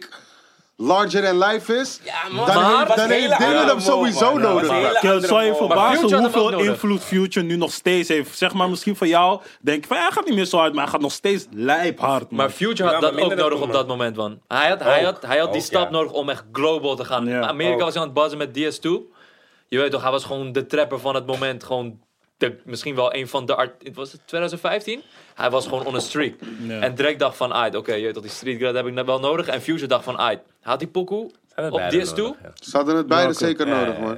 [SPEAKER 3] larger than life is,
[SPEAKER 5] Ja, man.
[SPEAKER 3] dan
[SPEAKER 5] Maar
[SPEAKER 3] heeft,
[SPEAKER 5] was
[SPEAKER 3] dan
[SPEAKER 5] heel
[SPEAKER 3] heeft Dylan
[SPEAKER 5] andere
[SPEAKER 3] hem sowieso
[SPEAKER 5] move, man.
[SPEAKER 3] nodig.
[SPEAKER 5] Dat was heel-
[SPEAKER 1] Ik zou je
[SPEAKER 5] andere
[SPEAKER 2] Maar Future
[SPEAKER 1] verbazen
[SPEAKER 2] had hem ook
[SPEAKER 1] hoeveel
[SPEAKER 2] nodig.
[SPEAKER 1] invloed Future nu nog steeds heeft. Zeg maar misschien voor jou, denk ik van ja, hij gaat niet meer zo hard, maar hij gaat nog steeds lijphard. man.
[SPEAKER 2] Maar Future had
[SPEAKER 5] Ja, maar
[SPEAKER 2] dat ook
[SPEAKER 5] minder dan
[SPEAKER 2] nodig op
[SPEAKER 5] toen,
[SPEAKER 2] dat moment, man. Hij had, hij
[SPEAKER 5] Ook.
[SPEAKER 2] had, hij had die
[SPEAKER 5] Ook,
[SPEAKER 2] stap
[SPEAKER 5] ja.
[SPEAKER 2] nodig om echt global te gaan.
[SPEAKER 1] Ja,
[SPEAKER 2] Amerika
[SPEAKER 5] ook.
[SPEAKER 2] was aan het buzzen met DS2. Je weet toch, hij was gewoon de trapper van het moment. Gewoon de, misschien wel een van de... art- Was het 2015? Hij was gewoon on a streak.
[SPEAKER 1] Ja.
[SPEAKER 2] En Drake dacht van, "Aight, oké, je weet toch, die street cred heb ik net wel nodig. En Future dacht van, "Aight, had die pokoe
[SPEAKER 5] Zijn we
[SPEAKER 2] op
[SPEAKER 5] beide
[SPEAKER 2] DS2?
[SPEAKER 5] nodig, ja.
[SPEAKER 3] Ze hadden het beide zeker
[SPEAKER 5] Ja,
[SPEAKER 3] nodig,
[SPEAKER 5] ja, ja.
[SPEAKER 3] man.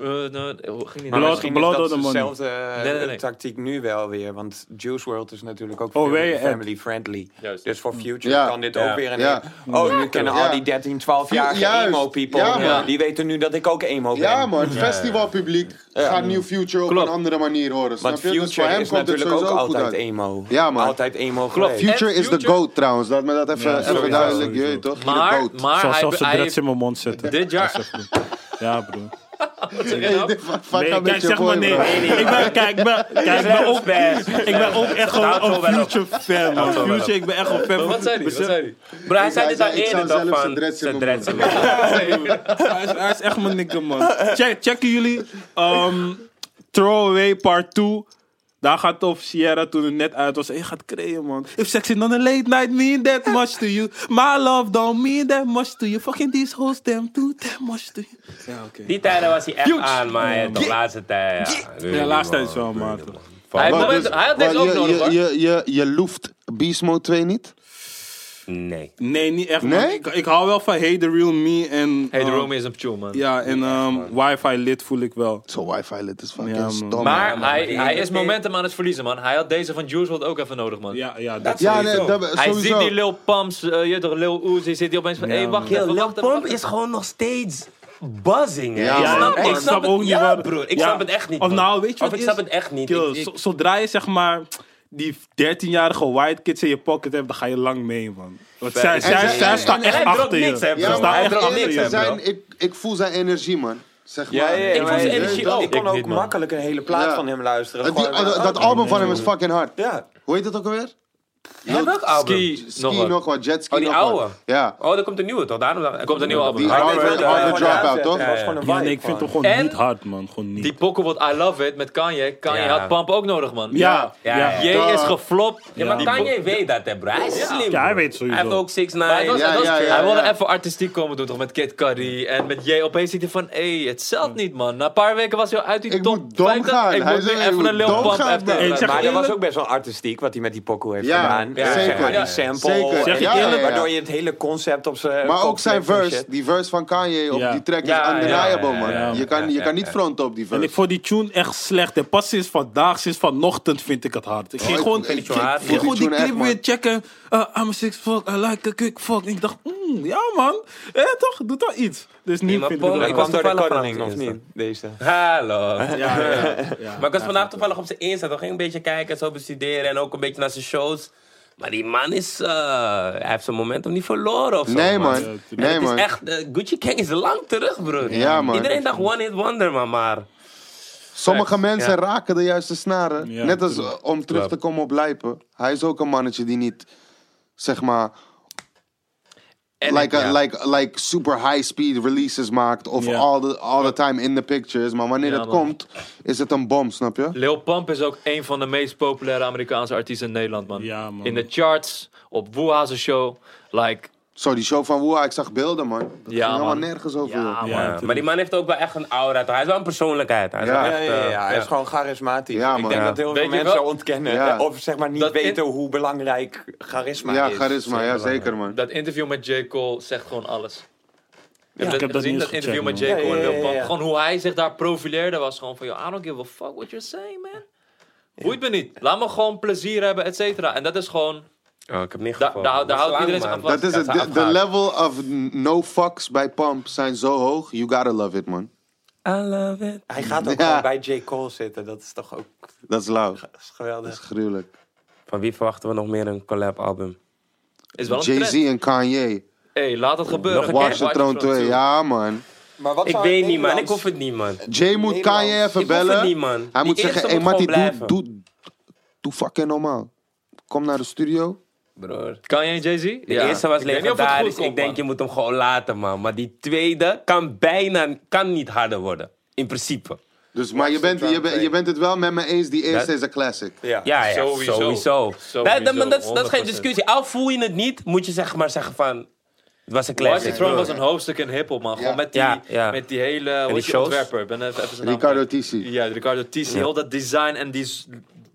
[SPEAKER 2] eh, nou, ging niet
[SPEAKER 1] Blood-
[SPEAKER 2] naar-
[SPEAKER 4] misschien
[SPEAKER 1] blood
[SPEAKER 4] is
[SPEAKER 1] on
[SPEAKER 4] dat
[SPEAKER 1] the money.
[SPEAKER 4] dezelfde eh,
[SPEAKER 2] Nee, nee, nee.
[SPEAKER 4] tactiek nu wel weer. Want Juice World is natuurlijk ook
[SPEAKER 1] Oh,
[SPEAKER 4] veel
[SPEAKER 1] weet
[SPEAKER 4] meer
[SPEAKER 1] je, Ed?
[SPEAKER 4] family-friendly.
[SPEAKER 2] Juist.
[SPEAKER 4] Dus voor Future
[SPEAKER 3] Ja.
[SPEAKER 4] kan dit
[SPEAKER 2] Ja.
[SPEAKER 4] ook weer een...
[SPEAKER 3] Ja.
[SPEAKER 4] Oh, nu kennen al die 13, 12-jarige
[SPEAKER 3] Juist.
[SPEAKER 4] emo-people.
[SPEAKER 3] Ja,
[SPEAKER 2] man.
[SPEAKER 4] Die weten nu dat ik ook emo ben.
[SPEAKER 3] Ja, man. Het festivalpubliek gaat New Future op
[SPEAKER 2] Klopt.
[SPEAKER 3] een andere manier horen. Snap
[SPEAKER 4] Want
[SPEAKER 3] je? Dus voor
[SPEAKER 4] Future
[SPEAKER 3] hem
[SPEAKER 4] is
[SPEAKER 3] komt het
[SPEAKER 4] natuurlijk ook
[SPEAKER 3] sowieso goed
[SPEAKER 4] altijd
[SPEAKER 3] uit.
[SPEAKER 4] emo.
[SPEAKER 3] Ja, man.
[SPEAKER 4] Altijd emo
[SPEAKER 2] Klopt.
[SPEAKER 4] geweest.
[SPEAKER 3] Future is de
[SPEAKER 2] Future-
[SPEAKER 3] GOAT trouwens. Laat me dat even, even
[SPEAKER 1] sowieso,
[SPEAKER 3] duidelijk. Je
[SPEAKER 1] sowieso.
[SPEAKER 3] weet toch?
[SPEAKER 2] Maar,
[SPEAKER 3] de GOAT.
[SPEAKER 2] maar
[SPEAKER 1] Zoals
[SPEAKER 2] hij,
[SPEAKER 1] zelfs de
[SPEAKER 2] hij
[SPEAKER 1] dreads
[SPEAKER 2] heeft
[SPEAKER 1] in mijn mond zetten.
[SPEAKER 2] dit jaar...
[SPEAKER 1] Ja, broer.
[SPEAKER 3] Hey, dit- fuck
[SPEAKER 1] Nee,
[SPEAKER 3] een
[SPEAKER 1] kijk,
[SPEAKER 3] beetje
[SPEAKER 1] zeg maar
[SPEAKER 3] boy,
[SPEAKER 1] nee.
[SPEAKER 3] bro.
[SPEAKER 1] Ik ben, kijk, ik ben, kijk, ik ben ook, ik ben ook echt
[SPEAKER 5] Staat
[SPEAKER 1] een,
[SPEAKER 5] zo
[SPEAKER 1] een
[SPEAKER 5] wel op.
[SPEAKER 1] Future fan, man. Future, ik ben echt een fan. van-
[SPEAKER 2] Wat zei hij? Wat
[SPEAKER 1] Besef-
[SPEAKER 2] zei
[SPEAKER 5] Bro, hij zei
[SPEAKER 3] Hij
[SPEAKER 5] dit al
[SPEAKER 3] zei, ik
[SPEAKER 5] eerder
[SPEAKER 3] zou
[SPEAKER 5] toch
[SPEAKER 3] zelf
[SPEAKER 5] van...
[SPEAKER 3] zijn dreads in
[SPEAKER 5] zijn
[SPEAKER 3] mijn
[SPEAKER 5] dreads in mijn
[SPEAKER 2] hij?
[SPEAKER 1] Hij is, hij is echt mijn nigga, man. Check, checken jullie ehm, Throwaway Part 2. Daar gaat het over Sierra toen het net uit was. Hey, gaat creëren, man. If sex in on a late night mean that much to you. My love don't mean that much to you. Fucking these hoes damn do that much to you. Ja, oké.
[SPEAKER 5] Die tijden was hij echt
[SPEAKER 1] Huge.
[SPEAKER 5] aan, maar de laatste tijd... Ja,
[SPEAKER 1] Ja,
[SPEAKER 5] really,
[SPEAKER 1] laatste
[SPEAKER 5] man.
[SPEAKER 1] tijd is wel, man.
[SPEAKER 5] Really, man.
[SPEAKER 2] Hij
[SPEAKER 3] Maar
[SPEAKER 2] heeft
[SPEAKER 3] dus-
[SPEAKER 2] nog- hij had deze
[SPEAKER 3] maar
[SPEAKER 2] ook
[SPEAKER 3] je-
[SPEAKER 2] nodig, hoor.
[SPEAKER 3] je- Je, je, je loeft Beast Mode 2 niet?
[SPEAKER 5] Nee.
[SPEAKER 1] Nee, niet echt, man.
[SPEAKER 3] Nee?
[SPEAKER 1] Ik, ik hou wel van Hey The Real Me en...
[SPEAKER 2] Hey, de
[SPEAKER 1] ehm,
[SPEAKER 2] Romy is een tune, man.
[SPEAKER 1] Ja, en ehm, Wi-Fi Lit voel ik wel.
[SPEAKER 3] Zo wifi lid is fucking
[SPEAKER 1] Ja, man.
[SPEAKER 3] stom.
[SPEAKER 2] Maar
[SPEAKER 5] man.
[SPEAKER 2] hij,
[SPEAKER 5] Die-
[SPEAKER 2] hij
[SPEAKER 5] die-
[SPEAKER 2] is momentum aan het verliezen, man. Hij had deze van Juice WRLD ook even nodig, man.
[SPEAKER 1] Ja, ja, dat
[SPEAKER 3] ja, nee, dat,
[SPEAKER 2] Hij
[SPEAKER 3] sowieso.
[SPEAKER 2] ziet die Lil Pumps, eh, je weet toch, Lil Uzi, zit hij opeens van, hé, hey, wacht
[SPEAKER 5] Yo,
[SPEAKER 2] even,
[SPEAKER 5] Lil
[SPEAKER 2] wacht even,
[SPEAKER 5] Pump
[SPEAKER 2] wacht even.
[SPEAKER 5] is gewoon nog steeds buzzing, hè?
[SPEAKER 3] Ja,
[SPEAKER 5] Ik
[SPEAKER 1] Ja,
[SPEAKER 5] snap-
[SPEAKER 1] man.
[SPEAKER 5] ik snap het- ja,
[SPEAKER 1] waar-
[SPEAKER 5] broer, ik
[SPEAKER 1] Ja.
[SPEAKER 5] snap het echt niet.
[SPEAKER 1] Of
[SPEAKER 5] man.
[SPEAKER 1] nou, weet je
[SPEAKER 5] Of
[SPEAKER 1] wat
[SPEAKER 5] ik
[SPEAKER 1] is?
[SPEAKER 5] snap het echt niet.
[SPEAKER 1] Kill,
[SPEAKER 5] Ik- ik-
[SPEAKER 1] zo- zodra je zeg maar die 13-jarige white kids in je pocket hebt, dan ga je lang mee, man. Want zij, zij,
[SPEAKER 3] En zij-
[SPEAKER 1] zij
[SPEAKER 3] en-
[SPEAKER 1] staan
[SPEAKER 3] en
[SPEAKER 1] echt
[SPEAKER 5] hij
[SPEAKER 1] achter
[SPEAKER 5] dropt
[SPEAKER 1] je.
[SPEAKER 5] niks, hè,
[SPEAKER 1] Ze
[SPEAKER 5] bro.
[SPEAKER 3] Ja, maar
[SPEAKER 1] staan
[SPEAKER 5] Hij
[SPEAKER 1] echt
[SPEAKER 5] dropt
[SPEAKER 1] achter
[SPEAKER 5] niks,
[SPEAKER 1] je,
[SPEAKER 5] hè,
[SPEAKER 1] bro.
[SPEAKER 5] bro.
[SPEAKER 3] zijn, ik, ik voel zijn energie, man. Zeg
[SPEAKER 4] Ja,
[SPEAKER 3] maar.
[SPEAKER 4] ja, ja,
[SPEAKER 5] Ik
[SPEAKER 4] maar
[SPEAKER 5] voel zijn
[SPEAKER 4] je-
[SPEAKER 5] energie
[SPEAKER 4] ik
[SPEAKER 5] ook.
[SPEAKER 4] kon
[SPEAKER 2] Ik
[SPEAKER 4] ook
[SPEAKER 2] niet, man.
[SPEAKER 4] makkelijk een hele plaat
[SPEAKER 3] Ja.
[SPEAKER 4] van hem luisteren.
[SPEAKER 3] Die-
[SPEAKER 4] Gewoon,
[SPEAKER 3] dat-
[SPEAKER 4] oh,
[SPEAKER 3] dat album van hem is fucking hard.
[SPEAKER 4] Ja.
[SPEAKER 3] Hoe heet dat ook alweer?
[SPEAKER 5] Ja, welk album?
[SPEAKER 2] Ski, nog
[SPEAKER 3] Ski
[SPEAKER 2] wat.
[SPEAKER 3] nog wat, jetski
[SPEAKER 5] Oh, die
[SPEAKER 3] nog wat.
[SPEAKER 5] oude?
[SPEAKER 3] Ja.
[SPEAKER 5] Oh, er komt een nieuwe, toch? Daarom er
[SPEAKER 2] komt een nieuwe album.
[SPEAKER 3] Die
[SPEAKER 2] Hij
[SPEAKER 4] Hij weet wel
[SPEAKER 3] Harvard,
[SPEAKER 4] dat hij
[SPEAKER 3] Harvard
[SPEAKER 4] gewoon
[SPEAKER 3] Dropout,
[SPEAKER 4] aanzet.
[SPEAKER 3] toch?
[SPEAKER 4] Het was gewoon een
[SPEAKER 1] Ja,
[SPEAKER 4] vibe,
[SPEAKER 1] nee, ik vind het
[SPEAKER 4] gewoon.
[SPEAKER 1] gewoon
[SPEAKER 2] En-
[SPEAKER 1] niet hard, man. Gewoon niet.
[SPEAKER 2] Die pokken wordt I Love It met Kanye. Kanye
[SPEAKER 5] Ja.
[SPEAKER 2] had Pump ook nodig, man.
[SPEAKER 1] ja, ja.
[SPEAKER 5] Ja, ja.
[SPEAKER 2] Jay
[SPEAKER 3] Ja.
[SPEAKER 2] is geflopt.
[SPEAKER 5] Ja, maar Kanye weet dat, hè, bro. Hij is slim.
[SPEAKER 1] Ja, hij
[SPEAKER 5] bro.
[SPEAKER 1] weet sowieso.
[SPEAKER 5] Hij heeft ook 6 9
[SPEAKER 2] Maar hij, was,
[SPEAKER 3] Ja,
[SPEAKER 2] hij, was-
[SPEAKER 3] ja, ja,
[SPEAKER 2] hij wilde
[SPEAKER 3] ja.
[SPEAKER 2] even artistiek komen doen, toch? Met Kid Cudi en met Jay. Opeens ziet hij van, hé, het zelt niet, man. Na een paar weken was hij uit die
[SPEAKER 3] Ik
[SPEAKER 2] top
[SPEAKER 3] moet dom
[SPEAKER 2] 50.
[SPEAKER 3] gaan.
[SPEAKER 2] Ik
[SPEAKER 3] Hij
[SPEAKER 2] moet nu
[SPEAKER 3] zei, ik
[SPEAKER 2] even
[SPEAKER 3] moet
[SPEAKER 2] een Lil
[SPEAKER 3] dom
[SPEAKER 2] Pump
[SPEAKER 3] gaan,
[SPEAKER 2] even-
[SPEAKER 3] bro.
[SPEAKER 1] Ik zeg
[SPEAKER 4] Maar dat
[SPEAKER 1] eerlijk-
[SPEAKER 4] was ook best wel artistiek wat hij met die pokoe heeft
[SPEAKER 3] Ja,
[SPEAKER 4] gedaan.
[SPEAKER 3] ja,
[SPEAKER 4] Zeg
[SPEAKER 3] zeker.
[SPEAKER 4] maar
[SPEAKER 3] Ja,
[SPEAKER 4] die sample.
[SPEAKER 3] zeker.
[SPEAKER 1] Zeg
[SPEAKER 4] en-
[SPEAKER 1] je Ja, eerlijk? ja, ja.
[SPEAKER 4] Waardoor je het hele concept op zijn eh,
[SPEAKER 3] Maar
[SPEAKER 4] kop
[SPEAKER 3] ook zijn
[SPEAKER 4] klikt en
[SPEAKER 3] verse,
[SPEAKER 4] shit.
[SPEAKER 3] die verse van Kanye op
[SPEAKER 1] Ja.
[SPEAKER 3] die track is
[SPEAKER 5] Ja, ja,
[SPEAKER 3] undeniable,
[SPEAKER 5] ja,
[SPEAKER 3] man.
[SPEAKER 5] ja, ja,
[SPEAKER 3] je kan,
[SPEAKER 5] ja,
[SPEAKER 3] je
[SPEAKER 5] ja,
[SPEAKER 3] kan niet
[SPEAKER 5] ja.
[SPEAKER 3] fronten op die
[SPEAKER 1] En
[SPEAKER 3] verse.
[SPEAKER 1] ik vond die tune echt slecht. En pas sinds vandaag, sinds vanochtend, vind ik het hard.
[SPEAKER 5] Oh,
[SPEAKER 1] Ik ging
[SPEAKER 3] ik
[SPEAKER 1] gewoon,
[SPEAKER 3] vind die
[SPEAKER 1] ik,
[SPEAKER 5] tune hard,
[SPEAKER 1] ging
[SPEAKER 5] ja.
[SPEAKER 1] gewoon die
[SPEAKER 3] Die tune echt,
[SPEAKER 1] clip
[SPEAKER 3] man.
[SPEAKER 1] weer checken. Eh, I'm a six fuck, I like a kick fuck. En ik dacht, mm, ja man. Eh, toch, doet wel iets. Dus niet
[SPEAKER 5] maar
[SPEAKER 1] vind
[SPEAKER 5] Paul,
[SPEAKER 1] ik het
[SPEAKER 5] ik
[SPEAKER 1] hard.
[SPEAKER 4] Kwam
[SPEAKER 5] was
[SPEAKER 4] door de
[SPEAKER 5] toevallig
[SPEAKER 4] cornering,
[SPEAKER 5] aan
[SPEAKER 4] of
[SPEAKER 5] het
[SPEAKER 4] niet?
[SPEAKER 5] insta.
[SPEAKER 4] Deze.
[SPEAKER 5] Hallo.
[SPEAKER 1] Ja, ja, ja, ja.
[SPEAKER 5] Maar ik was vandaag toevallig op zijn Insta. Toch ging een beetje kijken, zo bestuderen. En ook een beetje naar zijn shows. Maar die man is... eh, hij heeft zijn momentum niet verloren of zo.
[SPEAKER 3] nee, man.
[SPEAKER 1] Ja, tuurlijk.
[SPEAKER 3] Nee,
[SPEAKER 5] het is
[SPEAKER 3] man.
[SPEAKER 5] echt... eh, Gucci Gang is lang terug, broer.
[SPEAKER 3] Ja, man.
[SPEAKER 5] Iedereen dacht one hit wonder, maar... maar eh,
[SPEAKER 3] Sommige
[SPEAKER 5] Facts,
[SPEAKER 3] mensen
[SPEAKER 5] ja.
[SPEAKER 3] raken de juiste snaren.
[SPEAKER 1] Ja,
[SPEAKER 3] Net als eh, om terug te komen op Lijpen. Hij is ook een mannetje die niet, zeg maar, like, a- like, like super high speed releases maakt. Of
[SPEAKER 1] Ja.
[SPEAKER 3] all, the, all the time in the pictures. Maar wanneer
[SPEAKER 2] Ja,
[SPEAKER 3] het
[SPEAKER 2] man.
[SPEAKER 3] komt, is het een bom, snap je?
[SPEAKER 2] Lil Pump is ook een van de meest populaire Amerikaanse artiesten in Nederland, man.
[SPEAKER 1] Ja, man.
[SPEAKER 2] In de charts, op Woehazen Show. Like,
[SPEAKER 3] Zo, die show van Woeha, ik zag beelden, man. Dat ging helemaal
[SPEAKER 2] man.
[SPEAKER 3] nergens over.
[SPEAKER 2] Ja,
[SPEAKER 3] joh.
[SPEAKER 2] man.
[SPEAKER 1] Ja,
[SPEAKER 5] maar die man heeft ook wel echt een aura. Toch? Hij is wel een persoonlijkheid. Hij is
[SPEAKER 3] Ja.
[SPEAKER 5] wel
[SPEAKER 4] Ja,
[SPEAKER 5] echt,
[SPEAKER 4] ja, ja,
[SPEAKER 5] eh,
[SPEAKER 4] ja, hij is gewoon charismatisch.
[SPEAKER 3] Ja,
[SPEAKER 4] ik
[SPEAKER 3] man,
[SPEAKER 4] denk
[SPEAKER 3] ja.
[SPEAKER 4] dat heel
[SPEAKER 2] Weet
[SPEAKER 4] veel
[SPEAKER 2] je
[SPEAKER 4] mensen
[SPEAKER 2] wel?
[SPEAKER 4] ontkennen.
[SPEAKER 3] Ja.
[SPEAKER 4] Of zeg maar niet
[SPEAKER 2] Dat in-
[SPEAKER 4] weten hoe belangrijk charisma
[SPEAKER 3] Ja,
[SPEAKER 4] is.
[SPEAKER 3] charisma, ja, zeker, man.
[SPEAKER 2] dat interview met J. Cole zegt gewoon alles. Je hebt
[SPEAKER 1] ik heb dat
[SPEAKER 2] gezien,
[SPEAKER 1] niet
[SPEAKER 2] dat
[SPEAKER 1] eens
[SPEAKER 2] interview met J.
[SPEAKER 1] gecheckt,
[SPEAKER 2] Cole
[SPEAKER 4] man. Ja,
[SPEAKER 2] en
[SPEAKER 4] ja,
[SPEAKER 2] Lil
[SPEAKER 4] ja,
[SPEAKER 2] Pump.
[SPEAKER 4] ja.
[SPEAKER 2] Gewoon hoe hij zich daar profileerde was gewoon van... Yo, I don't give a fuck what you're saying, man. Boeit me niet. Laat me gewoon plezier hebben, et cetera. En dat is gewoon...
[SPEAKER 5] Oh, ik heb niet
[SPEAKER 2] Da-
[SPEAKER 5] gevolgd.
[SPEAKER 2] daar- daar
[SPEAKER 5] Dat is
[SPEAKER 2] houdt
[SPEAKER 5] lang,
[SPEAKER 2] iedereen zich
[SPEAKER 5] man.
[SPEAKER 2] aan vast.
[SPEAKER 3] Dat is het.
[SPEAKER 5] Dat is
[SPEAKER 3] De, de
[SPEAKER 5] afgehaakt.
[SPEAKER 3] level of n- no fucks bij Pump zijn zo hoog. You gotta love it, man.
[SPEAKER 5] I love it.
[SPEAKER 4] Hij gaat ook
[SPEAKER 3] Ja.
[SPEAKER 4] gewoon bij J. Cole zitten. Dat is toch ook
[SPEAKER 3] Dat is lauw.
[SPEAKER 4] dat is geweldig.
[SPEAKER 3] Gruwelijk.
[SPEAKER 5] Van wie verwachten we nog meer een collab album?
[SPEAKER 2] Is wel een
[SPEAKER 3] Jay-Z
[SPEAKER 2] trend.
[SPEAKER 3] en Kanye.
[SPEAKER 2] hey, laat het gebeuren.
[SPEAKER 5] Nog een
[SPEAKER 3] Watch
[SPEAKER 5] Watch
[SPEAKER 3] the Throne 2. Ja, man.
[SPEAKER 4] Maar wat
[SPEAKER 5] Ik
[SPEAKER 4] zou in
[SPEAKER 5] weet niet, man. Ik
[SPEAKER 4] Nederlands-
[SPEAKER 5] hoef het niet, man.
[SPEAKER 3] Jay moet
[SPEAKER 4] Nederlands.
[SPEAKER 3] Kanye even
[SPEAKER 5] Ik hoef het
[SPEAKER 3] bellen.
[SPEAKER 5] niet, man.
[SPEAKER 3] Hij
[SPEAKER 5] Die
[SPEAKER 3] moet zeggen,
[SPEAKER 5] eerste
[SPEAKER 3] hey
[SPEAKER 5] moet
[SPEAKER 3] Matty,
[SPEAKER 5] gewoon
[SPEAKER 3] doe, doe, doe fucking normaal. Kom naar de studio.
[SPEAKER 5] Broer.
[SPEAKER 2] Kan jij Jay-Z? De
[SPEAKER 5] De eerste was legendarisch. Ik denk, je moet hem gewoon laten, man. Maar die tweede kan bijna kan niet harder worden. In principe.
[SPEAKER 3] Dus, maar je bent, je, bent, je bent het wel met me eens, die eerste
[SPEAKER 5] Dat-
[SPEAKER 3] is een classic.
[SPEAKER 4] Ja.
[SPEAKER 5] Ja, ja
[SPEAKER 2] Sowieso.
[SPEAKER 5] sowieso.
[SPEAKER 2] Sowieso,
[SPEAKER 5] Dat, dat, maar dat, is- dat is geen
[SPEAKER 2] 100%.
[SPEAKER 5] discussie. Al voel je het niet, moet je zeg maar zeggen van... Het was een
[SPEAKER 2] Watch the
[SPEAKER 5] classic.
[SPEAKER 2] Throne was een hoofdstuk in hiphop, man. Gewoon met die,
[SPEAKER 5] Ja, ja.
[SPEAKER 2] Met die hele... Hoe heet die
[SPEAKER 5] shows?
[SPEAKER 2] ontwerper? Ik Ben even, even zijn naam
[SPEAKER 3] Ricardo
[SPEAKER 2] kwijt.
[SPEAKER 3] Tissi.
[SPEAKER 2] Ja, Ricardo Tissi. Heel dat design en die s-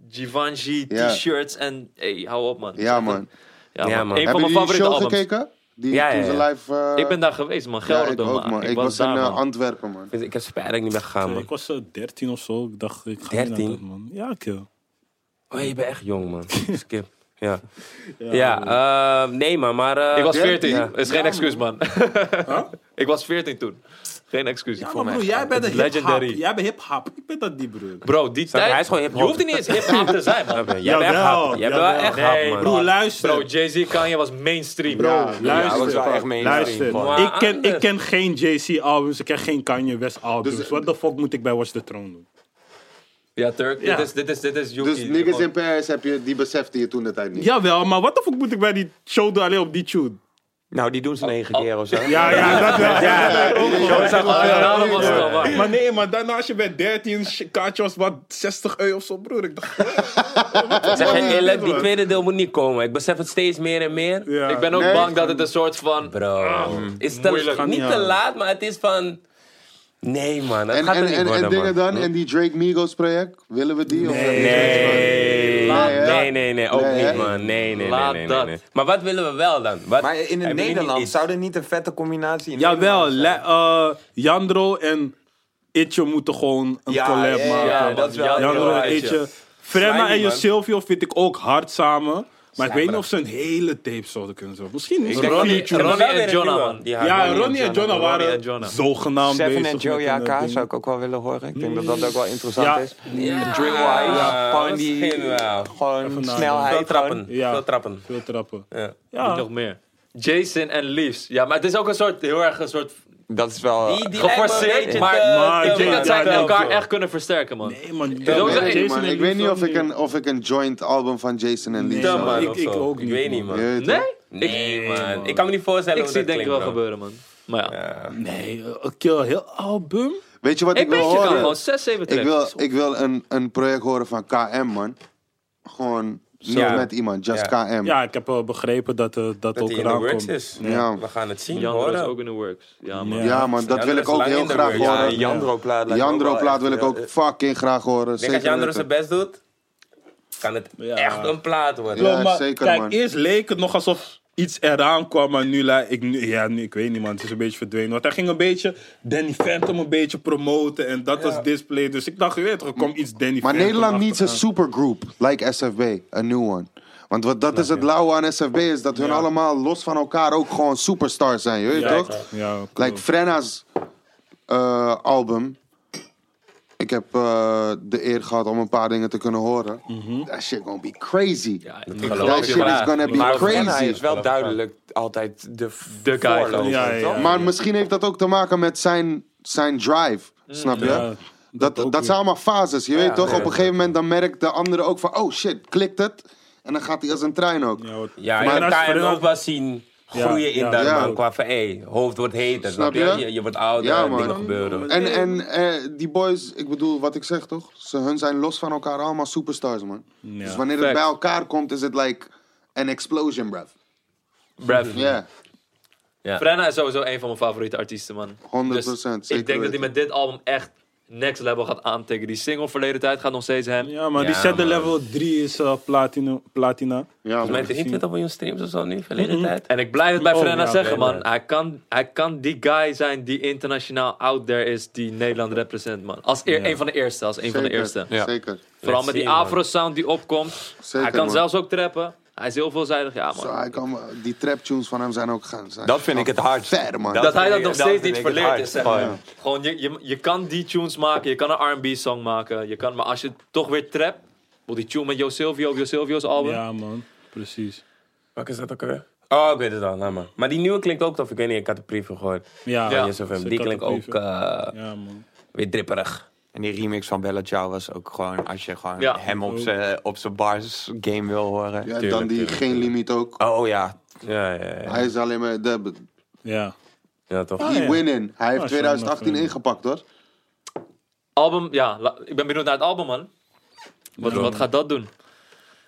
[SPEAKER 2] Givenchy
[SPEAKER 3] Ja.
[SPEAKER 2] t-shirts en... Hey, hou op, man.
[SPEAKER 3] Ja, man.
[SPEAKER 2] Ja,
[SPEAKER 5] Ja,
[SPEAKER 2] man.
[SPEAKER 5] man.
[SPEAKER 2] Een van mijn
[SPEAKER 3] Hebben jullie die
[SPEAKER 2] favoriete
[SPEAKER 3] show
[SPEAKER 2] albums.
[SPEAKER 3] gekeken? Die
[SPEAKER 5] Ja,
[SPEAKER 3] toen
[SPEAKER 5] ja,
[SPEAKER 3] ze
[SPEAKER 5] ja.
[SPEAKER 3] live... eh,
[SPEAKER 2] Ik ben daar geweest, man.
[SPEAKER 3] ja,
[SPEAKER 2] Gelderland,
[SPEAKER 3] ik ook, man. Ik, was, in
[SPEAKER 2] daar,
[SPEAKER 3] eh,
[SPEAKER 2] man.
[SPEAKER 3] Antwerpen, man.
[SPEAKER 5] Ik heb spijt dat ik niet ben gegaan,
[SPEAKER 1] Ja,
[SPEAKER 5] man.
[SPEAKER 1] Ik was eh, 13 of zo. Ik dacht, ik ga niet
[SPEAKER 5] 13?
[SPEAKER 1] naar dat, man. Ja, eh, kill.
[SPEAKER 5] Oh, je bent echt jong, man. Skip. Ja, ja,
[SPEAKER 1] man.
[SPEAKER 5] eh, nee, man, maar... eh,
[SPEAKER 2] Ik was
[SPEAKER 3] Ja?
[SPEAKER 2] 14.
[SPEAKER 5] Ja.
[SPEAKER 2] Is geen excuus, man. ik was 14 toen. Geen excuus.
[SPEAKER 1] Ja,
[SPEAKER 2] voor
[SPEAKER 1] maar
[SPEAKER 2] mij.
[SPEAKER 1] broer, jij bent een hip-hop.
[SPEAKER 2] Legendary.
[SPEAKER 1] Jij bent hip-hop. Ik ben dat niet, broer.
[SPEAKER 2] Bro, die
[SPEAKER 5] je,
[SPEAKER 2] tijd...
[SPEAKER 5] hij is gewoon hip-hop.
[SPEAKER 2] Je hoeft niet eens hip-hop te zijn, man.
[SPEAKER 5] Jij bent echt
[SPEAKER 1] Jawel,
[SPEAKER 5] hap. Jij bent wel
[SPEAKER 1] jawel.
[SPEAKER 5] echt hap,
[SPEAKER 2] Nee,
[SPEAKER 5] man.
[SPEAKER 1] Broer, luister.
[SPEAKER 2] Bro, Jay-Z Kanye was mainstream.
[SPEAKER 3] Bro,
[SPEAKER 4] Ja, dat
[SPEAKER 1] Luister,
[SPEAKER 4] is wel echt mainstream, man.
[SPEAKER 1] luister. Ik
[SPEAKER 5] Maar
[SPEAKER 1] ken, ik
[SPEAKER 5] anders.
[SPEAKER 1] ken geen JC-albums, ik ken geen Kanye West-albums. What the fuck moet ik bij Watch the Throne doen?
[SPEAKER 2] Ja, Turk.
[SPEAKER 1] Ja.
[SPEAKER 2] Dit is, dit is, dit is Yuki.
[SPEAKER 3] Dus niggas
[SPEAKER 2] Gewoon-
[SPEAKER 3] in Paris, heb je, die besefte je toen de tijd niet.
[SPEAKER 1] Jawel, maar what the fuck moet ik bij die show doen alleen op die tune?
[SPEAKER 4] Nou, die doen ze negen keer of zo.
[SPEAKER 1] Ja, ja, dat wel. Ja, dat ook wel.
[SPEAKER 2] Ah, ja, daarom was het al waar.
[SPEAKER 1] Maar nee, maar daarna als je bij 13 sh- kaartje was, wat 60 euro of zo, broer. Ik dacht,
[SPEAKER 5] Ik zeg je eerlijk, die
[SPEAKER 1] man.
[SPEAKER 5] tweede deel moet niet komen. Ik besef het steeds meer en meer.
[SPEAKER 1] ja.
[SPEAKER 2] Ik ben ook
[SPEAKER 3] Nee.
[SPEAKER 2] bang dat het een soort van...
[SPEAKER 5] Bro, is te,
[SPEAKER 2] Ah, moeilijk.
[SPEAKER 5] niet
[SPEAKER 1] Ja.
[SPEAKER 5] te laat, maar het is van... Nee, man, het
[SPEAKER 3] En,
[SPEAKER 5] gaat er
[SPEAKER 3] en,
[SPEAKER 5] niet
[SPEAKER 3] en, en
[SPEAKER 5] worden,
[SPEAKER 3] dingen
[SPEAKER 5] man.
[SPEAKER 3] dan, en die Drake Migos project, willen we die? of-
[SPEAKER 5] Nee,
[SPEAKER 3] Laat dat.
[SPEAKER 5] nee, nee, nee, ook
[SPEAKER 3] Nee, hè?
[SPEAKER 5] niet, man. Nee, nee, nee,
[SPEAKER 2] Laat
[SPEAKER 5] nee, nee,
[SPEAKER 2] dat.
[SPEAKER 5] nee. Maar wat willen we wel dan? Wat,
[SPEAKER 4] Maar in het
[SPEAKER 5] Hebben jullie
[SPEAKER 4] Nederland
[SPEAKER 5] iets?
[SPEAKER 4] zou er niet een vette combinatie in
[SPEAKER 1] Jawel,
[SPEAKER 4] Nederland zijn?
[SPEAKER 1] le- eh, Jandro en Itje moeten gewoon een
[SPEAKER 4] Ja,
[SPEAKER 1] collab
[SPEAKER 4] ja, ja,
[SPEAKER 1] maken.
[SPEAKER 4] ja, dat is wel-
[SPEAKER 1] Jandro
[SPEAKER 2] ja,
[SPEAKER 1] en
[SPEAKER 2] Itje.
[SPEAKER 1] Itje. Frenna en
[SPEAKER 5] man.
[SPEAKER 1] Josilvio vind ik ook hard samen. Maar ik weet niet of ze een hele tape zouden kunnen zo. Misschien niet.
[SPEAKER 2] denk
[SPEAKER 1] Ronnie-
[SPEAKER 2] Ronnie-
[SPEAKER 5] Er was
[SPEAKER 2] Ronnie
[SPEAKER 5] wel
[SPEAKER 2] en
[SPEAKER 5] weer een
[SPEAKER 2] Jonna,
[SPEAKER 5] nieuwe.
[SPEAKER 2] man.
[SPEAKER 5] Ja,
[SPEAKER 1] ja,
[SPEAKER 5] Ronnie.
[SPEAKER 1] Ronnie en Jonna
[SPEAKER 2] Ronnie
[SPEAKER 1] waren
[SPEAKER 2] en Jonna.
[SPEAKER 1] zogenaamd
[SPEAKER 4] Seven
[SPEAKER 1] bezig
[SPEAKER 4] en
[SPEAKER 1] met
[SPEAKER 4] Joey
[SPEAKER 1] een, eh,
[SPEAKER 4] AK
[SPEAKER 1] ding.
[SPEAKER 4] zou ik ook wel willen horen. Ik denk dat dat ook wel interessant
[SPEAKER 1] Ja.
[SPEAKER 4] is. Drillwise,
[SPEAKER 5] Ja,
[SPEAKER 4] gewoon
[SPEAKER 5] Ah, misschien
[SPEAKER 4] die...
[SPEAKER 5] wel.
[SPEAKER 4] Gewoon
[SPEAKER 1] nadenken.
[SPEAKER 5] Veel
[SPEAKER 4] snelheid. gewoon-
[SPEAKER 5] trappen,
[SPEAKER 1] Ja.
[SPEAKER 5] veel trappen.
[SPEAKER 1] Veel trappen.
[SPEAKER 5] Ja.
[SPEAKER 1] Ja.
[SPEAKER 2] Niet nog meer. Jason en Leaves. Ja, maar het is ook een soort, heel erg een soort...
[SPEAKER 4] Dat is wel...
[SPEAKER 5] Die, die
[SPEAKER 2] Geforceerd,
[SPEAKER 5] lijkt me een beetje
[SPEAKER 2] maar-
[SPEAKER 5] te-
[SPEAKER 1] maar
[SPEAKER 5] te-
[SPEAKER 2] Ik denk
[SPEAKER 1] Ja,
[SPEAKER 2] dat zij
[SPEAKER 1] ja, ja,
[SPEAKER 2] elkaar
[SPEAKER 1] ja.
[SPEAKER 2] echt kunnen versterken, man.
[SPEAKER 1] Nee, man.
[SPEAKER 2] weet
[SPEAKER 1] ja,
[SPEAKER 2] ik
[SPEAKER 1] Jason
[SPEAKER 3] Nee, man.
[SPEAKER 1] en
[SPEAKER 3] Ik weet niet
[SPEAKER 1] Lisa
[SPEAKER 3] of ik,
[SPEAKER 1] niet.
[SPEAKER 3] een, of ik een joint album van Jason en Lee
[SPEAKER 1] Nee,
[SPEAKER 3] zou
[SPEAKER 1] man.
[SPEAKER 3] willen.
[SPEAKER 1] Ik-
[SPEAKER 5] of
[SPEAKER 1] ik
[SPEAKER 5] zo.
[SPEAKER 1] ook niet,
[SPEAKER 5] Ik weet niet,
[SPEAKER 1] man.
[SPEAKER 5] man.
[SPEAKER 3] Je weet
[SPEAKER 2] Nee?
[SPEAKER 3] toch?
[SPEAKER 5] Nee, man. Ik kan me niet voorstellen
[SPEAKER 2] Ik
[SPEAKER 5] hoe
[SPEAKER 2] zie het
[SPEAKER 5] dat
[SPEAKER 2] denk ik wel
[SPEAKER 5] klinkt, man.
[SPEAKER 2] gebeuren, man. Maar ja.
[SPEAKER 1] Nee, eh, een keer een heel album.
[SPEAKER 3] Weet je wat ik,
[SPEAKER 2] Ik
[SPEAKER 3] wil
[SPEAKER 2] weet je kan
[SPEAKER 3] horen?
[SPEAKER 2] gewoon 6, 7
[SPEAKER 3] Ik wil,
[SPEAKER 2] tracks.
[SPEAKER 3] ik wil een, een project horen van KM, man. Gewoon zo
[SPEAKER 5] Ja.
[SPEAKER 3] met iemand, just KM.
[SPEAKER 1] Ja, ik heb eh, begrepen dat eh, dat
[SPEAKER 5] Dat
[SPEAKER 1] ook
[SPEAKER 5] hij in de
[SPEAKER 1] eraan
[SPEAKER 5] works
[SPEAKER 1] komt.
[SPEAKER 5] is.
[SPEAKER 3] Ja.
[SPEAKER 5] We gaan het zien,
[SPEAKER 2] Jandro is
[SPEAKER 5] hoor.
[SPEAKER 2] ook in de works. Ja, man.
[SPEAKER 1] Ja.
[SPEAKER 3] Ja, man, dat
[SPEAKER 5] Ja,
[SPEAKER 3] wil
[SPEAKER 5] dat is
[SPEAKER 3] ik ook
[SPEAKER 5] lang
[SPEAKER 3] heel
[SPEAKER 5] in de
[SPEAKER 3] graag
[SPEAKER 5] works. Ja,
[SPEAKER 3] horen.
[SPEAKER 4] die Jandro-plaat lijkt me ook wel
[SPEAKER 3] Jandro-plaat
[SPEAKER 4] echt,
[SPEAKER 3] wil ik
[SPEAKER 4] eh,
[SPEAKER 3] ook fucking graag horen.
[SPEAKER 5] Ik denk als
[SPEAKER 3] Zeker
[SPEAKER 5] Jandro zijn
[SPEAKER 3] weten.
[SPEAKER 5] best doet, kan het
[SPEAKER 1] Ja.
[SPEAKER 5] echt een plaat worden.
[SPEAKER 3] Ja,
[SPEAKER 1] Ja, maar
[SPEAKER 3] zeker,
[SPEAKER 1] kijk,
[SPEAKER 3] man.
[SPEAKER 1] eerst leek het nog alsof iets eraan kwam, maar nu lijkt ik, nu- ja, nu, ik weet niet, man, het is een beetje verdwenen. Want hij ging een beetje Danny Phantom een beetje promoten en dat was display. Dus ik dacht, je weet toch, er komt iets Danny
[SPEAKER 3] Maar
[SPEAKER 1] Phantom
[SPEAKER 3] Nederland needs
[SPEAKER 1] achteraan.
[SPEAKER 3] een supergroup, like SFB, een new one. Want wat, dat is het lauwe aan SFB, is dat hun allemaal los van elkaar ook gewoon superstars zijn, je weet
[SPEAKER 1] Ja,
[SPEAKER 3] toch?
[SPEAKER 1] Ja, klopt.
[SPEAKER 3] Like Frenna's eh, album. Ik heb eh, de eer gehad om een paar dingen te kunnen horen. That shit gonna be crazy.
[SPEAKER 2] geloof
[SPEAKER 3] That
[SPEAKER 2] je
[SPEAKER 3] shit is
[SPEAKER 2] maar.
[SPEAKER 3] gonna be
[SPEAKER 4] Maar Frenna
[SPEAKER 3] crazy.
[SPEAKER 4] is wel duidelijk altijd de
[SPEAKER 2] De guy.
[SPEAKER 4] voorloper,
[SPEAKER 1] Ja, ja,
[SPEAKER 4] toch?
[SPEAKER 1] ja.
[SPEAKER 3] Maar misschien heeft dat ook te maken met zijn, zijn drive. Snap je?
[SPEAKER 1] Ja,
[SPEAKER 3] dat dat,
[SPEAKER 1] ook
[SPEAKER 3] zijn allemaal fases. Je weet toch?
[SPEAKER 5] nee,
[SPEAKER 3] Op een gegeven moment dan merkt de andere ook van... Oh shit, klikt het? En dan gaat hij als een trein ook.
[SPEAKER 1] Ja, wat-
[SPEAKER 5] Ja,
[SPEAKER 1] Maar
[SPEAKER 5] je
[SPEAKER 1] dat is
[SPEAKER 5] kan hem
[SPEAKER 1] Frenna-
[SPEAKER 5] ook wel zien groeien
[SPEAKER 1] Ja, ja,
[SPEAKER 5] in dat
[SPEAKER 3] ja.
[SPEAKER 5] man. Qua van, hé, hoofd wordt heter.
[SPEAKER 3] Snap
[SPEAKER 5] Snap
[SPEAKER 3] je?
[SPEAKER 5] je? Je, je wordt ouder,
[SPEAKER 3] Ja,
[SPEAKER 5] en
[SPEAKER 3] man.
[SPEAKER 5] dingen gebeuren.
[SPEAKER 3] En, en eh, die boys, ik bedoel wat ik zeg toch? Ze, hun zijn los van elkaar allemaal superstars, man. Dus wanneer het
[SPEAKER 2] Facts.
[SPEAKER 3] bij elkaar komt, is het like an explosion, bruv.
[SPEAKER 2] Brev.
[SPEAKER 3] Ja,
[SPEAKER 2] Frenna is sowieso een van mijn favoriete artiesten, man.
[SPEAKER 3] 100%,
[SPEAKER 2] Dus
[SPEAKER 3] zeker
[SPEAKER 2] Ik denk dat hij
[SPEAKER 3] weten.
[SPEAKER 2] met dit album echt next level gaat aantikken. Die single verleden tijd gaat nog steeds hem.
[SPEAKER 1] Ja, maar die
[SPEAKER 5] Ja,
[SPEAKER 1] Shadow
[SPEAKER 5] man.
[SPEAKER 1] Level 3 is eh, platina. platina.
[SPEAKER 3] ja man.
[SPEAKER 5] Met 23 miljoen streams of zo nu, verleden tijd.
[SPEAKER 2] En ik blijf het bij
[SPEAKER 1] Oh,
[SPEAKER 2] Frenna
[SPEAKER 1] ja,
[SPEAKER 2] zeggen,
[SPEAKER 5] oké,
[SPEAKER 2] man. Hij kan, hij kan die guy zijn die internationaal out there is, die Nederland represent, man. Als eer, een van de eerste, als een van de
[SPEAKER 3] Zeker,
[SPEAKER 2] eerste.
[SPEAKER 3] Zeker.
[SPEAKER 2] Vooral
[SPEAKER 5] Let's
[SPEAKER 2] met die
[SPEAKER 5] see, man.
[SPEAKER 2] afro-sound die opkomt.
[SPEAKER 3] Zeker,
[SPEAKER 2] hij kan
[SPEAKER 3] man.
[SPEAKER 2] zelfs ook trappen. Hij is heel veelzijdig, ja, man.
[SPEAKER 3] Zo, hij kan, die trap tunes van hem zijn ook gaan. Zijn
[SPEAKER 4] Dat vind ik het hardst.
[SPEAKER 3] Ver, man.
[SPEAKER 2] dat hij dat
[SPEAKER 4] vind
[SPEAKER 2] nog
[SPEAKER 4] ik- dat
[SPEAKER 2] steeds
[SPEAKER 4] vind
[SPEAKER 2] niet
[SPEAKER 4] ik het
[SPEAKER 2] verleerd is,
[SPEAKER 4] hardst.
[SPEAKER 2] zeg maar.
[SPEAKER 4] Gewoon.
[SPEAKER 2] Gewoon, je, je, je kan die tunes maken, je kan een R&B-song maken, je kan, maar als je toch weer trapt, wil die tune met Yo Silvio op Yo Silvio's album.
[SPEAKER 1] Ja, man. Precies.
[SPEAKER 5] Welke is dat ook alweer? Oh, ik weet het al, nou maar. Maar die nieuwe klinkt ook tof. Ik weet niet, ik had de preview gehoord.
[SPEAKER 1] Ja,
[SPEAKER 5] Ja,
[SPEAKER 2] Ja,
[SPEAKER 5] Die
[SPEAKER 1] zeker
[SPEAKER 5] klinkt
[SPEAKER 1] dat
[SPEAKER 5] ook
[SPEAKER 1] preview.
[SPEAKER 5] eh,
[SPEAKER 1] Ja, man.
[SPEAKER 5] weer dripperig.
[SPEAKER 4] En die remix van Bella Ciao was ook gewoon... Als je gewoon
[SPEAKER 2] Ja.
[SPEAKER 4] hem op zijn op zijn bars game wil horen.
[SPEAKER 3] ja, dan
[SPEAKER 5] Tuurlijk,
[SPEAKER 3] die
[SPEAKER 5] tuurlijk,
[SPEAKER 3] geen limiet ook.
[SPEAKER 4] Oh ja.
[SPEAKER 5] Ja, ja, ja.
[SPEAKER 3] Hij is alleen maar... De,
[SPEAKER 1] Ja.
[SPEAKER 5] Oh, Ja, toch?
[SPEAKER 1] ja.
[SPEAKER 3] he winning. Hij heeft
[SPEAKER 1] Ah, zo,
[SPEAKER 3] 2018
[SPEAKER 1] maar, eh,
[SPEAKER 3] ingepakt, hoor.
[SPEAKER 2] Album, ja, la- ik ben benieuwd naar het album, man. Wat,
[SPEAKER 1] Ja.
[SPEAKER 2] wat gaat dat doen?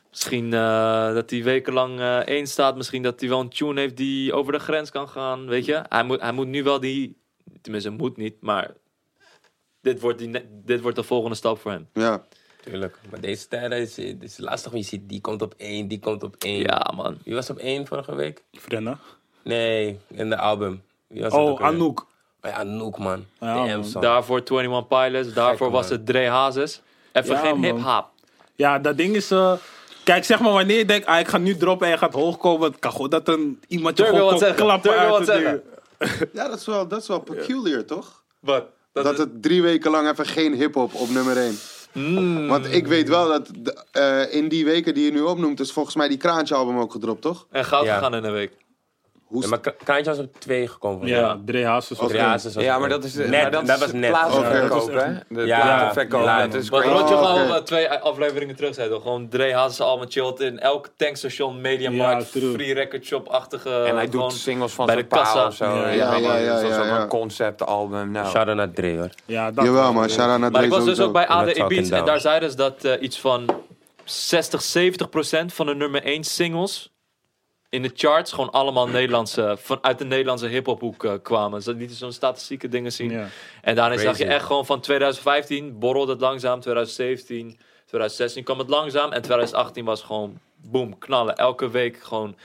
[SPEAKER 2] Misschien eh, dat hij wekenlang eh één staat. Misschien dat hij wel een tune heeft die over de grens kan gaan. Weet je? Hij moet, hij moet nu wel die... Tenminste, moet niet, maar... Dit wordt, die, ne- dit wordt de volgende stap voor hem.
[SPEAKER 3] Ja.
[SPEAKER 5] Tuurlijk. Maar deze tijden is, is lastig. want Je ziet, die komt op één, die komt op één.
[SPEAKER 2] Ja, man.
[SPEAKER 5] Wie was op één vorige week?
[SPEAKER 1] Frenna.
[SPEAKER 5] Nee, in de album. Wie was dat ook
[SPEAKER 1] Oh,
[SPEAKER 5] alweer?
[SPEAKER 1] Anouk.
[SPEAKER 5] Oh ja, Anouk, man.
[SPEAKER 1] Ja,
[SPEAKER 5] Damn,
[SPEAKER 1] man.
[SPEAKER 5] son.
[SPEAKER 2] Daarvoor 21 Pilots, daarvoor was
[SPEAKER 5] man.
[SPEAKER 2] het Dre Hazes. Even
[SPEAKER 1] Ja,
[SPEAKER 2] geen
[SPEAKER 1] man.
[SPEAKER 2] hip-hop.
[SPEAKER 1] Ja, dat ding is... eh, kijk, zeg maar, wanneer je denkt, ah, ik ga nu droppen en je gaat hoog komen, het kan goed dat een, iemand je
[SPEAKER 2] Durf wil
[SPEAKER 1] gewoon komt
[SPEAKER 2] wat zeggen.
[SPEAKER 1] klappen
[SPEAKER 2] Durf wil
[SPEAKER 1] uit
[SPEAKER 2] wat
[SPEAKER 1] het
[SPEAKER 2] zeggen.
[SPEAKER 1] ding.
[SPEAKER 3] Ja, dat is wel, dat is wel peculiar, toch?
[SPEAKER 2] Wat?
[SPEAKER 3] Dat, het drie weken lang even geen hip-hop op nummer 1. Want ik weet wel dat de- eh, in die weken die je nu opnoemt, is volgens mij die Kraantje-album ook gedropt, toch?
[SPEAKER 2] En goud
[SPEAKER 5] Ja.
[SPEAKER 2] gegaan in een week.
[SPEAKER 3] Hoe
[SPEAKER 5] Ja, maar Ka- Kraantje was op twee gekomen.
[SPEAKER 1] Ja, Dre Hazes. was
[SPEAKER 5] Ja,
[SPEAKER 1] goed.
[SPEAKER 5] ze- ze-
[SPEAKER 4] Ja, maar dat is,
[SPEAKER 5] net,
[SPEAKER 4] maar dat
[SPEAKER 5] dat
[SPEAKER 4] is
[SPEAKER 5] was net. Oh,
[SPEAKER 3] Oké,
[SPEAKER 4] platenverkoop,
[SPEAKER 3] dat
[SPEAKER 1] is echt-
[SPEAKER 4] hè? De
[SPEAKER 5] Ja,
[SPEAKER 4] platenverkoop,
[SPEAKER 5] ja,
[SPEAKER 4] dat is
[SPEAKER 2] Wat
[SPEAKER 4] crazy.
[SPEAKER 2] Rotje
[SPEAKER 3] Oh,
[SPEAKER 2] gewoon
[SPEAKER 3] oké.
[SPEAKER 2] eh, twee afleveringen terug zei, toch? Gewoon Dre Hazes allemaal chillt in elk tankstation, mediamarkt,
[SPEAKER 1] Ja, true.
[SPEAKER 2] free record shop-achtige...
[SPEAKER 4] En hij
[SPEAKER 2] gewoon-
[SPEAKER 4] doet singles van
[SPEAKER 2] bij
[SPEAKER 4] zijn
[SPEAKER 2] de kassa.
[SPEAKER 4] pa of zo.
[SPEAKER 1] Ja,
[SPEAKER 3] ja,
[SPEAKER 4] man,
[SPEAKER 3] ja,
[SPEAKER 4] dat is
[SPEAKER 3] ja,
[SPEAKER 4] ook
[SPEAKER 3] ja.
[SPEAKER 4] een conceptalbum. Nou.
[SPEAKER 5] Shout-out naar Dre,
[SPEAKER 3] Oh,
[SPEAKER 5] hoor. Oh
[SPEAKER 1] Ja, dat
[SPEAKER 3] Jawel, man. Shout-out
[SPEAKER 2] Maar
[SPEAKER 3] naar Dre
[SPEAKER 2] ik was dus
[SPEAKER 3] sowieso.
[SPEAKER 2] ook bij
[SPEAKER 5] We're
[SPEAKER 2] ADE
[SPEAKER 5] talking
[SPEAKER 2] Beats en
[SPEAKER 5] down.
[SPEAKER 2] daar zeiden ze dat eh, iets van 60, 70 procent van de nummer 1 singles in de charts gewoon allemaal Nederlandse, vanuit de Nederlandse hip-hophoek eh, kwamen. Ze lieten zo'n statistieke dingen zien.
[SPEAKER 1] Ja.
[SPEAKER 2] En daarin zag je
[SPEAKER 5] Crazy.
[SPEAKER 2] echt gewoon van 2015 borrelde het langzaam, 2017, 2016 kwam het langzaam en 2018 was gewoon boom, knallen. Elke week gewoon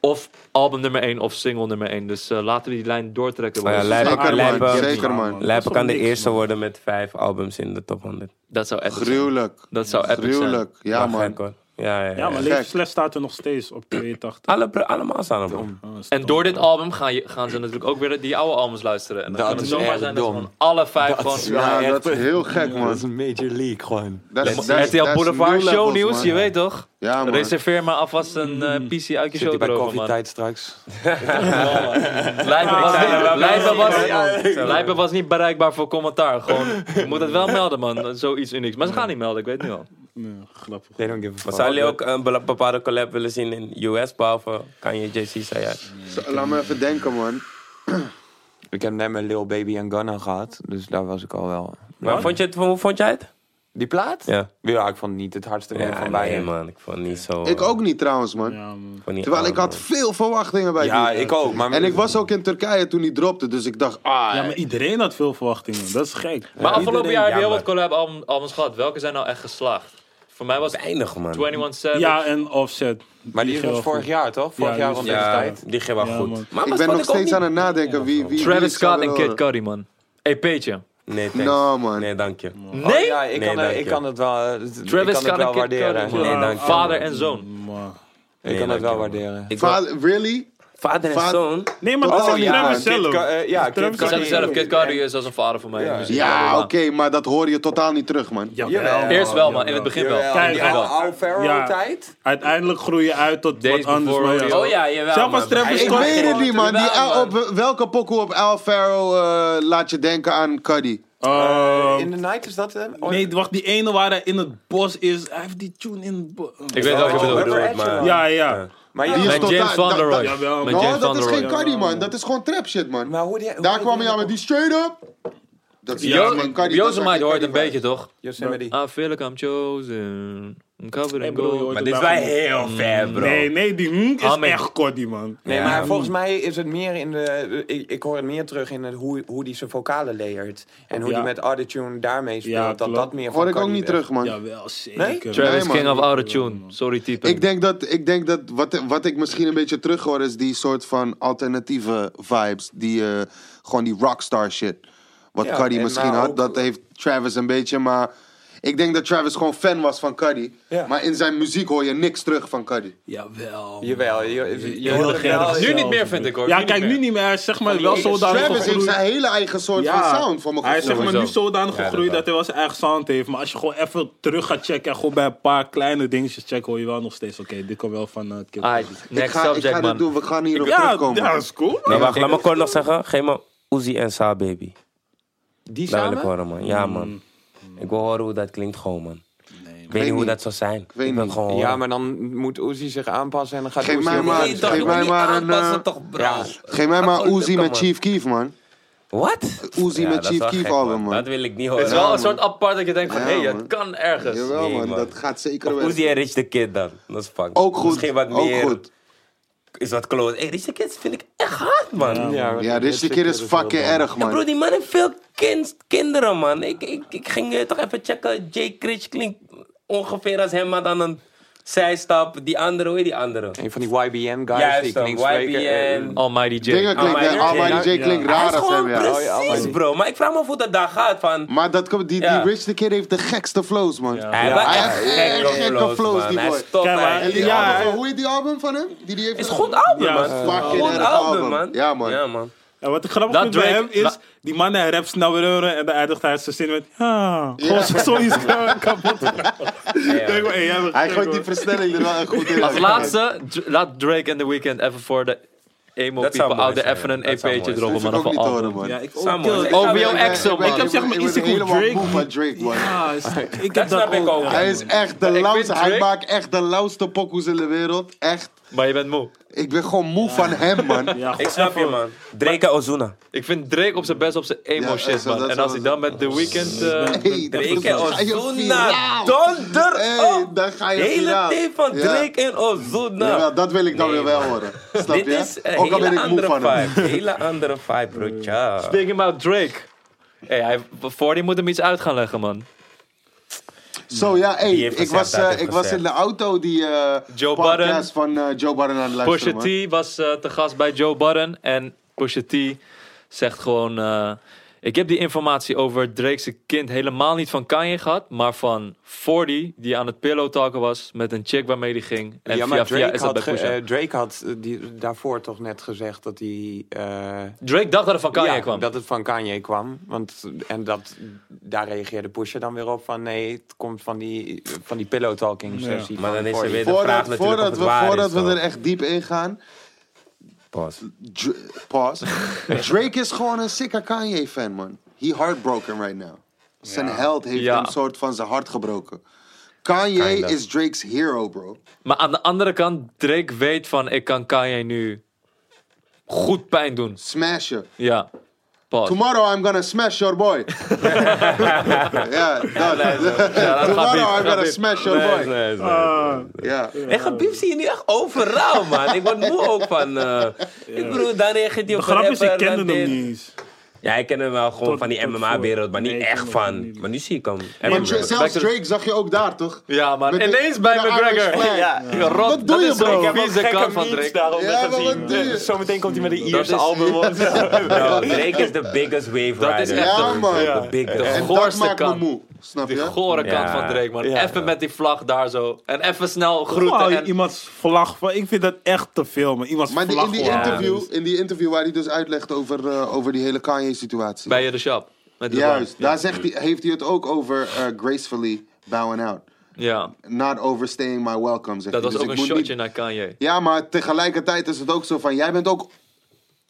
[SPEAKER 2] of album nummer 1 of single nummer 1. Dus eh, laten we die lijn doortrekken.
[SPEAKER 5] Oh ja,
[SPEAKER 2] boys.
[SPEAKER 5] lijp.
[SPEAKER 3] Zeker, man.
[SPEAKER 5] Lijpen.
[SPEAKER 3] Zeker, man.
[SPEAKER 1] Dat
[SPEAKER 5] Lijpen
[SPEAKER 1] is
[SPEAKER 5] kan
[SPEAKER 1] op
[SPEAKER 5] de
[SPEAKER 1] niks,
[SPEAKER 5] eerste
[SPEAKER 1] man.
[SPEAKER 5] worden met vijf albums in de top 100.
[SPEAKER 2] Dat zou echt
[SPEAKER 3] Gruwelijk.
[SPEAKER 2] Dat zou epic zijn.
[SPEAKER 3] Gruwelijk. Ja,
[SPEAKER 5] Wel gek,
[SPEAKER 3] man.
[SPEAKER 5] hoor. Ja, ja, ja.
[SPEAKER 1] Ja, maar
[SPEAKER 3] Gek.
[SPEAKER 1] Levensles staat er nog steeds op 82.
[SPEAKER 5] Alle, bro- allemaal staan er, bro.
[SPEAKER 1] Oh, dat is
[SPEAKER 2] En
[SPEAKER 1] dom.
[SPEAKER 2] door dit album gaan, je, gaan ze natuurlijk ook weer die oude albums luisteren. En dan
[SPEAKER 4] Dat
[SPEAKER 2] kan het
[SPEAKER 4] is
[SPEAKER 2] zomaar
[SPEAKER 4] echt
[SPEAKER 2] zijn dat ze
[SPEAKER 4] dom.
[SPEAKER 2] gewoon alle vijf
[SPEAKER 4] Dat is
[SPEAKER 2] gewoon...
[SPEAKER 3] Ja,
[SPEAKER 4] Ja,
[SPEAKER 3] dat is
[SPEAKER 4] echt.
[SPEAKER 3] heel gek,
[SPEAKER 4] Dat is
[SPEAKER 3] man.
[SPEAKER 4] een major league gewoon.
[SPEAKER 3] Dat is- dat is- dat
[SPEAKER 2] RTL
[SPEAKER 3] is
[SPEAKER 2] Boulevard
[SPEAKER 3] new levels,
[SPEAKER 2] shownieuws,
[SPEAKER 3] man.
[SPEAKER 2] je weet toch?
[SPEAKER 3] Ja, man.
[SPEAKER 2] Reserveer maar alvast een eh, PC uit je
[SPEAKER 4] Zit hij bij
[SPEAKER 2] showdroom, man.
[SPEAKER 4] koffietijd straks?
[SPEAKER 2] Lijpen was,
[SPEAKER 5] Ik zei
[SPEAKER 2] niet-
[SPEAKER 5] dat wel
[SPEAKER 2] Lijpen
[SPEAKER 5] wel.
[SPEAKER 2] was,
[SPEAKER 5] Ja, ja, ja.
[SPEAKER 2] Lijpen was niet bereikbaar voor commentaar. Gewoon, je moet het wel melden, man. Zoiets unieks. Maar ze gaan niet melden, ik weet het nu al.
[SPEAKER 1] Nee, grappig.
[SPEAKER 4] They don't give a fuck.
[SPEAKER 5] Maar zou jullie ook een bela- bepaalde collab willen zien in US, behalve Kanye, JC, zei jij?
[SPEAKER 3] Zo, Laat me even denken, man.
[SPEAKER 4] Ik heb net met Lil Baby en Gunna gehad, dus daar was ik al wel.
[SPEAKER 5] Maar vond je het, hoe vond jij het?
[SPEAKER 4] Die plaat?
[SPEAKER 5] Ja.
[SPEAKER 4] Ja, ik vond het niet het hardste werk
[SPEAKER 5] Ja,
[SPEAKER 4] van
[SPEAKER 5] nee,
[SPEAKER 4] beiden.
[SPEAKER 5] man. Ik vond het niet zo...
[SPEAKER 3] Ik ook niet, trouwens, man.
[SPEAKER 1] Ja, man.
[SPEAKER 5] vond niet
[SPEAKER 3] Terwijl
[SPEAKER 5] aan,
[SPEAKER 3] ik had
[SPEAKER 5] man.
[SPEAKER 3] veel verwachtingen bij
[SPEAKER 4] Ja,
[SPEAKER 3] die.
[SPEAKER 4] ik ook. Maar
[SPEAKER 3] En ik was ook in Turkije toen die dropte, dus ik dacht, ah,
[SPEAKER 1] Ja, maar iedereen had veel verwachtingen. Dat is gek.
[SPEAKER 2] Maar afgelopen jaar heb je heel wat
[SPEAKER 5] jammer.
[SPEAKER 2] collab-albums gehad. Welke zijn nou echt geslaagd? Voor mij was
[SPEAKER 5] Weinig, man.
[SPEAKER 2] 21 Savage.
[SPEAKER 1] Ja, en Offset.
[SPEAKER 4] Maar die was
[SPEAKER 1] geel-
[SPEAKER 4] vorig jaar, toch? Vorig
[SPEAKER 1] Ja,
[SPEAKER 4] jaar
[SPEAKER 1] die
[SPEAKER 4] rond
[SPEAKER 5] dus
[SPEAKER 1] is-
[SPEAKER 4] deze
[SPEAKER 1] ja.
[SPEAKER 4] tijd.
[SPEAKER 5] Die ging wel
[SPEAKER 1] Ja, man.
[SPEAKER 5] goed. Maar
[SPEAKER 3] ik
[SPEAKER 5] anders
[SPEAKER 3] ben
[SPEAKER 5] vond
[SPEAKER 3] nog
[SPEAKER 5] ook
[SPEAKER 3] steeds
[SPEAKER 5] niet-
[SPEAKER 3] aan het nadenken wie, wie wie ik
[SPEAKER 2] Travis
[SPEAKER 3] zou eh,
[SPEAKER 2] Scott en
[SPEAKER 3] willen
[SPEAKER 2] Kid
[SPEAKER 3] horen.
[SPEAKER 2] Cudi, man. EP'tje.
[SPEAKER 5] Nee, thanks.
[SPEAKER 3] No, Nou, man.
[SPEAKER 5] Nee, dank je.
[SPEAKER 4] Oh,
[SPEAKER 2] Nee?
[SPEAKER 4] ja, ik,
[SPEAKER 5] Nee,
[SPEAKER 4] kan,
[SPEAKER 5] dank
[SPEAKER 4] het- ik
[SPEAKER 5] je.
[SPEAKER 4] kan het wel, eh, ik kan
[SPEAKER 2] Travis
[SPEAKER 4] het
[SPEAKER 2] Scott en
[SPEAKER 4] wel
[SPEAKER 2] Kid
[SPEAKER 4] waarderen.
[SPEAKER 2] Cudi,
[SPEAKER 5] Nee,
[SPEAKER 2] man.
[SPEAKER 5] dank je.
[SPEAKER 2] Vader en zoon.
[SPEAKER 1] Maar-
[SPEAKER 4] Ik kan
[SPEAKER 5] dank
[SPEAKER 4] het
[SPEAKER 5] je,
[SPEAKER 4] wel
[SPEAKER 5] man.
[SPEAKER 4] waarderen.
[SPEAKER 5] Ik wil-
[SPEAKER 3] Va- really?
[SPEAKER 5] Vader en
[SPEAKER 3] Va-
[SPEAKER 5] zoon?
[SPEAKER 1] Nee, maar dat
[SPEAKER 3] Oh,
[SPEAKER 1] zegt
[SPEAKER 3] ja,
[SPEAKER 1] Travis
[SPEAKER 4] Kid
[SPEAKER 1] zelf.
[SPEAKER 4] Ka- eh, ja,
[SPEAKER 1] Dat
[SPEAKER 4] Kid
[SPEAKER 1] Travis
[SPEAKER 2] Ik zeg
[SPEAKER 4] Cudi.
[SPEAKER 2] het
[SPEAKER 1] zelf.
[SPEAKER 2] zelf, Kid Cudi is als een vader voor mij. in de muziek.
[SPEAKER 3] Ja, oké,
[SPEAKER 2] maar-
[SPEAKER 3] maar dat hoor je totaal niet terug, man.
[SPEAKER 1] Ja,
[SPEAKER 4] Jawel.
[SPEAKER 1] wel.
[SPEAKER 2] Eerst wel, man. In het begin wel.
[SPEAKER 4] Jawel,
[SPEAKER 1] Kijk,
[SPEAKER 4] die
[SPEAKER 1] hij-
[SPEAKER 4] oude oude Pharaoh tijd.
[SPEAKER 1] Uiteindelijk groei je uit tot
[SPEAKER 2] Days
[SPEAKER 1] wat anders.
[SPEAKER 2] Before
[SPEAKER 1] Maar ja.
[SPEAKER 2] Radio.
[SPEAKER 5] Oh ja, jawel,
[SPEAKER 1] Zelf
[SPEAKER 5] man.
[SPEAKER 1] als Travis
[SPEAKER 3] Ik
[SPEAKER 1] Scott-
[SPEAKER 3] weet het niet, man. Die
[SPEAKER 5] Jawel,
[SPEAKER 3] Al- op,
[SPEAKER 5] man.
[SPEAKER 3] welke pokoe op Al Farrow eh, laat je denken aan Cuddy?
[SPEAKER 1] Ehm,
[SPEAKER 4] Eh, In the Night is dat Oh, hem?
[SPEAKER 1] nee, wacht, die ene waar hij in het bos is. Hij heeft die tune in het bos.
[SPEAKER 2] Ik weet welke
[SPEAKER 4] Oh,
[SPEAKER 2] je bedoelt.
[SPEAKER 4] Rubber
[SPEAKER 5] bedoelt,
[SPEAKER 4] Edge
[SPEAKER 5] maar-
[SPEAKER 4] wel.
[SPEAKER 1] Ja, ja.
[SPEAKER 4] Maar
[SPEAKER 3] Die
[SPEAKER 4] ja,
[SPEAKER 3] is
[SPEAKER 2] Met
[SPEAKER 3] totaal-
[SPEAKER 2] James
[SPEAKER 3] dat-
[SPEAKER 2] Van der Roy.
[SPEAKER 1] dat- jawel,
[SPEAKER 2] Met
[SPEAKER 1] man.
[SPEAKER 2] James
[SPEAKER 3] No,
[SPEAKER 2] Van
[SPEAKER 3] dat
[SPEAKER 2] der
[SPEAKER 3] is geen
[SPEAKER 2] Roy.
[SPEAKER 3] Cuddy, man. Dat is gewoon trap shit, man.
[SPEAKER 4] maar hoe die...
[SPEAKER 3] Daar kwam je aan met die straight up. Dat is
[SPEAKER 1] Ja,
[SPEAKER 3] dat is geen Cudi, dat is
[SPEAKER 2] Josemite
[SPEAKER 3] geen
[SPEAKER 2] hoort
[SPEAKER 3] Cudi
[SPEAKER 2] een
[SPEAKER 3] vibe.
[SPEAKER 2] beetje, toch?
[SPEAKER 4] Yosemite.
[SPEAKER 2] I feel like Ah, I'm chosen. I'm covered
[SPEAKER 1] Ik
[SPEAKER 2] in
[SPEAKER 1] bedoel, je
[SPEAKER 2] gold.
[SPEAKER 1] hoort
[SPEAKER 5] Maar
[SPEAKER 1] het
[SPEAKER 5] dit is wel
[SPEAKER 1] daar-
[SPEAKER 5] heel ver, bro.
[SPEAKER 1] Nee, nee, die hm is
[SPEAKER 2] Amen.
[SPEAKER 1] echt Cody, man.
[SPEAKER 4] Nee,
[SPEAKER 5] Ja.
[SPEAKER 4] maar volgens mij is het meer in de. Ik, ik hoor het meer terug in het, hoe, hoe die zijn vocalen layert. En hoe
[SPEAKER 1] Ja.
[SPEAKER 4] die met autotune daarmee speelt.
[SPEAKER 1] Ja,
[SPEAKER 4] dat
[SPEAKER 1] klopt.
[SPEAKER 4] dat meer van
[SPEAKER 3] Hoor ik ook
[SPEAKER 4] Cardi
[SPEAKER 3] niet
[SPEAKER 4] weg.
[SPEAKER 3] terug, man.
[SPEAKER 1] Jawel, zeker.
[SPEAKER 2] Travis
[SPEAKER 3] Nee, man.
[SPEAKER 2] King of Outer Tune. Sorry, type.
[SPEAKER 3] Ik denk dat, ik denk dat wat, wat ik misschien een beetje terughoor is die soort van alternatieve vibes. Die, eh, gewoon die rockstar shit. Wat
[SPEAKER 4] Ja,
[SPEAKER 3] Cuddy
[SPEAKER 4] en
[SPEAKER 3] misschien
[SPEAKER 4] maar
[SPEAKER 3] had,
[SPEAKER 4] ook-
[SPEAKER 3] dat heeft Travis een beetje. Maar ik denk dat Travis gewoon fan was van Cuddy.
[SPEAKER 4] Ja.
[SPEAKER 3] Maar in zijn muziek hoor je niks terug van Cuddy.
[SPEAKER 1] Jawel.
[SPEAKER 4] Jawel, je, je, je
[SPEAKER 1] Heel
[SPEAKER 4] hoort het
[SPEAKER 1] erg
[SPEAKER 4] wel.
[SPEAKER 1] erg.
[SPEAKER 2] Nu niet meer, vind ik hoor.
[SPEAKER 1] Ja,
[SPEAKER 2] Nu
[SPEAKER 1] kijk,
[SPEAKER 2] meer.
[SPEAKER 1] nu niet meer. Hij is zeg maar
[SPEAKER 4] die
[SPEAKER 1] wel
[SPEAKER 4] ene-
[SPEAKER 1] zodanig
[SPEAKER 3] Travis heeft
[SPEAKER 1] Oh, gegroeid.
[SPEAKER 3] zijn hele eigen soort van sound voor me
[SPEAKER 1] Hij is zeg maar nu
[SPEAKER 2] Sowieso.
[SPEAKER 1] zodanig
[SPEAKER 5] Ja,
[SPEAKER 1] gegroeid
[SPEAKER 5] dat
[SPEAKER 1] dat hij wel zijn eigen sound heeft. Maar als je gewoon even terug gaat checken en gewoon bij een paar kleine dingetjes checken, hoor je wel nog steeds, oké, dit komt wel van eh Kid
[SPEAKER 5] Ah,
[SPEAKER 1] Cudi.
[SPEAKER 2] Aight,
[SPEAKER 3] Ik
[SPEAKER 2] Ah, next
[SPEAKER 3] ga, ik
[SPEAKER 2] subject,
[SPEAKER 3] ga dit
[SPEAKER 2] man.
[SPEAKER 3] doen, we gaan hierop
[SPEAKER 1] Ja,
[SPEAKER 3] terugkomen.
[SPEAKER 1] ja, dat is cool.
[SPEAKER 5] Nee, wacht, laat me kort nog zeggen. Geef me Uzi en Sa Baby.
[SPEAKER 4] Die
[SPEAKER 5] Dat wil ik
[SPEAKER 4] samen?
[SPEAKER 5] horen, man. Ja, man. Ik wil horen hoe dat klinkt gewoon, man. Ik weet niet hoe
[SPEAKER 3] niet.
[SPEAKER 5] dat zou zijn. Ik
[SPEAKER 3] weet
[SPEAKER 5] wil
[SPEAKER 3] niet.
[SPEAKER 5] gewoon horen.
[SPEAKER 4] Ja, maar dan moet Uzi zich aanpassen en dan gaat
[SPEAKER 3] Geef
[SPEAKER 4] Uzi
[SPEAKER 3] mij
[SPEAKER 4] ook-
[SPEAKER 3] maar-
[SPEAKER 5] Nee, toch,
[SPEAKER 3] geef
[SPEAKER 5] je
[SPEAKER 3] mij
[SPEAKER 5] moet niet
[SPEAKER 3] maar een,
[SPEAKER 5] aanpassen,
[SPEAKER 3] eh,
[SPEAKER 5] toch, bro.
[SPEAKER 4] Ja.
[SPEAKER 3] Geef mij maar
[SPEAKER 5] Oezie
[SPEAKER 3] Uzi met Chief Keef, man.
[SPEAKER 5] Wat?
[SPEAKER 3] Uzi met
[SPEAKER 5] dat is
[SPEAKER 3] Chief
[SPEAKER 5] wel
[SPEAKER 3] Keef
[SPEAKER 5] gek,
[SPEAKER 3] album, man.
[SPEAKER 5] Dat wil ik niet
[SPEAKER 2] Het
[SPEAKER 5] horen.
[SPEAKER 2] is wel
[SPEAKER 3] man.
[SPEAKER 2] een soort apart dat je denkt van,
[SPEAKER 3] Ja,
[SPEAKER 2] hé, het
[SPEAKER 3] man.
[SPEAKER 2] kan ergens.
[SPEAKER 3] Jawel,
[SPEAKER 5] Nee,
[SPEAKER 3] man,
[SPEAKER 5] man.
[SPEAKER 3] dat gaat zeker
[SPEAKER 5] Of
[SPEAKER 3] wel.
[SPEAKER 5] Uzi en Rich the Kid dan. Dat is fuck.
[SPEAKER 3] Ook goed,
[SPEAKER 5] Misschien wat
[SPEAKER 3] ook
[SPEAKER 5] meer.
[SPEAKER 3] goed.
[SPEAKER 5] Is wat close. Hey, Rich the Kid vind ik echt hard, man.
[SPEAKER 4] maar
[SPEAKER 3] Ja,
[SPEAKER 4] dit-
[SPEAKER 3] dit
[SPEAKER 4] dit
[SPEAKER 3] keer is
[SPEAKER 4] zit er
[SPEAKER 3] fucking
[SPEAKER 4] wel
[SPEAKER 3] erg,
[SPEAKER 5] Ja, bro,
[SPEAKER 3] man.
[SPEAKER 5] die man heeft veel kind, kinderen, man. Ik, ik, ik ging eh, toch even checken. Jay Critch klinkt ongeveer als hem, maar dan een Zij stap, die andere, hoe heet die andere?
[SPEAKER 4] Een van die YBN-guys
[SPEAKER 5] Juist
[SPEAKER 4] die ik
[SPEAKER 5] dan,
[SPEAKER 4] niet spreek. eh,
[SPEAKER 5] YBN.
[SPEAKER 2] Almighty J.
[SPEAKER 3] Dingen klinkt,
[SPEAKER 5] Almighty
[SPEAKER 3] Almighty,
[SPEAKER 5] J.
[SPEAKER 3] J klinkt
[SPEAKER 5] Hij is
[SPEAKER 3] raar als
[SPEAKER 5] gewoon
[SPEAKER 3] hem, ja. Mm.
[SPEAKER 5] precies,
[SPEAKER 4] Oh, ja, Almighty.
[SPEAKER 5] bro. Maar ik vraag me af hoe dat daar gaat van...
[SPEAKER 3] Maar dat, komt- die,
[SPEAKER 5] Ja.
[SPEAKER 3] die Rich the Kid heeft de gekste flows, man.
[SPEAKER 5] Hij heeft
[SPEAKER 3] Hij
[SPEAKER 5] echt
[SPEAKER 3] heeft echt
[SPEAKER 5] gekke
[SPEAKER 3] gekke
[SPEAKER 5] flows,
[SPEAKER 3] flows,
[SPEAKER 5] man.
[SPEAKER 3] die
[SPEAKER 5] Hij
[SPEAKER 3] boy.
[SPEAKER 5] is top,
[SPEAKER 1] Kijk, maar-
[SPEAKER 5] man.
[SPEAKER 3] En die
[SPEAKER 1] Ja,
[SPEAKER 3] album,
[SPEAKER 1] hij-
[SPEAKER 3] van- hoe heet die album van hem? Die die heeft
[SPEAKER 5] is een goed album,
[SPEAKER 1] Ja,
[SPEAKER 5] man.
[SPEAKER 1] eh,
[SPEAKER 3] fucking
[SPEAKER 5] Goed
[SPEAKER 3] erg
[SPEAKER 5] album,
[SPEAKER 3] album.
[SPEAKER 5] man.
[SPEAKER 3] Ja, man.
[SPEAKER 5] Ja, man.
[SPEAKER 1] En wat ik grappig
[SPEAKER 2] Dat
[SPEAKER 1] vind bij hem
[SPEAKER 2] Drake-
[SPEAKER 1] is,
[SPEAKER 2] dat-
[SPEAKER 1] die man hij rapt snel weer horen en dan eindigt hij zijn zin met ja, gewoon zo zoiets eh, kapot. Ik denk wel, hey, jij bent
[SPEAKER 3] Hij
[SPEAKER 1] gek,
[SPEAKER 3] gooit die
[SPEAKER 1] hoor.
[SPEAKER 3] versnelling er wel echt goed in.
[SPEAKER 2] Als laatste, Dr- laat Drake en The Weeknd even voor de emo
[SPEAKER 5] Dat zou
[SPEAKER 2] people
[SPEAKER 5] mooi
[SPEAKER 2] out there
[SPEAKER 5] zijn,
[SPEAKER 2] even een
[SPEAKER 5] dat zou
[SPEAKER 2] EP'tje
[SPEAKER 5] mooi zijn.
[SPEAKER 2] droppen,
[SPEAKER 3] Dat
[SPEAKER 2] man.
[SPEAKER 3] vind
[SPEAKER 2] Of
[SPEAKER 3] ik ook
[SPEAKER 2] een
[SPEAKER 3] niet te horen,
[SPEAKER 2] album.
[SPEAKER 3] man.
[SPEAKER 1] Ja, ik ook.
[SPEAKER 5] Samen, hoor.
[SPEAKER 1] Kill-
[SPEAKER 5] Ik-
[SPEAKER 2] Over jouw
[SPEAKER 3] ben-
[SPEAKER 2] ex, man.
[SPEAKER 3] ben-
[SPEAKER 2] Ik heb zeg maar
[SPEAKER 3] ben
[SPEAKER 1] iets te goed
[SPEAKER 3] helemaal
[SPEAKER 1] Drake.
[SPEAKER 3] moe van Drake, man.
[SPEAKER 1] Ja, Ah, is- ik
[SPEAKER 5] Dat
[SPEAKER 1] heb
[SPEAKER 5] snap
[SPEAKER 1] dat
[SPEAKER 5] ik ook.
[SPEAKER 1] ook.
[SPEAKER 3] Hij is echt de
[SPEAKER 2] vind
[SPEAKER 3] lauwste. Hij
[SPEAKER 2] Drake-
[SPEAKER 3] maakt echt de lauwste pokoes in de wereld. Echt.
[SPEAKER 2] Maar je bent moe.
[SPEAKER 3] Ik ben gewoon moe van hem, man.
[SPEAKER 1] Ja,
[SPEAKER 5] Ik snap je, man. Drake en Ozuna.
[SPEAKER 2] Ik vind Drake op zijn best op zijn emo
[SPEAKER 3] Ja,
[SPEAKER 2] shit,
[SPEAKER 3] zo,
[SPEAKER 2] man.
[SPEAKER 3] dat
[SPEAKER 2] En
[SPEAKER 3] zou-
[SPEAKER 2] als hij dan met The Weeknd... eh,
[SPEAKER 3] Hey, dat is
[SPEAKER 5] Drake en
[SPEAKER 3] Ga je
[SPEAKER 5] Ozuna.
[SPEAKER 3] viraal.
[SPEAKER 5] Donder
[SPEAKER 3] Hey,
[SPEAKER 5] op.
[SPEAKER 3] dan ga je
[SPEAKER 5] Oh, Hele
[SPEAKER 3] viraal.
[SPEAKER 5] team van
[SPEAKER 3] Ja.
[SPEAKER 5] Drake en
[SPEAKER 3] Jawel,
[SPEAKER 5] Ozuna.
[SPEAKER 3] dat wil ik dan
[SPEAKER 5] Nee,
[SPEAKER 3] weer wel
[SPEAKER 5] man.
[SPEAKER 3] horen. Snap
[SPEAKER 5] Dit
[SPEAKER 3] je?
[SPEAKER 5] is een
[SPEAKER 3] Ook al ben
[SPEAKER 5] hele
[SPEAKER 3] ik moe
[SPEAKER 5] andere
[SPEAKER 3] van hem.
[SPEAKER 5] vibe. Hele andere vibe, bro. Ja.
[SPEAKER 2] Speaking about Drake. Hey, hij, voor die moet hem iets uit gaan leggen, man.
[SPEAKER 3] Zo ja, hey,
[SPEAKER 5] Die heeft
[SPEAKER 3] ik,
[SPEAKER 5] gezegd,
[SPEAKER 3] was,
[SPEAKER 5] dat
[SPEAKER 3] eh,
[SPEAKER 5] heeft
[SPEAKER 3] ik was in
[SPEAKER 5] gezegd.
[SPEAKER 3] de auto die eh
[SPEAKER 2] Joe
[SPEAKER 3] podcast van eh, Joe Budden aan het
[SPEAKER 2] Pusha
[SPEAKER 3] luisteren. man.
[SPEAKER 2] T was eh, te gast bij Joe Budden. En Pusha T zegt gewoon... eh, ik heb die informatie over Drake's kind helemaal niet van Kanye gehad... maar van 40, die aan het pillow talken was... met een chick waarmee die ging. En
[SPEAKER 4] ja,
[SPEAKER 2] via
[SPEAKER 4] maar
[SPEAKER 2] via
[SPEAKER 4] Drake,
[SPEAKER 2] is dat
[SPEAKER 4] had,
[SPEAKER 2] bij
[SPEAKER 4] ge-
[SPEAKER 2] Pusha.
[SPEAKER 4] eh, Drake had eh, die, daarvoor toch net gezegd dat hij... eh,
[SPEAKER 2] Drake dacht dat het van Kanye
[SPEAKER 4] ja,
[SPEAKER 2] kwam.
[SPEAKER 4] dat het van Kanye kwam. Want, en dat, daar reageerde Pusha dan weer op van... nee, het komt van die, van die pillow talking sessie.
[SPEAKER 5] Maar
[SPEAKER 4] van
[SPEAKER 5] dan is er
[SPEAKER 4] Corey.
[SPEAKER 5] weer de vraag
[SPEAKER 3] Voordat,
[SPEAKER 5] natuurlijk of
[SPEAKER 3] voordat
[SPEAKER 5] het
[SPEAKER 3] we,
[SPEAKER 5] waar
[SPEAKER 3] voordat
[SPEAKER 5] is.
[SPEAKER 3] we
[SPEAKER 5] man.
[SPEAKER 3] er echt diep in gaan.
[SPEAKER 5] Pause.
[SPEAKER 3] Dr- pause. Drake is gewoon een sicker Kanye fan, man. He heartbroken right now. Zijn held heeft
[SPEAKER 2] Ja.
[SPEAKER 3] hem soort van zijn hart gebroken. Kanye
[SPEAKER 5] Kinda.
[SPEAKER 3] is Drake's hero, bro.
[SPEAKER 2] Maar aan de andere kant, Drake weet van... ik kan Kanye nu goed pijn doen.
[SPEAKER 3] Smash je.
[SPEAKER 2] Ja. Pause.
[SPEAKER 3] Tomorrow I'm gonna smash your boy. ja, dat. Tomorrow I'm gonna smash your
[SPEAKER 5] Nee,
[SPEAKER 3] boy.
[SPEAKER 5] nee, nee.
[SPEAKER 1] Eh,
[SPEAKER 3] Ja.
[SPEAKER 5] Echt, een bief zie je nu echt overal, man. Ik word moe ook van... eh Ik bedoel, dan reageert hij
[SPEAKER 1] De
[SPEAKER 5] op
[SPEAKER 1] grap is, ik
[SPEAKER 5] rapper, dan
[SPEAKER 1] kende
[SPEAKER 5] dit.
[SPEAKER 1] hem niet eens.
[SPEAKER 5] Ja, ik ken hem wel gewoon
[SPEAKER 1] Tot-
[SPEAKER 5] van die
[SPEAKER 1] tot
[SPEAKER 5] MMA-wereld, maar
[SPEAKER 1] voor-
[SPEAKER 5] niet
[SPEAKER 1] Nee, ik
[SPEAKER 5] echt
[SPEAKER 1] ken hem
[SPEAKER 5] van.
[SPEAKER 1] niet.
[SPEAKER 5] Maar nu zie ik hem.
[SPEAKER 3] Maar
[SPEAKER 5] Eminem.
[SPEAKER 3] Dra- zelfs Drake zag je ook daar, toch?
[SPEAKER 2] Ja, maar
[SPEAKER 3] Met de-
[SPEAKER 2] ineens bij
[SPEAKER 3] met de Irish
[SPEAKER 2] McGregor.
[SPEAKER 3] flag.
[SPEAKER 2] Ja, rot.
[SPEAKER 3] Wat doe je,
[SPEAKER 2] dat is
[SPEAKER 3] bro?
[SPEAKER 2] zo'n
[SPEAKER 3] Ik heb
[SPEAKER 2] vieze kant van Drake.
[SPEAKER 4] daarom
[SPEAKER 3] Ja, maar wat doe je?
[SPEAKER 4] Zometeen komt hij met een
[SPEAKER 2] Ierse
[SPEAKER 4] album.
[SPEAKER 5] Bro, Drake is de biggest wave rider.
[SPEAKER 2] is echt
[SPEAKER 3] Ja,
[SPEAKER 2] de-
[SPEAKER 3] man.
[SPEAKER 5] de biggest.
[SPEAKER 2] de
[SPEAKER 3] En dat
[SPEAKER 2] goorste
[SPEAKER 3] maakt me
[SPEAKER 2] kant.
[SPEAKER 3] moe. Snap
[SPEAKER 2] De
[SPEAKER 3] je?
[SPEAKER 2] gore
[SPEAKER 5] Ja.
[SPEAKER 2] kant van Drake, man.
[SPEAKER 4] Ja.
[SPEAKER 2] Even met die vlag daar zo. En even snel
[SPEAKER 1] Hoe hou
[SPEAKER 2] groeten.
[SPEAKER 1] je
[SPEAKER 2] En...
[SPEAKER 1] iemands vlag van? Ik vind dat echt te veel, man. Iemands
[SPEAKER 3] Maar die-
[SPEAKER 1] vlag
[SPEAKER 3] in, die
[SPEAKER 1] horen.
[SPEAKER 3] interview, in die interview waar hij dus uitlegt over, eh, over die hele Kanye-situatie.
[SPEAKER 2] Bij je de shop. Met de
[SPEAKER 3] Juist,
[SPEAKER 2] vlag.
[SPEAKER 3] daar zegt hij, heeft hij het ook over eh, gracefully bowing out.
[SPEAKER 2] Ja,
[SPEAKER 3] Not overstaying my welcome,
[SPEAKER 2] dat
[SPEAKER 3] zegt hij.
[SPEAKER 2] was
[SPEAKER 3] Dus
[SPEAKER 2] ook
[SPEAKER 3] ik
[SPEAKER 2] een
[SPEAKER 3] moet niet-
[SPEAKER 2] shotje naar Kanye.
[SPEAKER 3] Ja, maar tegelijkertijd is het ook zo van, jij bent ook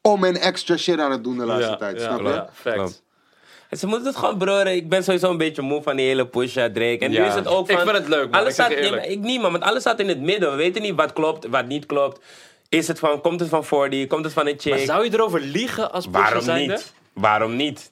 [SPEAKER 3] om en extra shit aan het doen de laatste
[SPEAKER 2] Ja,
[SPEAKER 3] tijd,
[SPEAKER 2] ja,
[SPEAKER 3] snap je?
[SPEAKER 2] ja, Facts.
[SPEAKER 5] Klopt. En Ze moeten het gewoon broren. Ik ben sowieso een beetje moe van die hele Pusha Drake. En
[SPEAKER 2] Ja.
[SPEAKER 5] nu is het ook
[SPEAKER 2] Ik
[SPEAKER 5] van...
[SPEAKER 2] vind het leuk, man.
[SPEAKER 5] Alles
[SPEAKER 2] Ik zeg
[SPEAKER 5] staat,
[SPEAKER 2] je
[SPEAKER 5] nee,
[SPEAKER 2] eerlijk.
[SPEAKER 5] maar ik niet, man. Want alles staat in het midden. We weten niet wat klopt, wat niet klopt. Is het van... Komt het van 40? Komt het van een
[SPEAKER 2] Maar
[SPEAKER 5] chick?
[SPEAKER 2] zou je erover liegen als Pusha
[SPEAKER 5] Waarom
[SPEAKER 2] zijnde?
[SPEAKER 5] niet? Waarom niet?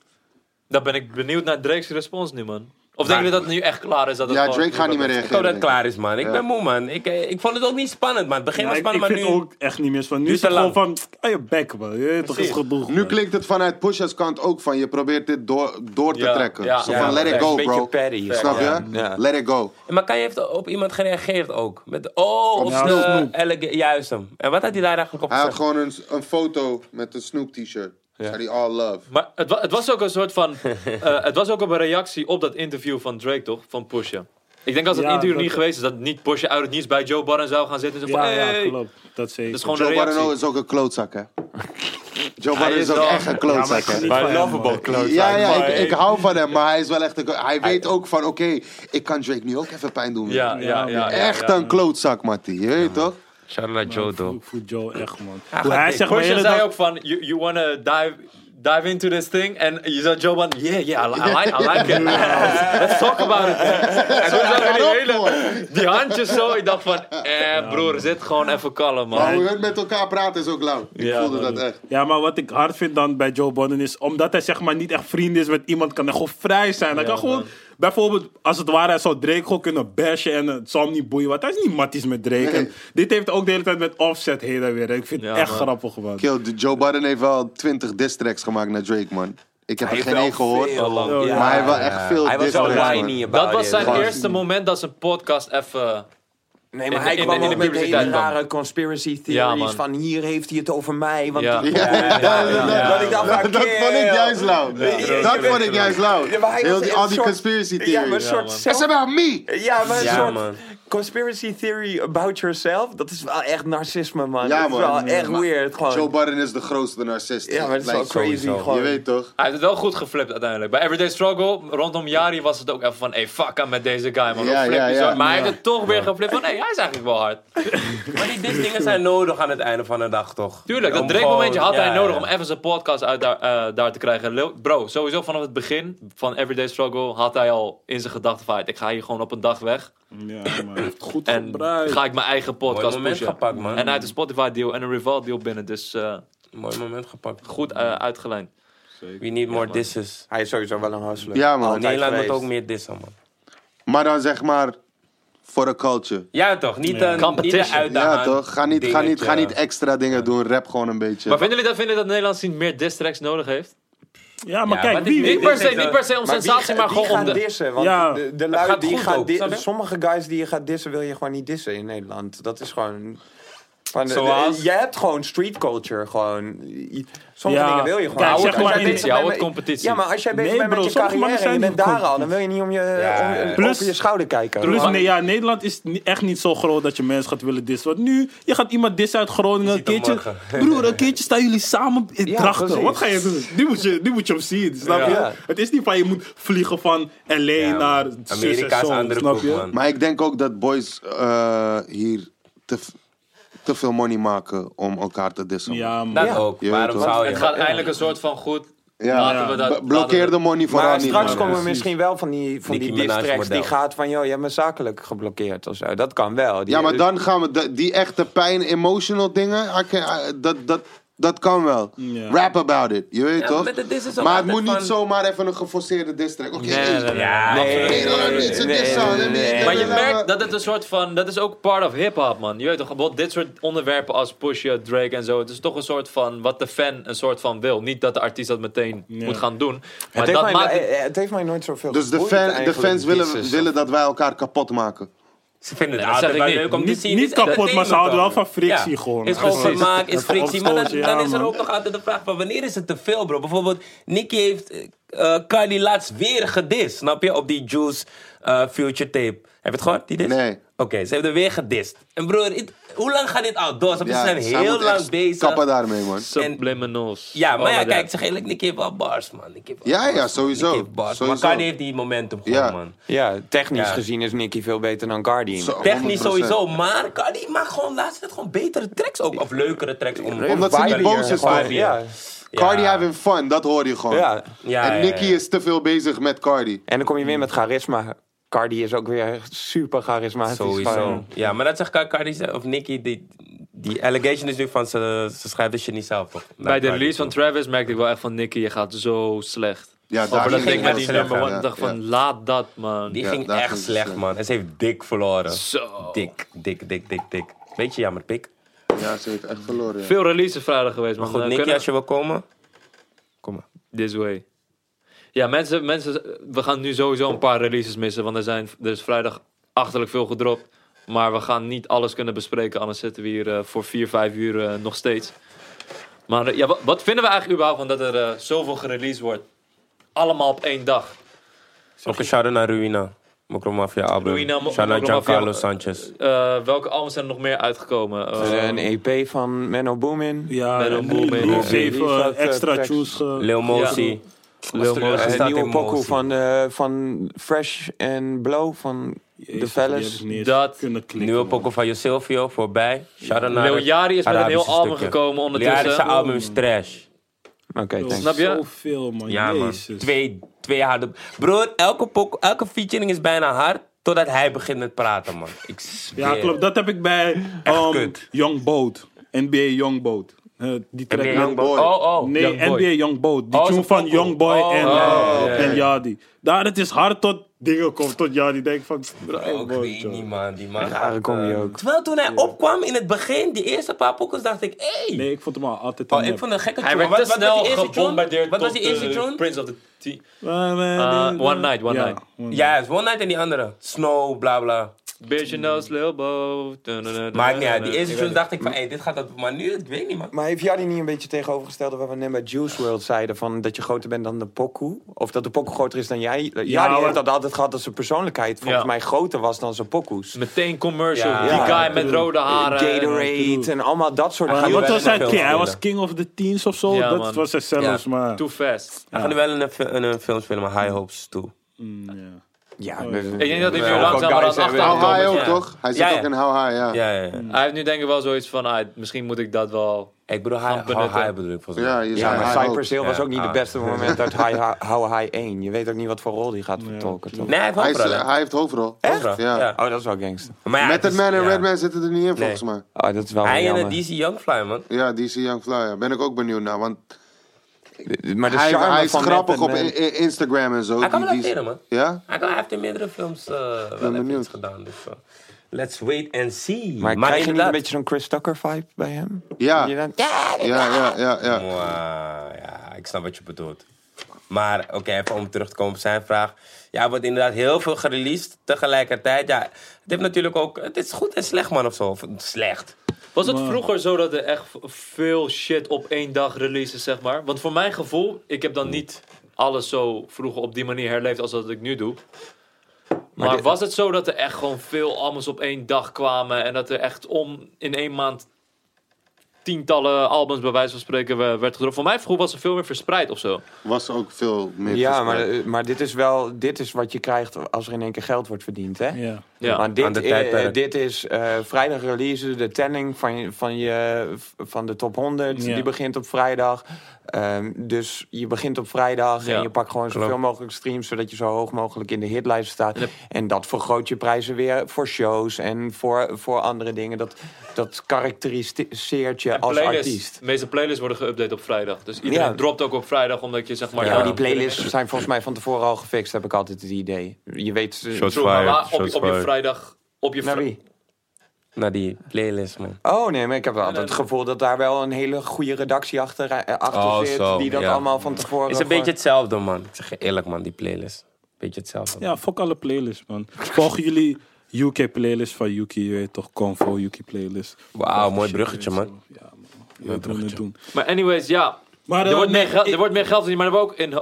[SPEAKER 2] Dan ben ik benieuwd naar Drake's respons nu, man. Of denk
[SPEAKER 5] Maar-
[SPEAKER 3] Nou.
[SPEAKER 2] je dat het nu echt klaar is? Dat het
[SPEAKER 3] Ja,
[SPEAKER 2] gewoon-
[SPEAKER 3] Drake gaat niet meer
[SPEAKER 5] Ik hoop
[SPEAKER 3] reageren.
[SPEAKER 5] Oh, dat het
[SPEAKER 3] denk ik.
[SPEAKER 5] klaar is, man. Ik ben moe, man. Ik, eh, ik vond het ook niet spannend, man. Het begin
[SPEAKER 1] Ja,
[SPEAKER 5] was
[SPEAKER 1] ik, ik
[SPEAKER 5] spannend, maar
[SPEAKER 1] vind
[SPEAKER 5] nu...
[SPEAKER 1] ook echt niet meer van. Nu
[SPEAKER 5] Nu
[SPEAKER 1] is het
[SPEAKER 5] te
[SPEAKER 1] gewoon
[SPEAKER 5] lang.
[SPEAKER 1] van, aan je bek, man. Je weet toch is genoeg.
[SPEAKER 3] Nu klinkt het vanuit Pusha's kant ook van, je probeert dit door, door te
[SPEAKER 2] Ja,
[SPEAKER 3] trekken.
[SPEAKER 2] ja,
[SPEAKER 3] zo
[SPEAKER 2] ja,
[SPEAKER 3] van,
[SPEAKER 2] ja,
[SPEAKER 3] let
[SPEAKER 2] ja.
[SPEAKER 3] it go,
[SPEAKER 4] Een beetje
[SPEAKER 3] bro.
[SPEAKER 4] petty.
[SPEAKER 3] Snap je?
[SPEAKER 4] Ja, ja.
[SPEAKER 3] Let it go.
[SPEAKER 5] Maar Kanye heeft op iemand gereageerd ook. Met, oh, of
[SPEAKER 1] Ja,
[SPEAKER 5] de...
[SPEAKER 1] Snoep.
[SPEAKER 5] elegant- Juist hem. En wat had hij daar eigenlijk op
[SPEAKER 3] Hij had
[SPEAKER 5] gezegd?
[SPEAKER 3] gewoon een, een foto met een Snoop t-shirt. Zei die all love.
[SPEAKER 2] Maar het, wa- het was ook een soort van. eh, het was ook een reactie op dat interview van Drake, toch? Van Pusha. Ik denk als dat
[SPEAKER 1] Ja,
[SPEAKER 2] interview
[SPEAKER 1] dat-
[SPEAKER 2] niet geweest is, dat niet Pusha uit het niets bij Joe Barron zou gaan zitten. en Zo van,
[SPEAKER 1] Ja,
[SPEAKER 2] hey.
[SPEAKER 1] ja, klopt. Dat zeker.
[SPEAKER 2] Dat is gewoon
[SPEAKER 3] Joe
[SPEAKER 2] een
[SPEAKER 3] Barreno
[SPEAKER 2] reactie.
[SPEAKER 3] is ook een klootzak, hè? Joe Barreno is ook echt een klootzak, hè?
[SPEAKER 1] Niet van hem, man.
[SPEAKER 3] Ja, ja, ik, ik hou van hem, maar hij is wel echt een... klo- Hij weet ook van, oké, ik kan Drake nu ook even pijn doen.
[SPEAKER 2] Ja, ja, ja.
[SPEAKER 4] Ah,
[SPEAKER 2] ja,
[SPEAKER 3] echt
[SPEAKER 2] ja.
[SPEAKER 3] een klootzak, Mattie. Je weet toch?
[SPEAKER 5] Charlotte Joe,
[SPEAKER 1] Ik voel Joe echt, man.
[SPEAKER 5] Hij
[SPEAKER 1] Hoe
[SPEAKER 5] gaat
[SPEAKER 1] hij
[SPEAKER 5] dik.
[SPEAKER 1] zegt, maar
[SPEAKER 2] Pusha
[SPEAKER 1] hele
[SPEAKER 2] zei
[SPEAKER 1] dag-
[SPEAKER 2] ook van, you, you wanna dive, dive into this thing? En je zag Joe Barron, yeah, yeah, I, li- I like, I like it. Let's talk about it. En toen zag je
[SPEAKER 3] Daarop,
[SPEAKER 2] die
[SPEAKER 3] hoor.
[SPEAKER 2] hele, die handjes zo. Ik dacht van, eh broer, zit gewoon even kalm,
[SPEAKER 3] Maar
[SPEAKER 2] man.
[SPEAKER 3] hoe hun met elkaar praten is ook lauw. Ik
[SPEAKER 2] Ja,
[SPEAKER 3] voelde
[SPEAKER 2] man.
[SPEAKER 3] dat echt.
[SPEAKER 1] Ja, maar wat ik hard vind dan bij Joe Budden is... omdat hij zeg maar niet echt vriend is met iemand... kan hij gewoon vrij zijn. Hij kan gewoon... Bijvoorbeeld, als het ware, hij zou Drake gewoon kunnen bashen... en het zal hem niet boeien, want hij is niet matties met Drake. En dit heeft ook de hele tijd met Offset heen en weer. Ik vind het
[SPEAKER 2] Ja,
[SPEAKER 1] echt
[SPEAKER 2] man.
[SPEAKER 1] grappig, man.
[SPEAKER 3] Kill, Joe Biden heeft wel 20 diss tracks gemaakt naar Drake, man. Ik heb er geen één gehoord.
[SPEAKER 1] Oh, ja.
[SPEAKER 3] Maar hij heeft wel echt veel
[SPEAKER 5] Hij was
[SPEAKER 3] diss
[SPEAKER 5] wel
[SPEAKER 3] tracks, man.
[SPEAKER 5] whiny about
[SPEAKER 2] Dat was
[SPEAKER 5] it.
[SPEAKER 2] zijn
[SPEAKER 3] Gewoon-
[SPEAKER 2] eerste moment dat zijn podcast even
[SPEAKER 4] Nee, maar
[SPEAKER 2] In-
[SPEAKER 4] hij
[SPEAKER 2] in-
[SPEAKER 4] kwam
[SPEAKER 2] in de
[SPEAKER 4] ook met hele
[SPEAKER 2] publiciteit dan.
[SPEAKER 4] rare conspiracy
[SPEAKER 2] Ja,
[SPEAKER 4] theories
[SPEAKER 2] man.
[SPEAKER 4] van hier heeft hij het over mij. Want
[SPEAKER 2] Ja.
[SPEAKER 4] ja.
[SPEAKER 2] Ja,
[SPEAKER 4] Dat ik dacht
[SPEAKER 3] Dat
[SPEAKER 4] van,
[SPEAKER 3] vond ik
[SPEAKER 4] kill.
[SPEAKER 3] juist lauw. Dat vond ik juist lauw.
[SPEAKER 4] Ja, maar hij
[SPEAKER 3] Heel
[SPEAKER 4] was
[SPEAKER 3] die-
[SPEAKER 4] een
[SPEAKER 3] Al die
[SPEAKER 4] soort-
[SPEAKER 3] conspiracy
[SPEAKER 4] Ja, maar een
[SPEAKER 3] theories.
[SPEAKER 4] soort
[SPEAKER 3] It's
[SPEAKER 4] zelf-
[SPEAKER 3] about me.
[SPEAKER 4] Ja, maar een
[SPEAKER 5] Ja,
[SPEAKER 4] soort
[SPEAKER 5] man.
[SPEAKER 4] conspiracy theory about yourself. Dat is wel echt narcisme, man.
[SPEAKER 3] Ja,
[SPEAKER 4] dat is
[SPEAKER 3] man.
[SPEAKER 4] wel echt
[SPEAKER 3] Maar
[SPEAKER 4] weird.
[SPEAKER 3] Joe
[SPEAKER 4] Gewoon.
[SPEAKER 3] Biden is de grootste narcist.
[SPEAKER 4] Ja, maar het is wel
[SPEAKER 3] Lijkt
[SPEAKER 4] crazy.
[SPEAKER 3] sowieso.
[SPEAKER 4] Gewoon.
[SPEAKER 3] Je weet toch?
[SPEAKER 2] Hij heeft het wel goed geflipt uiteindelijk. Bij Everyday Struggle, rondom Jari, was het ook even van... Hey, fuck aan met deze guy, man.
[SPEAKER 3] Ja,
[SPEAKER 2] Hoe flip
[SPEAKER 3] ja,
[SPEAKER 2] je
[SPEAKER 3] ja.
[SPEAKER 2] zo? Maar hij heeft het toch weer geflipt van... Hey, hij is eigenlijk wel hard.
[SPEAKER 5] Maar die dit dingen zijn nodig aan het einde van de dag, toch?
[SPEAKER 2] Tuurlijk, dat
[SPEAKER 5] Om
[SPEAKER 2] Drake momentje
[SPEAKER 5] gewoon-
[SPEAKER 2] had hij
[SPEAKER 5] ja,
[SPEAKER 2] nodig
[SPEAKER 5] ja.
[SPEAKER 2] om even zijn podcast uit daar, eh, daar te krijgen. Lil- Bro, sowieso vanaf het begin van Everyday Struggle had hij al in zijn gedachten van... Ik ga hier gewoon op een dag weg.
[SPEAKER 1] Ja, maar hij heeft goed
[SPEAKER 2] En
[SPEAKER 1] gebruikt.
[SPEAKER 2] ga ik mijn eigen
[SPEAKER 5] Mooi
[SPEAKER 2] podcast
[SPEAKER 5] moment
[SPEAKER 2] pushen.
[SPEAKER 5] gepakt, man.
[SPEAKER 2] En uit een Spotify deal en een Revolve deal binnen. Dus eh,
[SPEAKER 5] Mooi moment gepakt.
[SPEAKER 2] goed eh, uitgelijnd.
[SPEAKER 5] We need more
[SPEAKER 2] man.
[SPEAKER 5] disses.
[SPEAKER 4] Hij is sowieso wel een hustler.
[SPEAKER 3] Ja, man.
[SPEAKER 4] Altijd
[SPEAKER 5] Nederland moet
[SPEAKER 4] geweest.
[SPEAKER 5] ook meer dissen, man.
[SPEAKER 3] Maar dan zeg maar, voor de culture.
[SPEAKER 5] Ja, toch? Niet
[SPEAKER 1] Ja.
[SPEAKER 5] een
[SPEAKER 2] Competition.
[SPEAKER 5] competitie uitdaging.
[SPEAKER 3] Ja, toch? Ga niet, ga, niet, ga niet
[SPEAKER 5] dingetje.
[SPEAKER 3] extra dingen doen. Rap gewoon een beetje.
[SPEAKER 2] Maar vinden jullie dat, vinden jullie dat Nederland niet meer diss tracks nodig heeft?
[SPEAKER 1] Ja, maar
[SPEAKER 5] Ja,
[SPEAKER 1] kijk,
[SPEAKER 5] maar
[SPEAKER 1] wie
[SPEAKER 5] dit-
[SPEAKER 1] weet.
[SPEAKER 2] Niet
[SPEAKER 5] dit-
[SPEAKER 2] per se,
[SPEAKER 5] is, eh,
[SPEAKER 2] niet per se om
[SPEAKER 4] Maar wie
[SPEAKER 2] sensatie,
[SPEAKER 4] ga-
[SPEAKER 2] maar
[SPEAKER 4] wie
[SPEAKER 2] gewoon om
[SPEAKER 4] gaan
[SPEAKER 2] de...
[SPEAKER 4] dissen. Want
[SPEAKER 1] Ja.
[SPEAKER 4] de, de lui
[SPEAKER 5] gaat
[SPEAKER 4] die
[SPEAKER 5] goed
[SPEAKER 4] gaan
[SPEAKER 5] ook,
[SPEAKER 4] di-
[SPEAKER 5] snap je?
[SPEAKER 4] Sommige guys die je gaat dissen, wil je gewoon niet dissen in Nederland. Dat is gewoon... van de-
[SPEAKER 5] Zoals?
[SPEAKER 4] de- je hebt gewoon street culture. Gewoon. Je- Sommige
[SPEAKER 1] Ja.
[SPEAKER 4] dingen wil je gewoon.
[SPEAKER 1] Kijk,
[SPEAKER 4] niet.
[SPEAKER 1] zeg
[SPEAKER 4] Als
[SPEAKER 1] maar
[SPEAKER 4] jij
[SPEAKER 1] in-
[SPEAKER 4] bezig
[SPEAKER 2] Ja,
[SPEAKER 4] bent
[SPEAKER 2] wat
[SPEAKER 4] met-
[SPEAKER 2] competitie.
[SPEAKER 4] Ja, maar als jij bezig
[SPEAKER 1] Nee,
[SPEAKER 4] bent
[SPEAKER 1] bro,
[SPEAKER 4] met je
[SPEAKER 1] sommige
[SPEAKER 4] carrière
[SPEAKER 1] mannen
[SPEAKER 4] en je
[SPEAKER 1] zijn
[SPEAKER 4] bent daar
[SPEAKER 1] niet
[SPEAKER 4] al, dan wil je niet om je,
[SPEAKER 5] Ja, ja.
[SPEAKER 4] om-
[SPEAKER 1] Plus-
[SPEAKER 4] over je schouder kijken.
[SPEAKER 1] Plus,
[SPEAKER 4] Maar-
[SPEAKER 1] nee, ja, Nederland is ni- echt niet zo groot dat je mensen gaat willen dissen. Want nu, je gaat iemand dissen uit Groningen. Een
[SPEAKER 5] ziet hem
[SPEAKER 1] keertje,
[SPEAKER 5] morgen.
[SPEAKER 1] broer, een keertje staan jullie samen in
[SPEAKER 4] Ja,
[SPEAKER 1] drachten.
[SPEAKER 4] precies.
[SPEAKER 1] Wat ga je doen? Nu moet je, nu moet je hem zien, snap
[SPEAKER 5] Ja.
[SPEAKER 1] je?
[SPEAKER 4] Ja.
[SPEAKER 1] Het is niet van je moet vliegen van L.A.
[SPEAKER 5] man.
[SPEAKER 1] naar zus en
[SPEAKER 5] Amerika is
[SPEAKER 1] zo,
[SPEAKER 5] andere
[SPEAKER 1] snap
[SPEAKER 5] koek,
[SPEAKER 1] je?
[SPEAKER 5] man.
[SPEAKER 3] Maar ik denk ook dat boys eh, hier te, f- te veel money maken om elkaar te dissen.
[SPEAKER 1] Ja, man.
[SPEAKER 5] Dat
[SPEAKER 4] Ja.
[SPEAKER 5] ook.
[SPEAKER 3] Je
[SPEAKER 5] Waarom
[SPEAKER 3] weet toch?
[SPEAKER 5] zou je...
[SPEAKER 2] Het gaat eindelijk een soort van goed...
[SPEAKER 3] Ja.
[SPEAKER 2] Laten we dat...
[SPEAKER 3] B- blokkeer
[SPEAKER 2] laten
[SPEAKER 3] de
[SPEAKER 2] we-
[SPEAKER 3] money vooral
[SPEAKER 4] Maar
[SPEAKER 3] niet.
[SPEAKER 4] straks
[SPEAKER 3] man.
[SPEAKER 4] komen we
[SPEAKER 1] precies.
[SPEAKER 4] misschien wel van die, van die
[SPEAKER 5] Nicki Minaj
[SPEAKER 4] distracts die
[SPEAKER 5] model.
[SPEAKER 4] gaat van... joh, je hebt me zakelijk geblokkeerd of zo. Dat kan wel. Die-
[SPEAKER 3] Ja, maar dan gaan we de- die echte pijn, emotional dingen, I can- I- dat, dat, dat kan wel.
[SPEAKER 1] Ja.
[SPEAKER 3] Rap about it, je weet
[SPEAKER 5] Ja,
[SPEAKER 3] toch?
[SPEAKER 5] maar dat is dus ook
[SPEAKER 3] Maar het moet
[SPEAKER 5] altijd
[SPEAKER 3] niet
[SPEAKER 5] van-
[SPEAKER 3] zomaar even een geforceerde diss track. Oké,
[SPEAKER 2] Nee, nee, nee, nee.
[SPEAKER 5] Ja,
[SPEAKER 4] Nee,
[SPEAKER 5] absoluut.
[SPEAKER 4] nee, nee, nee, nee, nee, nee, nee.
[SPEAKER 2] Maar je merkt dat het een soort van. Dat is ook part of hip-hop, man. Je weet toch, bijvoorbeeld dit soort onderwerpen als Pusha, Drake en zo. Het is toch een soort van. wat de fan een soort van wil. Niet dat de artiest dat meteen moet gaan doen. Maar
[SPEAKER 4] Het heeft,
[SPEAKER 2] dat
[SPEAKER 4] mij,
[SPEAKER 5] e-
[SPEAKER 2] maakt. het-
[SPEAKER 4] eh, het heeft mij nooit zoveel
[SPEAKER 3] Dus de,
[SPEAKER 4] geboeid
[SPEAKER 3] fan, de
[SPEAKER 4] eigenlijk,
[SPEAKER 3] fans willen,
[SPEAKER 4] dissers.
[SPEAKER 3] willen dat wij elkaar kapot maken.
[SPEAKER 5] Ze vinden het
[SPEAKER 2] dat
[SPEAKER 5] altijd
[SPEAKER 2] zeg
[SPEAKER 5] wel
[SPEAKER 2] ik niet.
[SPEAKER 5] leuk om te
[SPEAKER 1] Niet-
[SPEAKER 5] zien.
[SPEAKER 1] niet
[SPEAKER 5] Het is
[SPEAKER 1] kapot, maar ze
[SPEAKER 5] entertainment
[SPEAKER 1] houden wel
[SPEAKER 5] toch?
[SPEAKER 1] van frictie gewoon.
[SPEAKER 5] Is
[SPEAKER 1] Precies.
[SPEAKER 5] gewoon vermaak,
[SPEAKER 1] Even
[SPEAKER 5] is frictie. Maar dan,
[SPEAKER 1] opstootje,
[SPEAKER 5] dan
[SPEAKER 1] ja,
[SPEAKER 5] is er
[SPEAKER 1] man.
[SPEAKER 5] ook nog altijd de vraag van wanneer is het te veel, bro? Bijvoorbeeld, Nicky heeft eh, eh, Cardi laatst weer gedist, snap je? Op die Juice eh, Future Tape. Heb je het gehoord, die dis?
[SPEAKER 3] Nee.
[SPEAKER 5] Oké, ze hebben er weer gedist. En broer, het- hoe lang gaat dit al door? Snap je? Ze zijn
[SPEAKER 3] zij
[SPEAKER 5] heel
[SPEAKER 3] moet echt
[SPEAKER 5] lang bezig.
[SPEAKER 3] Kappen daarmee, man.
[SPEAKER 2] Subliminals.
[SPEAKER 5] Ja,
[SPEAKER 1] Oh
[SPEAKER 5] maar ja,
[SPEAKER 2] Allemaal
[SPEAKER 5] kijk,
[SPEAKER 2] dat.
[SPEAKER 5] zeg eerlijk, Nicky heeft wel bars, man. Nicky heeft wel
[SPEAKER 3] Ja,
[SPEAKER 5] bars,
[SPEAKER 3] ja,
[SPEAKER 5] man.
[SPEAKER 3] sowieso.
[SPEAKER 5] Nicky heeft bars.
[SPEAKER 3] Sowieso.
[SPEAKER 5] Maar Cardi heeft die momentum gewoon,
[SPEAKER 3] Ja.
[SPEAKER 5] man.
[SPEAKER 4] Ja, technisch
[SPEAKER 5] Ja.
[SPEAKER 4] gezien is Nicky veel beter dan Guardian.
[SPEAKER 3] Zo,
[SPEAKER 5] Technisch
[SPEAKER 3] 100%.
[SPEAKER 5] sowieso, maar Cardi maakt gewoon laatst net gewoon betere tracks ook. Of leukere tracks. Om,
[SPEAKER 3] Omdat ze niet boos is,
[SPEAKER 5] Vibe
[SPEAKER 3] toch?
[SPEAKER 5] hier.
[SPEAKER 4] Ja.
[SPEAKER 3] Cardi having fun, dat hoor je gewoon.
[SPEAKER 4] ja.
[SPEAKER 5] Ja, ja,
[SPEAKER 3] en
[SPEAKER 5] ja.
[SPEAKER 3] Nicky is te veel bezig met Cardi.
[SPEAKER 4] En dan kom je weer met charisma. Cardi is ook weer super charismatisch.
[SPEAKER 5] Sowieso.
[SPEAKER 4] gewoon.
[SPEAKER 5] Ja, maar dat zegt Ka- Cardi zelf- of Nicky. Die, die allegation is nu van ze, ze schrijft de shit niet zelf. Toch?
[SPEAKER 2] Bij de release van Travis merkte ik wel echt van Nicky, je gaat zo slecht.
[SPEAKER 3] Ja, daar
[SPEAKER 2] Over dat
[SPEAKER 5] ging
[SPEAKER 2] ding met
[SPEAKER 5] het
[SPEAKER 2] die
[SPEAKER 5] slecht,
[SPEAKER 2] number one.
[SPEAKER 3] ja,
[SPEAKER 2] Ik dacht van,
[SPEAKER 3] ja.
[SPEAKER 2] laat dat man.
[SPEAKER 5] Die
[SPEAKER 3] Ja,
[SPEAKER 5] ging
[SPEAKER 3] daar
[SPEAKER 5] echt
[SPEAKER 3] ging ze
[SPEAKER 5] slecht,
[SPEAKER 3] slecht.
[SPEAKER 5] man. En ze heeft dik verloren.
[SPEAKER 2] Zo.
[SPEAKER 5] Dik, dik, dik, dik, dik. Beetje jammer, pik.
[SPEAKER 3] Ja, ze heeft echt verloren. ja.
[SPEAKER 2] Veel releases vrijdag geweest man.
[SPEAKER 5] Maar goed,
[SPEAKER 2] Eh,
[SPEAKER 5] Nicky,
[SPEAKER 2] kunnen-
[SPEAKER 5] als je wil komen. Kom maar.
[SPEAKER 2] This way. Ja, mensen, mensen, we gaan nu sowieso een paar releases missen. Want er, zijn, er is vrijdag achterlijk veel gedropt. Maar we gaan niet alles kunnen bespreken. Anders zitten we hier eh, voor vier, vijf uur eh, nog steeds. Maar eh, ja, wat, wat vinden we eigenlijk überhaupt van dat er eh, zoveel gereleased wordt? Allemaal op één dag.
[SPEAKER 5] Ook een shout-out naar Ruina. Mokromafia album.
[SPEAKER 2] Ruïna, Mo-
[SPEAKER 5] Shout-out naar
[SPEAKER 2] Mokromafia.
[SPEAKER 5] Giancarlo Sanchez.
[SPEAKER 2] Eh, welke albums zijn er nog meer uitgekomen? Eh,
[SPEAKER 4] Er is Een EP van Menno Boomin.
[SPEAKER 1] Ja,
[SPEAKER 2] Met een
[SPEAKER 1] en
[SPEAKER 2] boel
[SPEAKER 1] die-
[SPEAKER 2] mee.
[SPEAKER 1] die
[SPEAKER 2] Ja.
[SPEAKER 1] zeven eh,
[SPEAKER 4] Die zat, eh,
[SPEAKER 1] extra
[SPEAKER 4] tracks.
[SPEAKER 1] tunes. ge-
[SPEAKER 5] Lil Mosey.
[SPEAKER 2] Lil Mosey.
[SPEAKER 5] Hij
[SPEAKER 4] Een
[SPEAKER 5] staat
[SPEAKER 4] Eh, nieuwe
[SPEAKER 5] in
[SPEAKER 4] pokoe
[SPEAKER 5] Mosey.
[SPEAKER 4] van, eh, van Fresh and Blow van The
[SPEAKER 1] Jezus, die heb
[SPEAKER 4] Fellas.
[SPEAKER 1] ik niet eens
[SPEAKER 2] Dat-
[SPEAKER 1] kunnen klikken.
[SPEAKER 5] Nieuwe
[SPEAKER 1] man.
[SPEAKER 5] pokoe van Josilvio voorbij. Shout-out naar
[SPEAKER 2] Lil
[SPEAKER 5] het
[SPEAKER 2] Yachty is met een
[SPEAKER 5] Arabische
[SPEAKER 2] heel album
[SPEAKER 5] stukje.
[SPEAKER 2] gekomen ondertussen.
[SPEAKER 5] Lil Yachty zijn album is trash.
[SPEAKER 4] Oké, thanks.
[SPEAKER 2] Snap je?
[SPEAKER 1] Zoveel, man.
[SPEAKER 5] Ja, man.
[SPEAKER 1] Jezus.
[SPEAKER 5] Twee, twee harde. Broer, elke, pok, elke featuring is bijna hard. Totdat hij begint met praten, man. Ik zweer.
[SPEAKER 1] Ja, klopt. Dat heb ik bij um,
[SPEAKER 5] kut.
[SPEAKER 1] Young Boat. NBA Young Boat. Eh, die track
[SPEAKER 5] NBA
[SPEAKER 1] met-
[SPEAKER 5] Youngboy. Oh, oh.
[SPEAKER 1] Nee,
[SPEAKER 2] Young Boy.
[SPEAKER 1] NBA Young Boat. Die
[SPEAKER 5] Oh,
[SPEAKER 1] tune
[SPEAKER 5] zo'n
[SPEAKER 1] van
[SPEAKER 5] pokoe.
[SPEAKER 1] Young Boy
[SPEAKER 5] Oh,
[SPEAKER 1] en,
[SPEAKER 5] ja,
[SPEAKER 1] eh,
[SPEAKER 5] ja, ja.
[SPEAKER 1] en Yadi. Daar, het is hard tot dingen komt. Tot Yadi. Denk van, bro,
[SPEAKER 5] Oh,
[SPEAKER 1] boy,
[SPEAKER 5] ik weet
[SPEAKER 1] joh.
[SPEAKER 5] niet, man. Die man
[SPEAKER 4] Rare
[SPEAKER 5] gaat,
[SPEAKER 4] combi
[SPEAKER 5] eh,
[SPEAKER 4] ook.
[SPEAKER 5] Terwijl toen hij opkwam in het begin, die eerste paar pokkels, dacht ik... Hey.
[SPEAKER 1] Nee, ik vond hem al altijd
[SPEAKER 5] Oh,
[SPEAKER 1] een
[SPEAKER 5] ik
[SPEAKER 1] nep.
[SPEAKER 5] vond het een gekke
[SPEAKER 2] Hij
[SPEAKER 5] tune.
[SPEAKER 2] werd
[SPEAKER 5] Wat,
[SPEAKER 2] te
[SPEAKER 5] wat was
[SPEAKER 2] snel
[SPEAKER 5] die eerste tune?
[SPEAKER 2] gebombardeerd
[SPEAKER 5] Wat was
[SPEAKER 2] tot,
[SPEAKER 5] die eerste
[SPEAKER 2] eh,
[SPEAKER 5] tune?
[SPEAKER 2] Prince of the T.
[SPEAKER 1] Eh,
[SPEAKER 2] One Night, One
[SPEAKER 1] ja, One
[SPEAKER 2] Night.
[SPEAKER 1] Night.
[SPEAKER 5] Juist, One Night en die andere. Snow, bla bla.
[SPEAKER 2] Bitch, you know, Lil Bo. Dun-dun-dun-dun.
[SPEAKER 5] Maakt niet uit. Die eerste
[SPEAKER 2] Ik
[SPEAKER 5] tune
[SPEAKER 2] weet
[SPEAKER 5] dacht ik van, hey, dit gaat dat... Maar nu, ik weet niet, man.
[SPEAKER 4] Maar heeft Jannie niet een beetje tegenovergesteld wat we net bij Juice World zeiden? Van dat je groter bent dan de pokoe? Of dat de pokoe groter is dan jij? Jannie
[SPEAKER 1] maar-
[SPEAKER 4] heeft dat altijd gehad dat zijn persoonlijkheid volgens
[SPEAKER 2] Ja.
[SPEAKER 4] mij groter was dan zijn pokoes.
[SPEAKER 2] het. Meteen commercial.
[SPEAKER 5] Ja.
[SPEAKER 2] Die
[SPEAKER 4] Ja,
[SPEAKER 2] guy met rode haren.
[SPEAKER 4] Gatorade en allemaal dat soort
[SPEAKER 5] Hij gaat
[SPEAKER 4] dingen.
[SPEAKER 1] Wat was hij?
[SPEAKER 5] nog
[SPEAKER 1] King? Hij
[SPEAKER 5] veel
[SPEAKER 1] was
[SPEAKER 5] spelen.
[SPEAKER 1] king of the teens of zo.
[SPEAKER 2] Ja,
[SPEAKER 1] dat
[SPEAKER 2] man.
[SPEAKER 1] was hij zelfs,
[SPEAKER 5] Ja.
[SPEAKER 1] maar...
[SPEAKER 2] Too fast.
[SPEAKER 5] We gaan nu wel in een, fi- in een film spelen, maar High Hopes toe.
[SPEAKER 1] Mm, ja.
[SPEAKER 3] Oh,
[SPEAKER 2] Ik
[SPEAKER 4] Ja,
[SPEAKER 2] denk dat hij nu
[SPEAKER 4] Ja,
[SPEAKER 2] langzamer
[SPEAKER 4] guys
[SPEAKER 2] aan
[SPEAKER 4] zijn
[SPEAKER 2] achter
[SPEAKER 4] weer-
[SPEAKER 3] How
[SPEAKER 2] aan
[SPEAKER 3] High
[SPEAKER 2] het
[SPEAKER 3] ook,
[SPEAKER 5] ja.
[SPEAKER 3] toch? Hij zit
[SPEAKER 5] Ja, ja.
[SPEAKER 3] ook in How High, ja.
[SPEAKER 5] Ja, ja, ja.
[SPEAKER 2] Hij heeft nu denk ik wel zoiets van, ah, misschien moet ik dat wel...
[SPEAKER 5] Ik bedoel, High,
[SPEAKER 2] Benutten.
[SPEAKER 5] high, high bedoel ik volgens
[SPEAKER 3] Ja,
[SPEAKER 5] mij.
[SPEAKER 3] je
[SPEAKER 4] Ja,
[SPEAKER 3] zei
[SPEAKER 4] maar
[SPEAKER 3] High
[SPEAKER 4] Cypress Hill
[SPEAKER 5] Ja,
[SPEAKER 4] was ook niet het
[SPEAKER 5] ah.
[SPEAKER 4] beste moment uit High, High- How High 1. Je weet ook niet wat voor rol die gaat vertolken, toch?
[SPEAKER 5] Nee, hij heeft
[SPEAKER 3] Hij, is,
[SPEAKER 5] overal,
[SPEAKER 3] eh,
[SPEAKER 5] hè.
[SPEAKER 3] hij heeft hoofdrol.
[SPEAKER 5] Overal,
[SPEAKER 3] Ja.
[SPEAKER 4] Oh, dat is wel gangster.
[SPEAKER 5] Maar ja,
[SPEAKER 3] Method
[SPEAKER 5] is-
[SPEAKER 3] Man en
[SPEAKER 5] ja.
[SPEAKER 3] Redman zitten er niet in, volgens
[SPEAKER 5] Nee.
[SPEAKER 3] mij.
[SPEAKER 4] Oh, dat is wel
[SPEAKER 5] Hij en
[SPEAKER 4] jammer.
[SPEAKER 5] eh, DC Youngfly, man.
[SPEAKER 3] Ja, DC Young Fly. ja. Ben ik ook benieuwd naar, want
[SPEAKER 4] Maar de
[SPEAKER 3] hij,
[SPEAKER 4] charme
[SPEAKER 3] hij is
[SPEAKER 4] van
[SPEAKER 3] grappig op
[SPEAKER 4] Method Man-
[SPEAKER 3] in- in- Instagram en zo.
[SPEAKER 5] Hij kan
[SPEAKER 3] Die-
[SPEAKER 5] wel
[SPEAKER 3] die-
[SPEAKER 5] acteren, man.
[SPEAKER 3] Ja?
[SPEAKER 5] Hij, kan, hij heeft in meerdere films eh, wel even
[SPEAKER 3] benieuwd.
[SPEAKER 5] iets gedaan. Dus, eh, let's wait and see.
[SPEAKER 4] Maar krijg je niet een
[SPEAKER 5] inderdaad-
[SPEAKER 4] beetje zo'n Chris Tucker vibe bij hem?
[SPEAKER 3] Ja.
[SPEAKER 4] Je
[SPEAKER 3] Ja,
[SPEAKER 4] denkt, ja,
[SPEAKER 3] ja, ja, ja.
[SPEAKER 5] Mwah, ja, ik snap wat je bedoelt. Maar oké, even om terug te komen op zijn vraag. Ja, er wordt inderdaad heel veel gereleased tegelijkertijd. Ja, het heeft natuurlijk ook... Het is goed en slecht, man, of zo. Of slecht.
[SPEAKER 2] Was het vroeger zo dat er echt v- veel shit op één dag releases, zeg maar? Want voor mijn gevoel, ik heb dan niet alles zo vroeger op die manier herleefd als dat ik nu doe. Maar,
[SPEAKER 4] dit-
[SPEAKER 2] was het zo dat er echt gewoon veel albums op één dag kwamen en dat er echt om in één maand tientallen albums bij wijze van spreken we- werd gedropt? Voor mijn gevoel was er veel meer verspreid of zo.
[SPEAKER 3] Was ook veel meer
[SPEAKER 4] Ja,
[SPEAKER 3] verspreid.
[SPEAKER 4] maar, eh, maar dit is wel dit is wat je krijgt als er in één keer geld wordt verdiend, hè?
[SPEAKER 1] Ja.
[SPEAKER 2] Ja.
[SPEAKER 4] Maar dit,
[SPEAKER 5] Aan de
[SPEAKER 4] eh,
[SPEAKER 5] tijdperk.
[SPEAKER 4] dit is eh, vrijdag release, de telling van, je- van, je, van de top 100.
[SPEAKER 1] Ja.
[SPEAKER 4] Die begint op vrijdag. Ehm, dus je begint op vrijdag
[SPEAKER 2] Ja,
[SPEAKER 4] en je pakt gewoon
[SPEAKER 5] klopt.
[SPEAKER 4] zoveel mogelijk streams... zodat je zo hoog mogelijk in de hitlijst staat. En dat vergroot je prijzen weer voor shows en voor, voor andere dingen. Dat, dat karakteriseert je als
[SPEAKER 2] Playlists.
[SPEAKER 4] artiest.
[SPEAKER 2] De meeste playlists worden geüpdate op vrijdag. Dus iedereen
[SPEAKER 4] Ja.
[SPEAKER 2] dropt ook op vrijdag omdat je zeg maar...
[SPEAKER 4] Ja, maar die playlists zijn volgens mij van tevoren al gefixt, heb ik altijd het idee. Je weet... eh,
[SPEAKER 5] Shots
[SPEAKER 2] True, maar
[SPEAKER 5] fired,
[SPEAKER 2] waar- op,
[SPEAKER 5] shots
[SPEAKER 2] op je
[SPEAKER 5] fired.
[SPEAKER 2] vrijdag... Op je
[SPEAKER 4] Naar
[SPEAKER 2] vrij-
[SPEAKER 4] wie?
[SPEAKER 5] Naar die playlist, man.
[SPEAKER 4] Oh nee, maar ik heb wel altijd
[SPEAKER 2] nee,
[SPEAKER 4] het gevoel dat daar wel een hele goede redactie achter, eh, achter
[SPEAKER 5] Oh,
[SPEAKER 4] zit.
[SPEAKER 5] zo,
[SPEAKER 4] die dat
[SPEAKER 5] ja.
[SPEAKER 4] allemaal van
[SPEAKER 5] is
[SPEAKER 4] tevoren.
[SPEAKER 5] een
[SPEAKER 4] gewoon-
[SPEAKER 5] beetje hetzelfde, man. Ik zeg je eerlijk, man, die playlist. Beetje hetzelfde.
[SPEAKER 1] Ja, fuck alle playlists, man. Volgen jullie UK playlist van Yuki, je weet toch, Convo, Yuki playlist.
[SPEAKER 5] Wauw, mooi bruggetje, man.
[SPEAKER 1] Ja, man. Je doen het doen.
[SPEAKER 2] Maar anyways, ja.
[SPEAKER 1] Maar, eh,
[SPEAKER 2] er, wordt
[SPEAKER 1] nee,
[SPEAKER 2] meer geld,
[SPEAKER 1] ik-
[SPEAKER 2] er wordt meer geld verdiend, maar er wordt ook in... eh,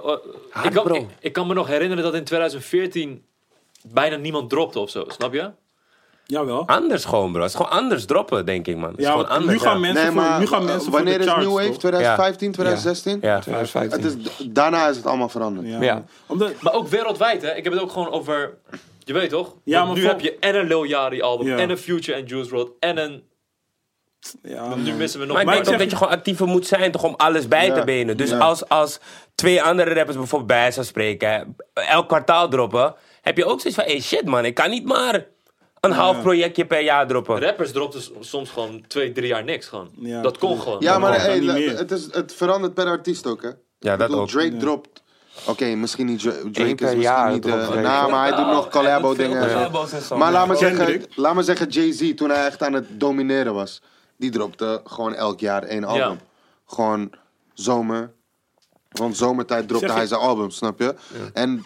[SPEAKER 2] eh, ik, kan,
[SPEAKER 5] bro.
[SPEAKER 2] ik, ik kan me nog herinneren dat in 2014 bijna niemand dropte of zo, snap je?
[SPEAKER 1] Jawel.
[SPEAKER 5] Anders gewoon, bro. Het is gewoon anders droppen, denk ik, man. Het is
[SPEAKER 1] Ja,
[SPEAKER 5] gewoon
[SPEAKER 1] want
[SPEAKER 5] anders.
[SPEAKER 1] nu gaan
[SPEAKER 5] ja.
[SPEAKER 1] mensen
[SPEAKER 3] Nee,
[SPEAKER 1] voor,
[SPEAKER 3] maar
[SPEAKER 1] nu gaan
[SPEAKER 3] eh,
[SPEAKER 1] mensen
[SPEAKER 3] wanneer
[SPEAKER 1] voor de charts,
[SPEAKER 3] is New Wave?
[SPEAKER 1] toch?
[SPEAKER 3] 2015, 2016?
[SPEAKER 5] Ja.
[SPEAKER 4] Ja, is feit.
[SPEAKER 3] Het is, daarna is het allemaal veranderd.
[SPEAKER 1] Ja.
[SPEAKER 4] Ja.
[SPEAKER 1] Omdat,
[SPEAKER 2] Maar ook wereldwijd, hè. Ik heb het ook gewoon over... Je weet toch?
[SPEAKER 1] Ja,
[SPEAKER 2] Want
[SPEAKER 1] maar
[SPEAKER 2] nu
[SPEAKER 1] vol-
[SPEAKER 2] heb je en een Lil Yachty album,
[SPEAKER 1] Ja.
[SPEAKER 2] en een Future en Juice WRLD, en een...
[SPEAKER 1] ja,
[SPEAKER 2] Nu
[SPEAKER 1] man.
[SPEAKER 2] missen we nog...
[SPEAKER 5] Maar
[SPEAKER 1] Maar
[SPEAKER 5] ik denk
[SPEAKER 1] ik
[SPEAKER 5] ook
[SPEAKER 1] zeg
[SPEAKER 5] dat je gewoon actiever moet zijn toch om alles bij
[SPEAKER 3] Ja,
[SPEAKER 5] te benen. Dus
[SPEAKER 3] ja.
[SPEAKER 5] als, als twee andere rappers bijvoorbeeld bij zou spreken, hè, elk kwartaal droppen, heb je ook zoiets van, hey shit man, ik kan niet maar een half projectje per jaar droppen.
[SPEAKER 2] Rappers dropten s- soms gewoon twee, drie jaar niks gewoon.
[SPEAKER 1] Ja.
[SPEAKER 2] Dat kon gewoon.
[SPEAKER 3] Ja, maar
[SPEAKER 1] mag
[SPEAKER 3] hey,
[SPEAKER 1] dan niet meer.
[SPEAKER 3] het, is, het verandert per artiest ook, hè?
[SPEAKER 5] Ja, dat
[SPEAKER 3] Ik bedoel,
[SPEAKER 5] ook.
[SPEAKER 3] Drake dropt... Oké, misschien niet... Dra- Drake
[SPEAKER 4] Eén
[SPEAKER 3] is
[SPEAKER 4] per
[SPEAKER 3] misschien
[SPEAKER 4] jaar
[SPEAKER 3] niet... eh,
[SPEAKER 4] dropt Drake.
[SPEAKER 3] nou, maar hij doet nog collabo-dingen. Maar laat maar, zeggen,
[SPEAKER 1] Kendrick.
[SPEAKER 3] laat maar zeggen, Jay-Z, toen hij echt aan het domineren was, die dropte gewoon elk jaar één album. Gewoon zomer. Want zomertijd dropte
[SPEAKER 1] Zeg je-
[SPEAKER 3] hij zijn album, snap je? En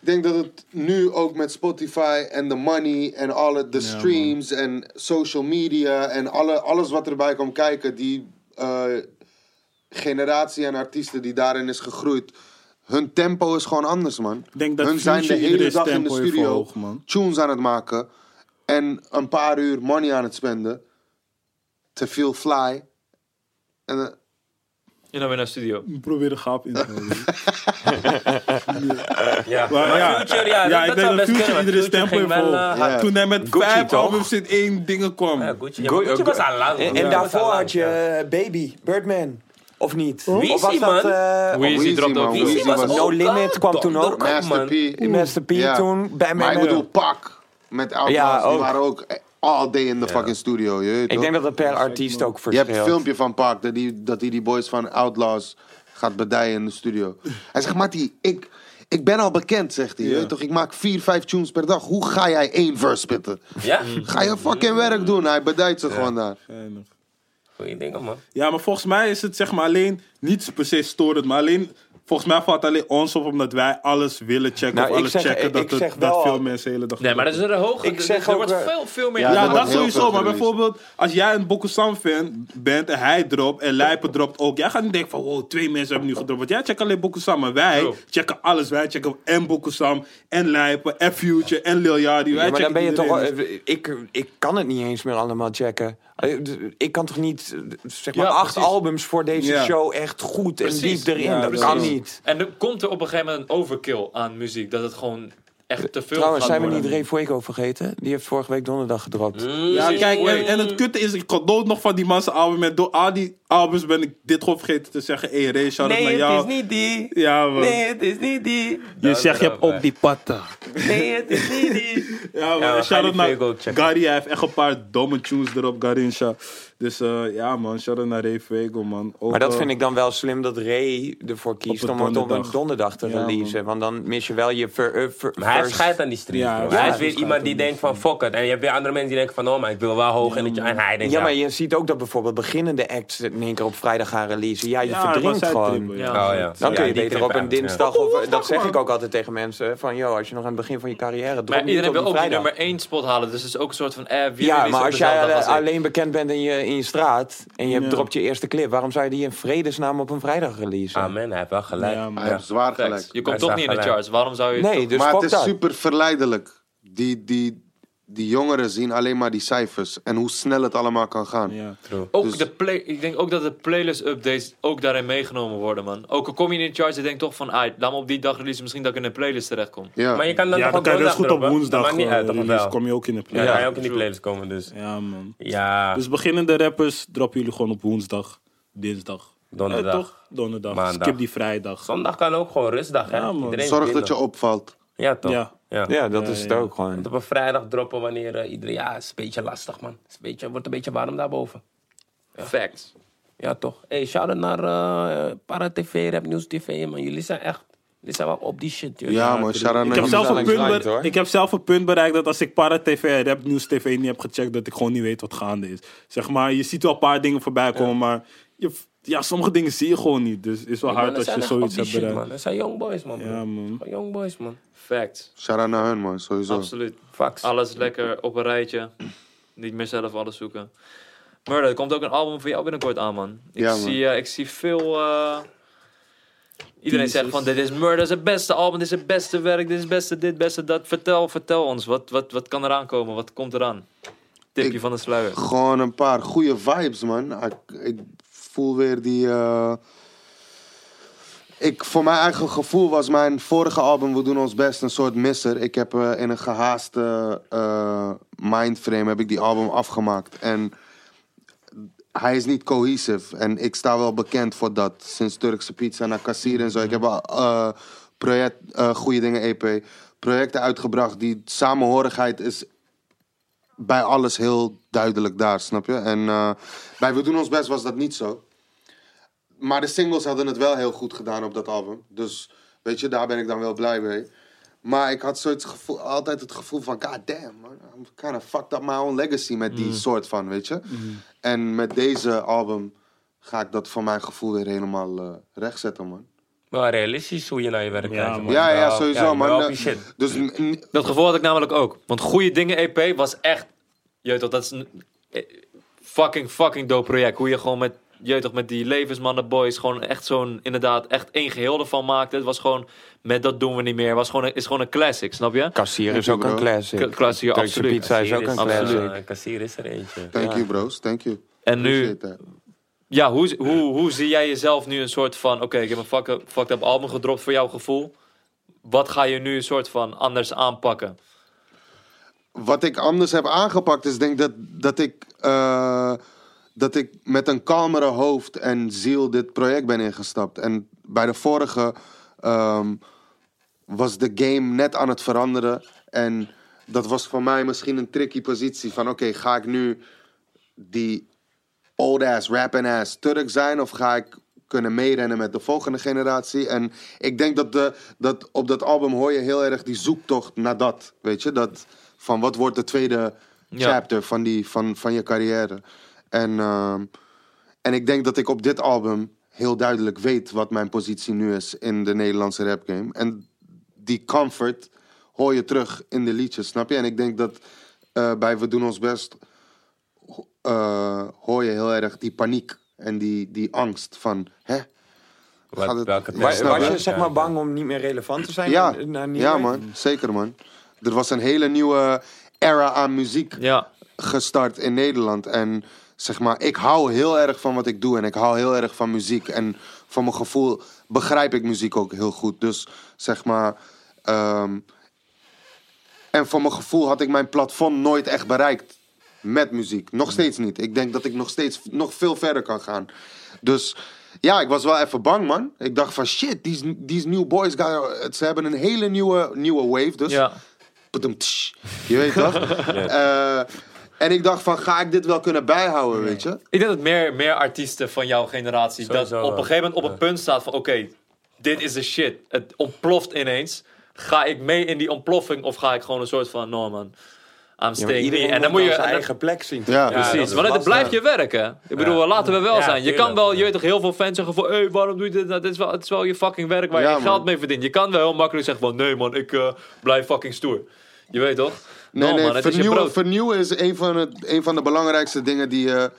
[SPEAKER 3] ik denk dat het nu ook met Spotify en de money en alle de streams en social media en alle, alles wat erbij komt kijken, die eh, generatie aan artiesten die daarin is gegroeid. Hun tempo is gewoon anders, man.
[SPEAKER 1] Ik denk dat
[SPEAKER 3] Hun zijn de
[SPEAKER 1] Future
[SPEAKER 3] hele
[SPEAKER 1] iedereen's
[SPEAKER 3] dag in de
[SPEAKER 1] tempo heeft
[SPEAKER 3] studio
[SPEAKER 1] verhoogd, man.
[SPEAKER 3] tunes aan het maken. En een paar uur money aan het spenden. Te veel fly. En, eh,
[SPEAKER 2] En dan weer naar de studio.
[SPEAKER 1] Ik probeer de gaap in te houden.
[SPEAKER 5] Ja,
[SPEAKER 1] Maar ja,
[SPEAKER 5] Future, ja, dat-
[SPEAKER 1] ik denk dat
[SPEAKER 5] dat zou best
[SPEAKER 1] Future
[SPEAKER 5] kunnen, want
[SPEAKER 1] iedere
[SPEAKER 5] Future
[SPEAKER 1] tempo heeft
[SPEAKER 5] ging wel,
[SPEAKER 1] verhoogd.
[SPEAKER 5] eh,
[SPEAKER 3] Ja.
[SPEAKER 1] Toen hij met
[SPEAKER 4] Gucci,
[SPEAKER 1] vijf
[SPEAKER 4] toch?
[SPEAKER 1] albums in één dingen kwam.
[SPEAKER 5] ja, Gucci. Ja,
[SPEAKER 4] Go-
[SPEAKER 5] Gucci
[SPEAKER 4] go-
[SPEAKER 5] was al lang.
[SPEAKER 4] En, en daarvoor had je eh, Baby, Birdman. Of niet?
[SPEAKER 5] Wie
[SPEAKER 4] of
[SPEAKER 5] is
[SPEAKER 4] was
[SPEAKER 5] die,
[SPEAKER 4] dat,
[SPEAKER 5] man?
[SPEAKER 4] eh,
[SPEAKER 2] Weezy
[SPEAKER 3] Weezy,
[SPEAKER 2] dropt
[SPEAKER 3] man.
[SPEAKER 2] ook.
[SPEAKER 3] Weezy
[SPEAKER 5] Weezy was
[SPEAKER 3] was-
[SPEAKER 5] ook
[SPEAKER 4] No Limit
[SPEAKER 5] al
[SPEAKER 4] kwam toen
[SPEAKER 5] dom,
[SPEAKER 4] ook.
[SPEAKER 5] man.
[SPEAKER 3] Master P.
[SPEAKER 4] Master P
[SPEAKER 3] Ja.
[SPEAKER 4] toen, bij
[SPEAKER 3] Maar ik
[SPEAKER 4] mij-
[SPEAKER 3] bedoel, pak. Met Outlaws,
[SPEAKER 4] Ja,
[SPEAKER 3] die
[SPEAKER 4] ook.
[SPEAKER 3] waren ook eh, all day in de fucking studio. Je, weet
[SPEAKER 4] Ik
[SPEAKER 3] toch?
[SPEAKER 4] denk dat dat per artiest ook
[SPEAKER 3] je hebt een
[SPEAKER 4] verschilt.
[SPEAKER 3] filmpje van Park dat hij die, dat die, die boys van Outlaws gaat bedijen in de studio. Hij zegt, Matty, ik, ik ben al bekend, zegt hij. Je weet toch, ik maak vier, vijf tunes per dag. Hoe ga jij één verse spitten?
[SPEAKER 5] Ja,
[SPEAKER 3] Ga je fucking werk doen? Hij bedijt ze gewoon daar.
[SPEAKER 1] Geinig.
[SPEAKER 5] goeie dingen, man.
[SPEAKER 1] Ja, maar volgens mij is het zeg maar alleen, niet per se storend, maar alleen Volgens mij valt alleen ons op omdat wij alles willen checken
[SPEAKER 4] Nou,
[SPEAKER 1] of
[SPEAKER 4] ik
[SPEAKER 1] alles
[SPEAKER 4] zeg-
[SPEAKER 1] checken.
[SPEAKER 4] ik
[SPEAKER 1] Dat, het-
[SPEAKER 4] zeg
[SPEAKER 1] dat
[SPEAKER 4] wel-
[SPEAKER 1] veel mensen de hele dag
[SPEAKER 2] Nee, maar dat is er hoog.
[SPEAKER 4] Ik
[SPEAKER 2] er-
[SPEAKER 4] zeg
[SPEAKER 2] er
[SPEAKER 4] ook,
[SPEAKER 2] wordt
[SPEAKER 4] eh,
[SPEAKER 2] veel, veel meer.
[SPEAKER 3] ja,
[SPEAKER 1] Ja,
[SPEAKER 3] Er wordt
[SPEAKER 1] dat
[SPEAKER 3] heel
[SPEAKER 1] sowieso.
[SPEAKER 3] veel
[SPEAKER 1] Maar
[SPEAKER 3] gereleased.
[SPEAKER 1] bijvoorbeeld, als jij een Bokusan fan bent en hij dropt en Lijpen dropt ook. Jij gaat niet denken van, wow, twee mensen hebben nu gedropt. Want jij checkt alleen Bokusan. Maar wij
[SPEAKER 2] Oh.
[SPEAKER 1] checken alles. Wij checken en Bokusan, en Lijpen, en Future, en Lil Yachty. Wij
[SPEAKER 4] Ja, maar
[SPEAKER 1] checken
[SPEAKER 4] dan ben je toch.
[SPEAKER 1] iedereen.
[SPEAKER 4] eh, Ik, ik kan het niet eens meer allemaal checken. Eh, d- Ik kan toch niet eh, zeg maar
[SPEAKER 2] Ja,
[SPEAKER 4] acht
[SPEAKER 2] precies.
[SPEAKER 4] albums voor deze
[SPEAKER 1] Ja.
[SPEAKER 4] show echt goed en
[SPEAKER 2] Precies.
[SPEAKER 4] diep erin.
[SPEAKER 1] Ja,
[SPEAKER 4] dat
[SPEAKER 1] precies.
[SPEAKER 4] kan niet.
[SPEAKER 2] En dan komt er op een gegeven moment een overkill aan muziek. Dat het gewoon echt te veel
[SPEAKER 4] Trouwens,
[SPEAKER 2] gaat
[SPEAKER 4] zijn we
[SPEAKER 2] worden.
[SPEAKER 4] niet Ray Fuego vergeten? Die heeft vorige week donderdag gedropt.
[SPEAKER 1] Ja, kijk, en, en het kutte is, ik kon dood nog van die man zijn album. En door al die albums ben ik dit gewoon vergeten te zeggen. Hé, hey, Ray, shout out naar
[SPEAKER 5] Nee,
[SPEAKER 1] jou.
[SPEAKER 5] het is niet die.
[SPEAKER 1] Ja, man.
[SPEAKER 5] Nee, het is niet die.
[SPEAKER 1] je zegt, je hebt ook die patten.
[SPEAKER 5] Nee, het is niet die.
[SPEAKER 1] Ja,
[SPEAKER 5] Ja,
[SPEAKER 1] man.
[SPEAKER 5] we gaan
[SPEAKER 1] shout out
[SPEAKER 5] die
[SPEAKER 1] naar
[SPEAKER 5] Fuego checken.
[SPEAKER 1] Gary. Hij heeft echt een paar domme tunes erop, Garincha. Dus eh, ja, man. Shout out naar Ray Fuego, man. Ook,
[SPEAKER 4] Maar dat
[SPEAKER 1] eh,
[SPEAKER 4] vind ik dan wel slim dat Ray ervoor kiest
[SPEAKER 1] het
[SPEAKER 4] om het op een
[SPEAKER 1] donderdag.
[SPEAKER 4] donderdag te
[SPEAKER 1] Ja, man.
[SPEAKER 4] releasen. Want dan mis je wel je ver, eh, ver-
[SPEAKER 5] Maar hij heeft
[SPEAKER 4] first-
[SPEAKER 5] scheid aan die street.
[SPEAKER 1] Ja,
[SPEAKER 5] bro.
[SPEAKER 1] ja,
[SPEAKER 5] hij
[SPEAKER 1] hij
[SPEAKER 5] is weer
[SPEAKER 1] heeft
[SPEAKER 5] iemand
[SPEAKER 1] scheid
[SPEAKER 5] die
[SPEAKER 1] aan
[SPEAKER 5] denkt van fuck it. En je hebt weer andere mensen die denken van oh, maar ik wil wel hoog. en, dat je, en hij denkt
[SPEAKER 4] Ja, maar
[SPEAKER 5] ja.
[SPEAKER 4] je ziet ook dat bijvoorbeeld beginnende acts het in één keer op vrijdag gaan releasen. Ja, je
[SPEAKER 1] Ja, maar
[SPEAKER 4] verdrinkt
[SPEAKER 1] zij
[SPEAKER 4] gewoon.
[SPEAKER 1] trippen,
[SPEAKER 2] Ja.
[SPEAKER 5] Oh, ja.
[SPEAKER 4] Dan
[SPEAKER 5] Ja,
[SPEAKER 4] kun
[SPEAKER 5] die
[SPEAKER 4] je beter
[SPEAKER 5] trip
[SPEAKER 4] op een
[SPEAKER 5] uit,
[SPEAKER 4] dinsdag.
[SPEAKER 1] Ja.
[SPEAKER 4] Of, dat zeg
[SPEAKER 1] man.
[SPEAKER 4] ik ook altijd tegen mensen. Van, joh, als je nog aan het begin van je carrière drop
[SPEAKER 2] Maar
[SPEAKER 4] niet
[SPEAKER 2] iedereen
[SPEAKER 4] op
[SPEAKER 2] wil
[SPEAKER 4] een
[SPEAKER 2] ook die
[SPEAKER 4] vrijdag.
[SPEAKER 2] nummer 1 spot halen. Dus het is ook een soort van... Eh, wie
[SPEAKER 4] Ja,
[SPEAKER 2] release
[SPEAKER 4] maar
[SPEAKER 2] op
[SPEAKER 4] als jij
[SPEAKER 2] dezelfde
[SPEAKER 4] alle-
[SPEAKER 2] dag als ik?
[SPEAKER 4] alleen bekend bent in je, in je straat en je
[SPEAKER 1] Ja.
[SPEAKER 4] dropt je eerste clip, waarom zou je die in vredesnaam op een vrijdag releasen?
[SPEAKER 2] Ah,
[SPEAKER 5] ja. Amen, hij heeft wel gelijk.
[SPEAKER 1] Ja, man.
[SPEAKER 3] Hij heeft zwaar
[SPEAKER 2] Facts.
[SPEAKER 3] gelijk.
[SPEAKER 2] Je
[SPEAKER 5] Hij
[SPEAKER 2] komt toch
[SPEAKER 5] staat
[SPEAKER 2] niet in de
[SPEAKER 5] gelijk.
[SPEAKER 2] charts. Waarom zou je...
[SPEAKER 4] Nee, dus
[SPEAKER 3] maar
[SPEAKER 4] fuck
[SPEAKER 3] het is
[SPEAKER 4] dat.
[SPEAKER 3] super verleidelijk. Die, die, die jongeren zien alleen maar die cijfers en hoe snel het allemaal kan gaan.
[SPEAKER 1] Ja.
[SPEAKER 2] Ook
[SPEAKER 3] Dus-
[SPEAKER 2] de play, ik denk ook dat de playlist-updates ook daarin meegenomen worden, man. Ook al kom je in de charts, je denkt toch van... Ah, laat me op die dag releasen, misschien dat ik in de playlist terechtkom.
[SPEAKER 3] Ja.
[SPEAKER 5] Maar je kan dan
[SPEAKER 1] Ja,
[SPEAKER 5] nog
[SPEAKER 1] dan
[SPEAKER 5] op
[SPEAKER 1] kan je best
[SPEAKER 5] donderdag
[SPEAKER 1] goed op
[SPEAKER 5] droppen.
[SPEAKER 1] woensdag.
[SPEAKER 5] Dat maakt niet
[SPEAKER 1] eh,
[SPEAKER 5] uit, toch
[SPEAKER 1] release,
[SPEAKER 5] wel.
[SPEAKER 1] kom je ook in de
[SPEAKER 5] Ja,
[SPEAKER 1] plek.
[SPEAKER 5] dan
[SPEAKER 1] Ja,
[SPEAKER 5] kan je ook in die playlist komen dus.
[SPEAKER 1] man.
[SPEAKER 5] Ja,
[SPEAKER 1] Dus beginnende rappers droppen jullie gewoon op woensdag, dinsdag.
[SPEAKER 5] Donderdag.
[SPEAKER 1] Eh, toch? Donderdag.
[SPEAKER 5] Maandag.
[SPEAKER 1] Skip die vrijdag.
[SPEAKER 5] zondag kan ook gewoon rustdag hè.
[SPEAKER 1] Ja, man.
[SPEAKER 5] Iedereen is
[SPEAKER 3] Zorg dat
[SPEAKER 5] minder.
[SPEAKER 3] je opvalt.
[SPEAKER 5] Ja toch.
[SPEAKER 1] Ja.
[SPEAKER 5] ja.
[SPEAKER 4] Ja, dat is het
[SPEAKER 1] ja.
[SPEAKER 4] ook gewoon.
[SPEAKER 5] Want op een vrijdag droppen wanneer eh, iedereen... Ja, is een beetje lastig, man. Is een beetje, wordt een beetje warm daarboven.
[SPEAKER 2] Facts.
[SPEAKER 5] Ja, toch. hey, shout-out naar eh Para TV, Rap News TV, man. Jullie zijn echt... Jullie zijn wel op die shit, joh.
[SPEAKER 3] Ja, man. Sharon
[SPEAKER 1] Ik heb,
[SPEAKER 4] die
[SPEAKER 1] zelf
[SPEAKER 4] zijn
[SPEAKER 1] een punt
[SPEAKER 4] langs
[SPEAKER 1] bere-
[SPEAKER 4] lijn, hoor.
[SPEAKER 1] ik heb zelf een punt bereikt dat als ik Para TV en Rap News TV niet heb gecheckt, dat ik gewoon niet weet wat gaande is. Zeg maar, je ziet wel een paar dingen voorbij komen, maar je, ja, sommige dingen zie je gewoon niet. Dus het is wel
[SPEAKER 5] Ja, man,
[SPEAKER 1] hard
[SPEAKER 5] dat
[SPEAKER 1] als
[SPEAKER 5] zijn
[SPEAKER 1] je
[SPEAKER 5] echt
[SPEAKER 1] zoiets
[SPEAKER 5] op die
[SPEAKER 1] hebt
[SPEAKER 5] shit,
[SPEAKER 1] bereikt.
[SPEAKER 5] man. Dat zijn young boys, man. bro.
[SPEAKER 1] Ja, man.
[SPEAKER 5] Gewoon Young boys, man.
[SPEAKER 2] Facts.
[SPEAKER 3] Sharon naar hun, man. Sowieso.
[SPEAKER 2] Absoluut.
[SPEAKER 5] Facts.
[SPEAKER 2] Alles lekker op een rijtje. Niet meer zelf alles zoeken. Murder, er komt ook een album voor jou binnenkort aan, man. Ik,
[SPEAKER 3] Ja, man.
[SPEAKER 2] Zie, eh, ik zie veel... eh, Iedereen zegt van, dit is Murder, zijn beste album, dit is het beste werk, dit is het beste dit, beste dat. Vertel, vertel ons, wat, wat, wat kan eraan komen, wat komt eraan? Tipje
[SPEAKER 3] Ik-
[SPEAKER 2] van de sluier.
[SPEAKER 3] Gewoon een paar goede vibes, man. Ik, ik voel weer die. eh, Ik, voor mijn eigen gevoel was mijn vorige album We Doen Ons Best een soort misser. Ik heb eh, in een gehaaste eh, mindframe heb ik die album afgemaakt. En hij is niet cohesief. En ik sta wel bekend voor dat. Sinds Turkse Pizza naar Kassier en zo. Ik heb al eh, project, eh, Goede Dingen EP projecten uitgebracht. Die samenhorigheid is bij alles heel duidelijk daar, snap je? En eh, bij We Doen Ons Best was dat niet zo. Maar de singles hadden het wel heel goed gedaan op dat album. Dus weet je, daar ben ik dan wel blij mee. Maar ik had zoiets gevoel, altijd het gevoel van... God damn, man. I'm kind of fucked up my own legacy met
[SPEAKER 5] Mm.
[SPEAKER 3] die soort van, weet je? En met deze album ga ik dat voor mijn gevoel weer helemaal eh rechtzetten, man.
[SPEAKER 5] Wel realistisch hoe je naar je werk kijkt.
[SPEAKER 1] man.
[SPEAKER 5] man.
[SPEAKER 3] Ja, ja,
[SPEAKER 5] Wel-
[SPEAKER 3] sowieso,
[SPEAKER 5] ja, wel
[SPEAKER 3] man.
[SPEAKER 5] op die shit.
[SPEAKER 3] Dus n- n-
[SPEAKER 2] Dat gevoel had ik namelijk ook. Want Goeie Dingen EP was echt... Je weet toch, dat is een eh, fucking, fucking dope project. Hoe je gewoon met, je weet toch, met die levensmannen boys... gewoon echt zo'n, inderdaad, echt één geheel ervan maakte. Het was gewoon, met dat doen we niet meer. Was gewoon een, is gewoon een classic, snap je?
[SPEAKER 4] Kassier is ook
[SPEAKER 3] bro.
[SPEAKER 4] een classic.
[SPEAKER 2] K- Klassier,
[SPEAKER 4] Turkse
[SPEAKER 2] absoluut.
[SPEAKER 4] pizza is ook
[SPEAKER 5] Kassier
[SPEAKER 4] een
[SPEAKER 5] is-
[SPEAKER 4] classic.
[SPEAKER 5] eh, Kassier is er eentje.
[SPEAKER 3] thank you, bros. Thank you.
[SPEAKER 2] En nu,
[SPEAKER 3] Appreciate that.
[SPEAKER 2] ja, hoe, hoe, hoe zie jij jezelf nu een soort van... Oké, ik heb een fuck up- fucked up album gedropt voor jouw gevoel. Wat ga je nu een soort van anders aanpakken?
[SPEAKER 3] wat ik anders heb aangepakt is denk ik dat, dat ik... eh, dat ik met een kalmere hoofd en ziel dit project ben ingestapt. En bij de vorige ehm, was de game net aan het veranderen. En dat was voor mij misschien een tricky positie. Van oké, ga ik nu die old ass, rapping ass Turk zijn? Of ga ik kunnen meerennen met de volgende generatie? En ik denk dat, de, dat op dat album hoor je heel erg die zoektocht naar dat. Weet je, dat van wat wordt de tweede
[SPEAKER 2] Ja.
[SPEAKER 3] chapter van, die, van, van je carrière? En, ehm, en ik denk dat ik op dit album heel duidelijk weet wat mijn positie nu is in de Nederlandse rap game. En die comfort hoor je terug in de liedjes, snap je? En ik denk dat eh, bij We Doen Ons Best ho- eh, hoor je heel erg die paniek en die, die angst van, hè?
[SPEAKER 5] Wat-
[SPEAKER 3] Gaat het-
[SPEAKER 5] welke
[SPEAKER 3] Ja,
[SPEAKER 5] Maar-
[SPEAKER 4] Maar
[SPEAKER 5] snap
[SPEAKER 4] was
[SPEAKER 5] je?
[SPEAKER 4] je zeg maar bang om niet meer relevant te zijn?
[SPEAKER 3] Ja,
[SPEAKER 4] na- na New
[SPEAKER 3] ja
[SPEAKER 4] Wave?
[SPEAKER 3] man, zeker man. Er was een hele nieuwe era aan muziek
[SPEAKER 2] Ja.
[SPEAKER 3] gestart in Nederland. En zeg maar, ik hou heel erg van wat ik doe. En ik hou heel erg van muziek. En van mijn gevoel begrijp ik muziek ook heel goed. Dus zeg maar. ehm, en voor mijn gevoel had ik mijn plafond nooit echt bereikt met muziek. Nog steeds niet. Ik denk dat ik nog steeds nog veel verder kan gaan. Dus ja, ik was wel even bang, man. Ik dacht van shit, die die new boys, gaan- ze hebben een hele nieuwe, nieuwe wave. Dus
[SPEAKER 2] Ja.
[SPEAKER 3] Padum, tsch. Je weet toch? Eh, en ik dacht van, ga ik dit wel kunnen bijhouden, weet je?
[SPEAKER 2] Ik denk dat meer, meer artiesten van jouw generatie
[SPEAKER 5] Sowieso
[SPEAKER 2] dat op een
[SPEAKER 5] wel.
[SPEAKER 2] gegeven moment op een punt staat van oké, dit is de shit. Het ontploft ineens. Ga ik mee in die ontploffing of ga ik gewoon een soort van no man, I'm
[SPEAKER 4] Ja, maar
[SPEAKER 2] staying
[SPEAKER 4] iedereen
[SPEAKER 2] here. En dan moet je... en
[SPEAKER 4] zijn
[SPEAKER 2] dan-
[SPEAKER 4] eigen plek zien.
[SPEAKER 3] Ja,
[SPEAKER 5] dat
[SPEAKER 2] Precies,
[SPEAKER 5] is
[SPEAKER 2] maar dan
[SPEAKER 3] lastig.
[SPEAKER 2] blijf je werken. Ik bedoel,
[SPEAKER 5] Ja.
[SPEAKER 2] laten we wel
[SPEAKER 5] Ja,
[SPEAKER 2] zijn. Je
[SPEAKER 5] tuurlijk.
[SPEAKER 2] kan wel, je weet toch, heel veel fans zeggen van... Hey, waarom doe je dit? Nou, dit is wel, het is wel je fucking werk waar
[SPEAKER 3] Ja,
[SPEAKER 2] je
[SPEAKER 3] man.
[SPEAKER 2] geld mee verdient. Je kan wel heel makkelijk zeggen van... Nee man, ik eh, blijf fucking stoer. Je weet toch?
[SPEAKER 3] Nee,
[SPEAKER 2] no,
[SPEAKER 3] nee,
[SPEAKER 2] man, het is je
[SPEAKER 3] vernieuwen,
[SPEAKER 2] brood.
[SPEAKER 3] is vernieuwen is een van, het, een van de belangrijkste dingen die je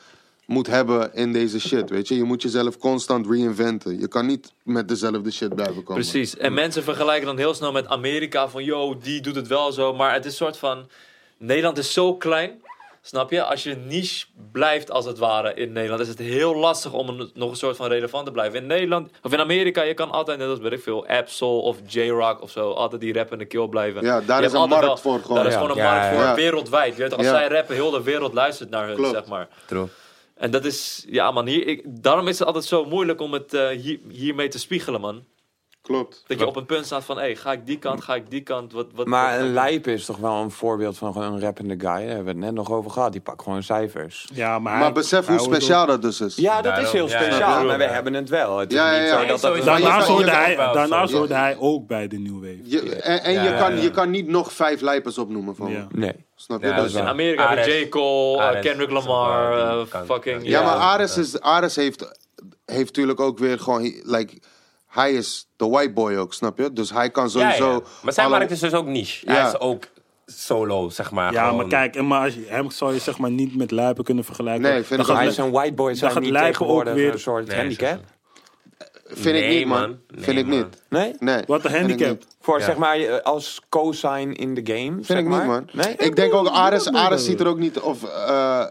[SPEAKER 3] moet hebben in deze shit, weet je? Je moet jezelf constant reinventen. Je kan niet met dezelfde shit blijven komen.
[SPEAKER 2] Precies. En mensen vergelijken dan heel snel met Amerika van, yo, die doet het wel zo. Maar het is soort van, Nederland is zo klein, snap je? Als je niche blijft als het ware in Nederland, is het heel lastig om een- nog een soort van relevant te blijven. In Nederland, of in Amerika, je kan altijd, net als weet ik veel, Absol of J-Rock of zo, altijd die rap in de keel blijven.
[SPEAKER 3] Ja, daar
[SPEAKER 2] Je
[SPEAKER 3] is
[SPEAKER 2] hebt
[SPEAKER 3] een
[SPEAKER 2] altijd
[SPEAKER 3] markt voor gewoon.
[SPEAKER 2] Daar is
[SPEAKER 5] Ja.
[SPEAKER 2] gewoon een
[SPEAKER 5] Ja,
[SPEAKER 2] markt
[SPEAKER 5] ja,
[SPEAKER 2] voor,
[SPEAKER 3] ja.
[SPEAKER 2] wereldwijd. Je weet, toch, als
[SPEAKER 3] Ja.
[SPEAKER 2] zij rappen, heel de wereld luistert naar hun,
[SPEAKER 3] Klopt.
[SPEAKER 2] zeg maar.
[SPEAKER 5] True.
[SPEAKER 2] En dat is, ja man, hier, ik, daarom is het altijd zo moeilijk om het eh, hier, hiermee te spiegelen, man.
[SPEAKER 3] Klopt.
[SPEAKER 2] Dat je op een punt staat van, hé, ga ik die kant, ga ik die kant, wat... wat
[SPEAKER 4] Maar
[SPEAKER 2] wat-
[SPEAKER 4] een lijp is toch wel een voorbeeld van gewoon een rappende guy. Daar hebben we het net nog over gehad. Die pakt gewoon cijfers.
[SPEAKER 1] Ja, maar,
[SPEAKER 3] Maar besef hoe speciaal dat dus is.
[SPEAKER 4] Ja, dat is
[SPEAKER 5] Daarom,
[SPEAKER 4] heel
[SPEAKER 5] ja,
[SPEAKER 4] speciaal.
[SPEAKER 5] daarom,
[SPEAKER 4] maar we
[SPEAKER 5] ja.
[SPEAKER 4] hebben het wel. Het is
[SPEAKER 3] Ja, ja,
[SPEAKER 4] niet
[SPEAKER 3] ja.
[SPEAKER 4] zo dat
[SPEAKER 5] Nee,
[SPEAKER 4] dat...
[SPEAKER 5] sowieso.
[SPEAKER 1] Daarnaast
[SPEAKER 3] Je-
[SPEAKER 1] hoorde
[SPEAKER 3] je-
[SPEAKER 1] hij,
[SPEAKER 5] wel
[SPEAKER 1] daarnaast
[SPEAKER 5] zo.
[SPEAKER 1] hoorde hij ook bij de New Wave.
[SPEAKER 3] Je- en en je,
[SPEAKER 5] Ja,
[SPEAKER 3] kan,
[SPEAKER 5] ja.
[SPEAKER 3] je kan niet nog vijf lijpers opnoemen van me.
[SPEAKER 1] Ja.
[SPEAKER 4] Nee.
[SPEAKER 3] Snap je?
[SPEAKER 5] Ja, dus
[SPEAKER 3] dat
[SPEAKER 5] dat
[SPEAKER 3] is
[SPEAKER 5] is
[SPEAKER 2] In
[SPEAKER 5] waar.
[SPEAKER 2] Amerika heb je
[SPEAKER 5] Ares.
[SPEAKER 2] J. Cole, eh,
[SPEAKER 5] Ares.
[SPEAKER 2] Kendrick Lamar,
[SPEAKER 5] Ja,
[SPEAKER 2] eh,
[SPEAKER 5] die kant.
[SPEAKER 2] fucking...
[SPEAKER 3] Ja,
[SPEAKER 5] Ja.
[SPEAKER 3] maar Ares, is, Ares heeft, heeft natuurlijk ook weer gewoon... he- Like, hij is de white boy ook, snap je? Dus hij kan
[SPEAKER 5] Ja, ja.
[SPEAKER 3] sowieso...
[SPEAKER 5] Maar zijn
[SPEAKER 3] alle-
[SPEAKER 5] markt is dus ook niche.
[SPEAKER 3] Ja.
[SPEAKER 5] Hij is ook solo, zeg maar.
[SPEAKER 1] Ja, maar
[SPEAKER 5] gewoon.
[SPEAKER 1] kijk, en maar als je, hem zou je zeg maar niet met lijpen kunnen vergelijken.
[SPEAKER 3] Nee, vind ik
[SPEAKER 1] Dan
[SPEAKER 3] ook
[SPEAKER 1] gaat
[SPEAKER 4] Hij
[SPEAKER 3] niet.
[SPEAKER 4] is een white boy, zijn
[SPEAKER 1] gaat
[SPEAKER 4] niet
[SPEAKER 1] lijpen ook
[SPEAKER 4] tegenwoordig
[SPEAKER 1] weer-
[SPEAKER 4] een soort
[SPEAKER 5] Nee,
[SPEAKER 4] handicap.
[SPEAKER 3] Vind ik
[SPEAKER 5] Nee,
[SPEAKER 3] niet, man.
[SPEAKER 5] man. Nee,
[SPEAKER 3] Vind ik
[SPEAKER 5] man.
[SPEAKER 3] niet.
[SPEAKER 4] Nee?
[SPEAKER 3] Nee.
[SPEAKER 1] Wat een
[SPEAKER 3] vind ik
[SPEAKER 1] handicap.
[SPEAKER 3] niet.
[SPEAKER 4] Voor
[SPEAKER 5] Ja.
[SPEAKER 4] zeg maar eh, als co-sign in de game,
[SPEAKER 3] Vind
[SPEAKER 4] zeg
[SPEAKER 3] ik
[SPEAKER 4] maar.
[SPEAKER 3] niet, man.
[SPEAKER 4] Nee?
[SPEAKER 3] Ik denk ook, Ares, Ares ziet er ook niet... Of, eh,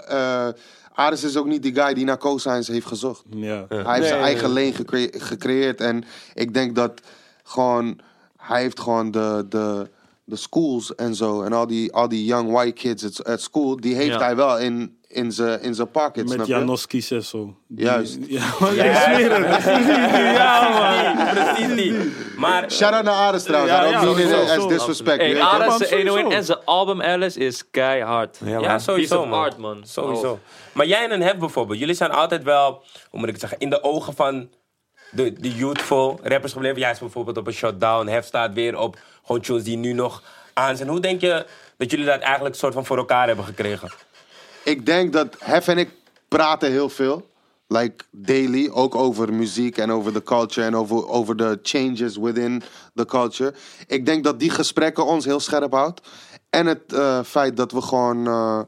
[SPEAKER 3] eh, Ares is ook niet die guy die naar co-signs heeft gezocht.
[SPEAKER 1] Ja.
[SPEAKER 3] Hij heeft zijn
[SPEAKER 4] Nee.
[SPEAKER 3] eigen leen gecre- gecreëerd. En ik denk dat gewoon... Hij heeft gewoon de, de, de schools en zo. En al die, al die young white kids at, at school... Die heeft
[SPEAKER 2] Ja.
[SPEAKER 3] hij wel in, in zijn in zijn pocket, snap
[SPEAKER 1] Met
[SPEAKER 3] je?
[SPEAKER 1] Janoski Sesso. Die-
[SPEAKER 3] Juist.
[SPEAKER 1] Ja, man, ik zweer het. Ja, man.
[SPEAKER 5] Precies die. Maar
[SPEAKER 3] Shout-out naar Ares trouwens.
[SPEAKER 1] Ja,
[SPEAKER 3] Ja,
[SPEAKER 1] ja,
[SPEAKER 3] ook niet
[SPEAKER 1] sowieso.
[SPEAKER 3] in- as disrespect.
[SPEAKER 2] Hey,
[SPEAKER 3] weet je.
[SPEAKER 1] man,
[SPEAKER 2] Ares, eh,
[SPEAKER 1] sowieso.
[SPEAKER 2] 101 en zijn album Alice is keihard.
[SPEAKER 4] Ja,
[SPEAKER 5] Ja,
[SPEAKER 4] man.
[SPEAKER 5] sowieso.
[SPEAKER 2] Piece of art, man. Oh.
[SPEAKER 5] Sowieso. Maar jij en Hef bijvoorbeeld, jullie zijn altijd wel, hoe moet ik het zeggen, in de ogen van de, de youthful rappers gebleven. Jij is bijvoorbeeld op een shutdown, Hef staat weer op gewoon tunes die nu nog aan zijn. Hoe denk je dat jullie dat eigenlijk soort van voor elkaar hebben gekregen?
[SPEAKER 3] Ik denk dat Hef en ik praten heel veel. Like daily, ook over muziek en over de culture en over, over de changes within the culture. Ik denk dat die gesprekken ons heel scherp houdt. En het eh, feit dat we gewoon. eh,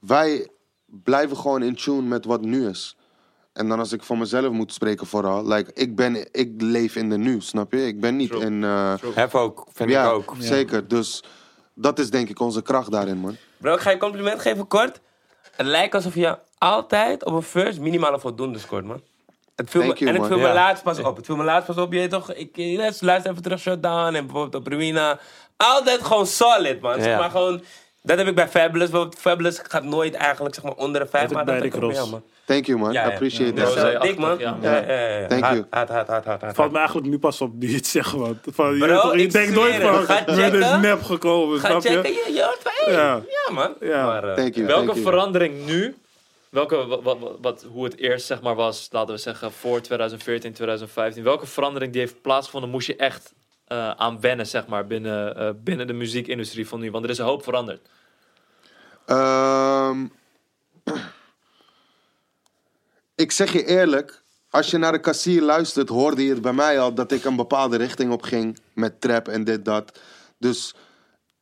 [SPEAKER 3] wij blijven gewoon in tune met wat nu is. En dan als ik voor mezelf moet spreken, vooral. Like, ik, ben, ik leef in de nu, snap je? Ik ben niet in. eh,
[SPEAKER 4] Heb ook, vind
[SPEAKER 3] ja,
[SPEAKER 4] ik ook.
[SPEAKER 3] zeker. Dus dat is denk ik onze kracht daarin, man.
[SPEAKER 5] Bro, ik ga je compliment geven kort. Het lijkt alsof je altijd op een first minimale voldoende scoort, man. Het viel
[SPEAKER 3] Thank
[SPEAKER 5] me,
[SPEAKER 3] you,
[SPEAKER 5] en het
[SPEAKER 3] man.
[SPEAKER 5] viel
[SPEAKER 4] Ja.
[SPEAKER 5] me laatst pas op. Het viel me laatst pas op. Je weet toch, ik eh, luister even terug Shutdown en bijvoorbeeld op Ruina. Altijd gewoon solid, man. Zeg
[SPEAKER 4] Ja.
[SPEAKER 5] maar gewoon, dat heb ik bij Fabulous. bijvoorbeeld. Fabulous gaat nooit eigenlijk zeg maar, onder de vijf.
[SPEAKER 1] ik
[SPEAKER 5] Maar
[SPEAKER 1] bij
[SPEAKER 5] dat heb
[SPEAKER 1] Rick
[SPEAKER 5] ik ook bij
[SPEAKER 1] Ross.
[SPEAKER 5] jou, man.
[SPEAKER 3] Thank you, man.
[SPEAKER 5] Ja, ja.
[SPEAKER 3] Appreciate
[SPEAKER 5] Dat is
[SPEAKER 3] that.
[SPEAKER 2] Ja,
[SPEAKER 5] wel dik, man.
[SPEAKER 2] ja.
[SPEAKER 5] Ja, ja, ja, ja.
[SPEAKER 3] Thank
[SPEAKER 5] Haat,
[SPEAKER 3] you.
[SPEAKER 5] Haat, haat, haat, haat, haat.
[SPEAKER 1] Valt me eigenlijk nu pas op die het zeggen, want Van, je,
[SPEAKER 5] Bro,
[SPEAKER 1] toch,
[SPEAKER 5] ik
[SPEAKER 1] ik denk nooit
[SPEAKER 5] zweer het.
[SPEAKER 1] van,
[SPEAKER 5] Ga
[SPEAKER 1] dit is
[SPEAKER 5] checken.
[SPEAKER 1] nep gekomen,
[SPEAKER 5] Ga
[SPEAKER 1] snap je?
[SPEAKER 5] checken, je, je hoort van, hey,
[SPEAKER 1] Ja.
[SPEAKER 5] ja. man.
[SPEAKER 1] Ja.
[SPEAKER 5] Maar, eh,
[SPEAKER 3] Thank you.
[SPEAKER 2] Welke
[SPEAKER 3] thank you.
[SPEAKER 2] verandering nu, welke, wa- wa- wa- wat, hoe het eerst zeg maar was, laten we zeggen voor 2014, 2015. Welke verandering die heeft plaatsgevonden, moest je echt eh, aan wennen zeg maar binnen, eh, binnen de muziekindustrie van nu? Want er is een hoop veranderd.
[SPEAKER 3] Ehm, ik zeg je eerlijk, als je naar de kassier luistert, hoorde je het bij mij al dat ik een bepaalde richting op ging met trap en dit, dat. Dus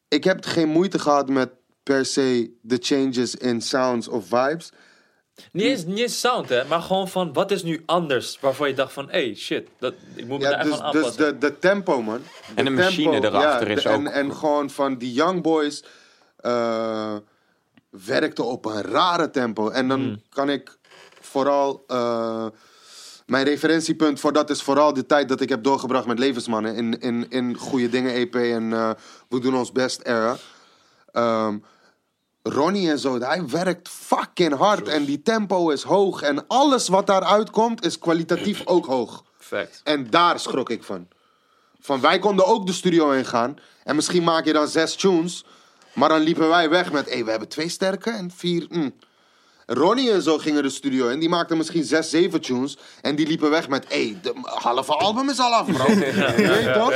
[SPEAKER 3] ik heb geen moeite gehad met per se de changes in sounds of vibes.
[SPEAKER 2] Niet eens, niet eens sound, hè, maar gewoon van wat is nu anders waarvan je dacht van hey shit, dat, ik moet me daar
[SPEAKER 3] Ja,
[SPEAKER 2] echt
[SPEAKER 3] dus,
[SPEAKER 2] aan
[SPEAKER 3] dus
[SPEAKER 2] aanpassen.
[SPEAKER 3] de, de tempo, man.
[SPEAKER 6] En de machine erachter is
[SPEAKER 3] de-
[SPEAKER 6] ook-
[SPEAKER 3] En, en gewoon van die Young Boys eh, werkte op een rare tempo. En dan
[SPEAKER 6] Hmm.
[SPEAKER 3] kan ik vooral. eh, mijn referentiepunt voor dat is vooral de tijd dat ik heb doorgebracht met Levensmannen. In, in, in Goede Dingen EP en eh, We Doen Ons Best era. Ehm, Ronnie en zo, hij werkt fucking hard. En die tempo is hoog. En alles wat daaruit komt is kwalitatief ook hoog.
[SPEAKER 2] Fact.
[SPEAKER 3] En daar schrok ik van. Van wij konden ook de studio in gaan. En misschien maak je dan zes tunes. Maar dan liepen wij weg met: hé, we hebben twee sterke en vier. mm. Ronnie en zo gingen de studio in. Die maakten misschien zes, zeven tunes. En die liepen weg met: hé, de halve album is al af, bro. Weet je toch?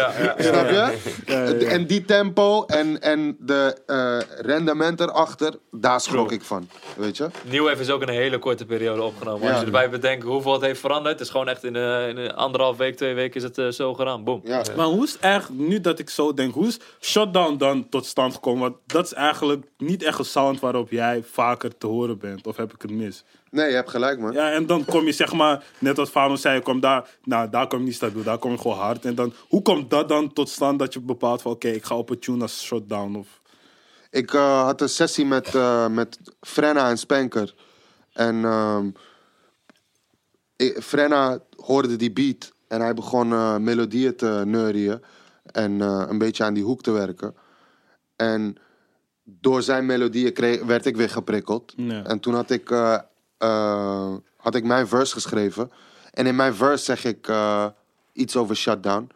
[SPEAKER 3] Snap je? En die tempo en, en de eh, rendement erachter, daar schrok ik van. Weet je?
[SPEAKER 2] Nieuw heeft is ook in een hele korte periode opgenomen. Als
[SPEAKER 3] Ja.
[SPEAKER 2] je erbij bedenkt hoeveel het heeft veranderd, het is gewoon echt in, eh, in een anderhalf week, twee weken is het eh, zo gedaan. Boom.
[SPEAKER 3] Ja.
[SPEAKER 1] Maar hoe is echt, nu dat ik zo denk, hoe is Shutdown dan tot stand gekomen? Want dat is eigenlijk niet echt een sound waarop jij vaker te horen bent. Of heb ik het mis?
[SPEAKER 3] Nee, je hebt gelijk, man.
[SPEAKER 1] Ja, en dan kom je zeg maar, net als Fano zei, kom daar, nou, daar kom je niet stabiel, daar kom je gewoon hard. En dan, hoe komt dat dan tot stand dat je bepaalt van, oké, ik ga op een tune als Shutdown of...
[SPEAKER 3] Ik eh, had een sessie met, eh, met Frenna en Spanker. En ehm, ik- Frenna hoorde die beat. En hij begon eh, melodieën te neurieën. En eh, een beetje aan die hoek te werken. En door zijn melodieën kreeg, werd ik weer geprikkeld.
[SPEAKER 1] Ja.
[SPEAKER 3] En toen had ik, eh, eh, had ik mijn verse geschreven. En in mijn verse zeg ik eh, iets over shutdown.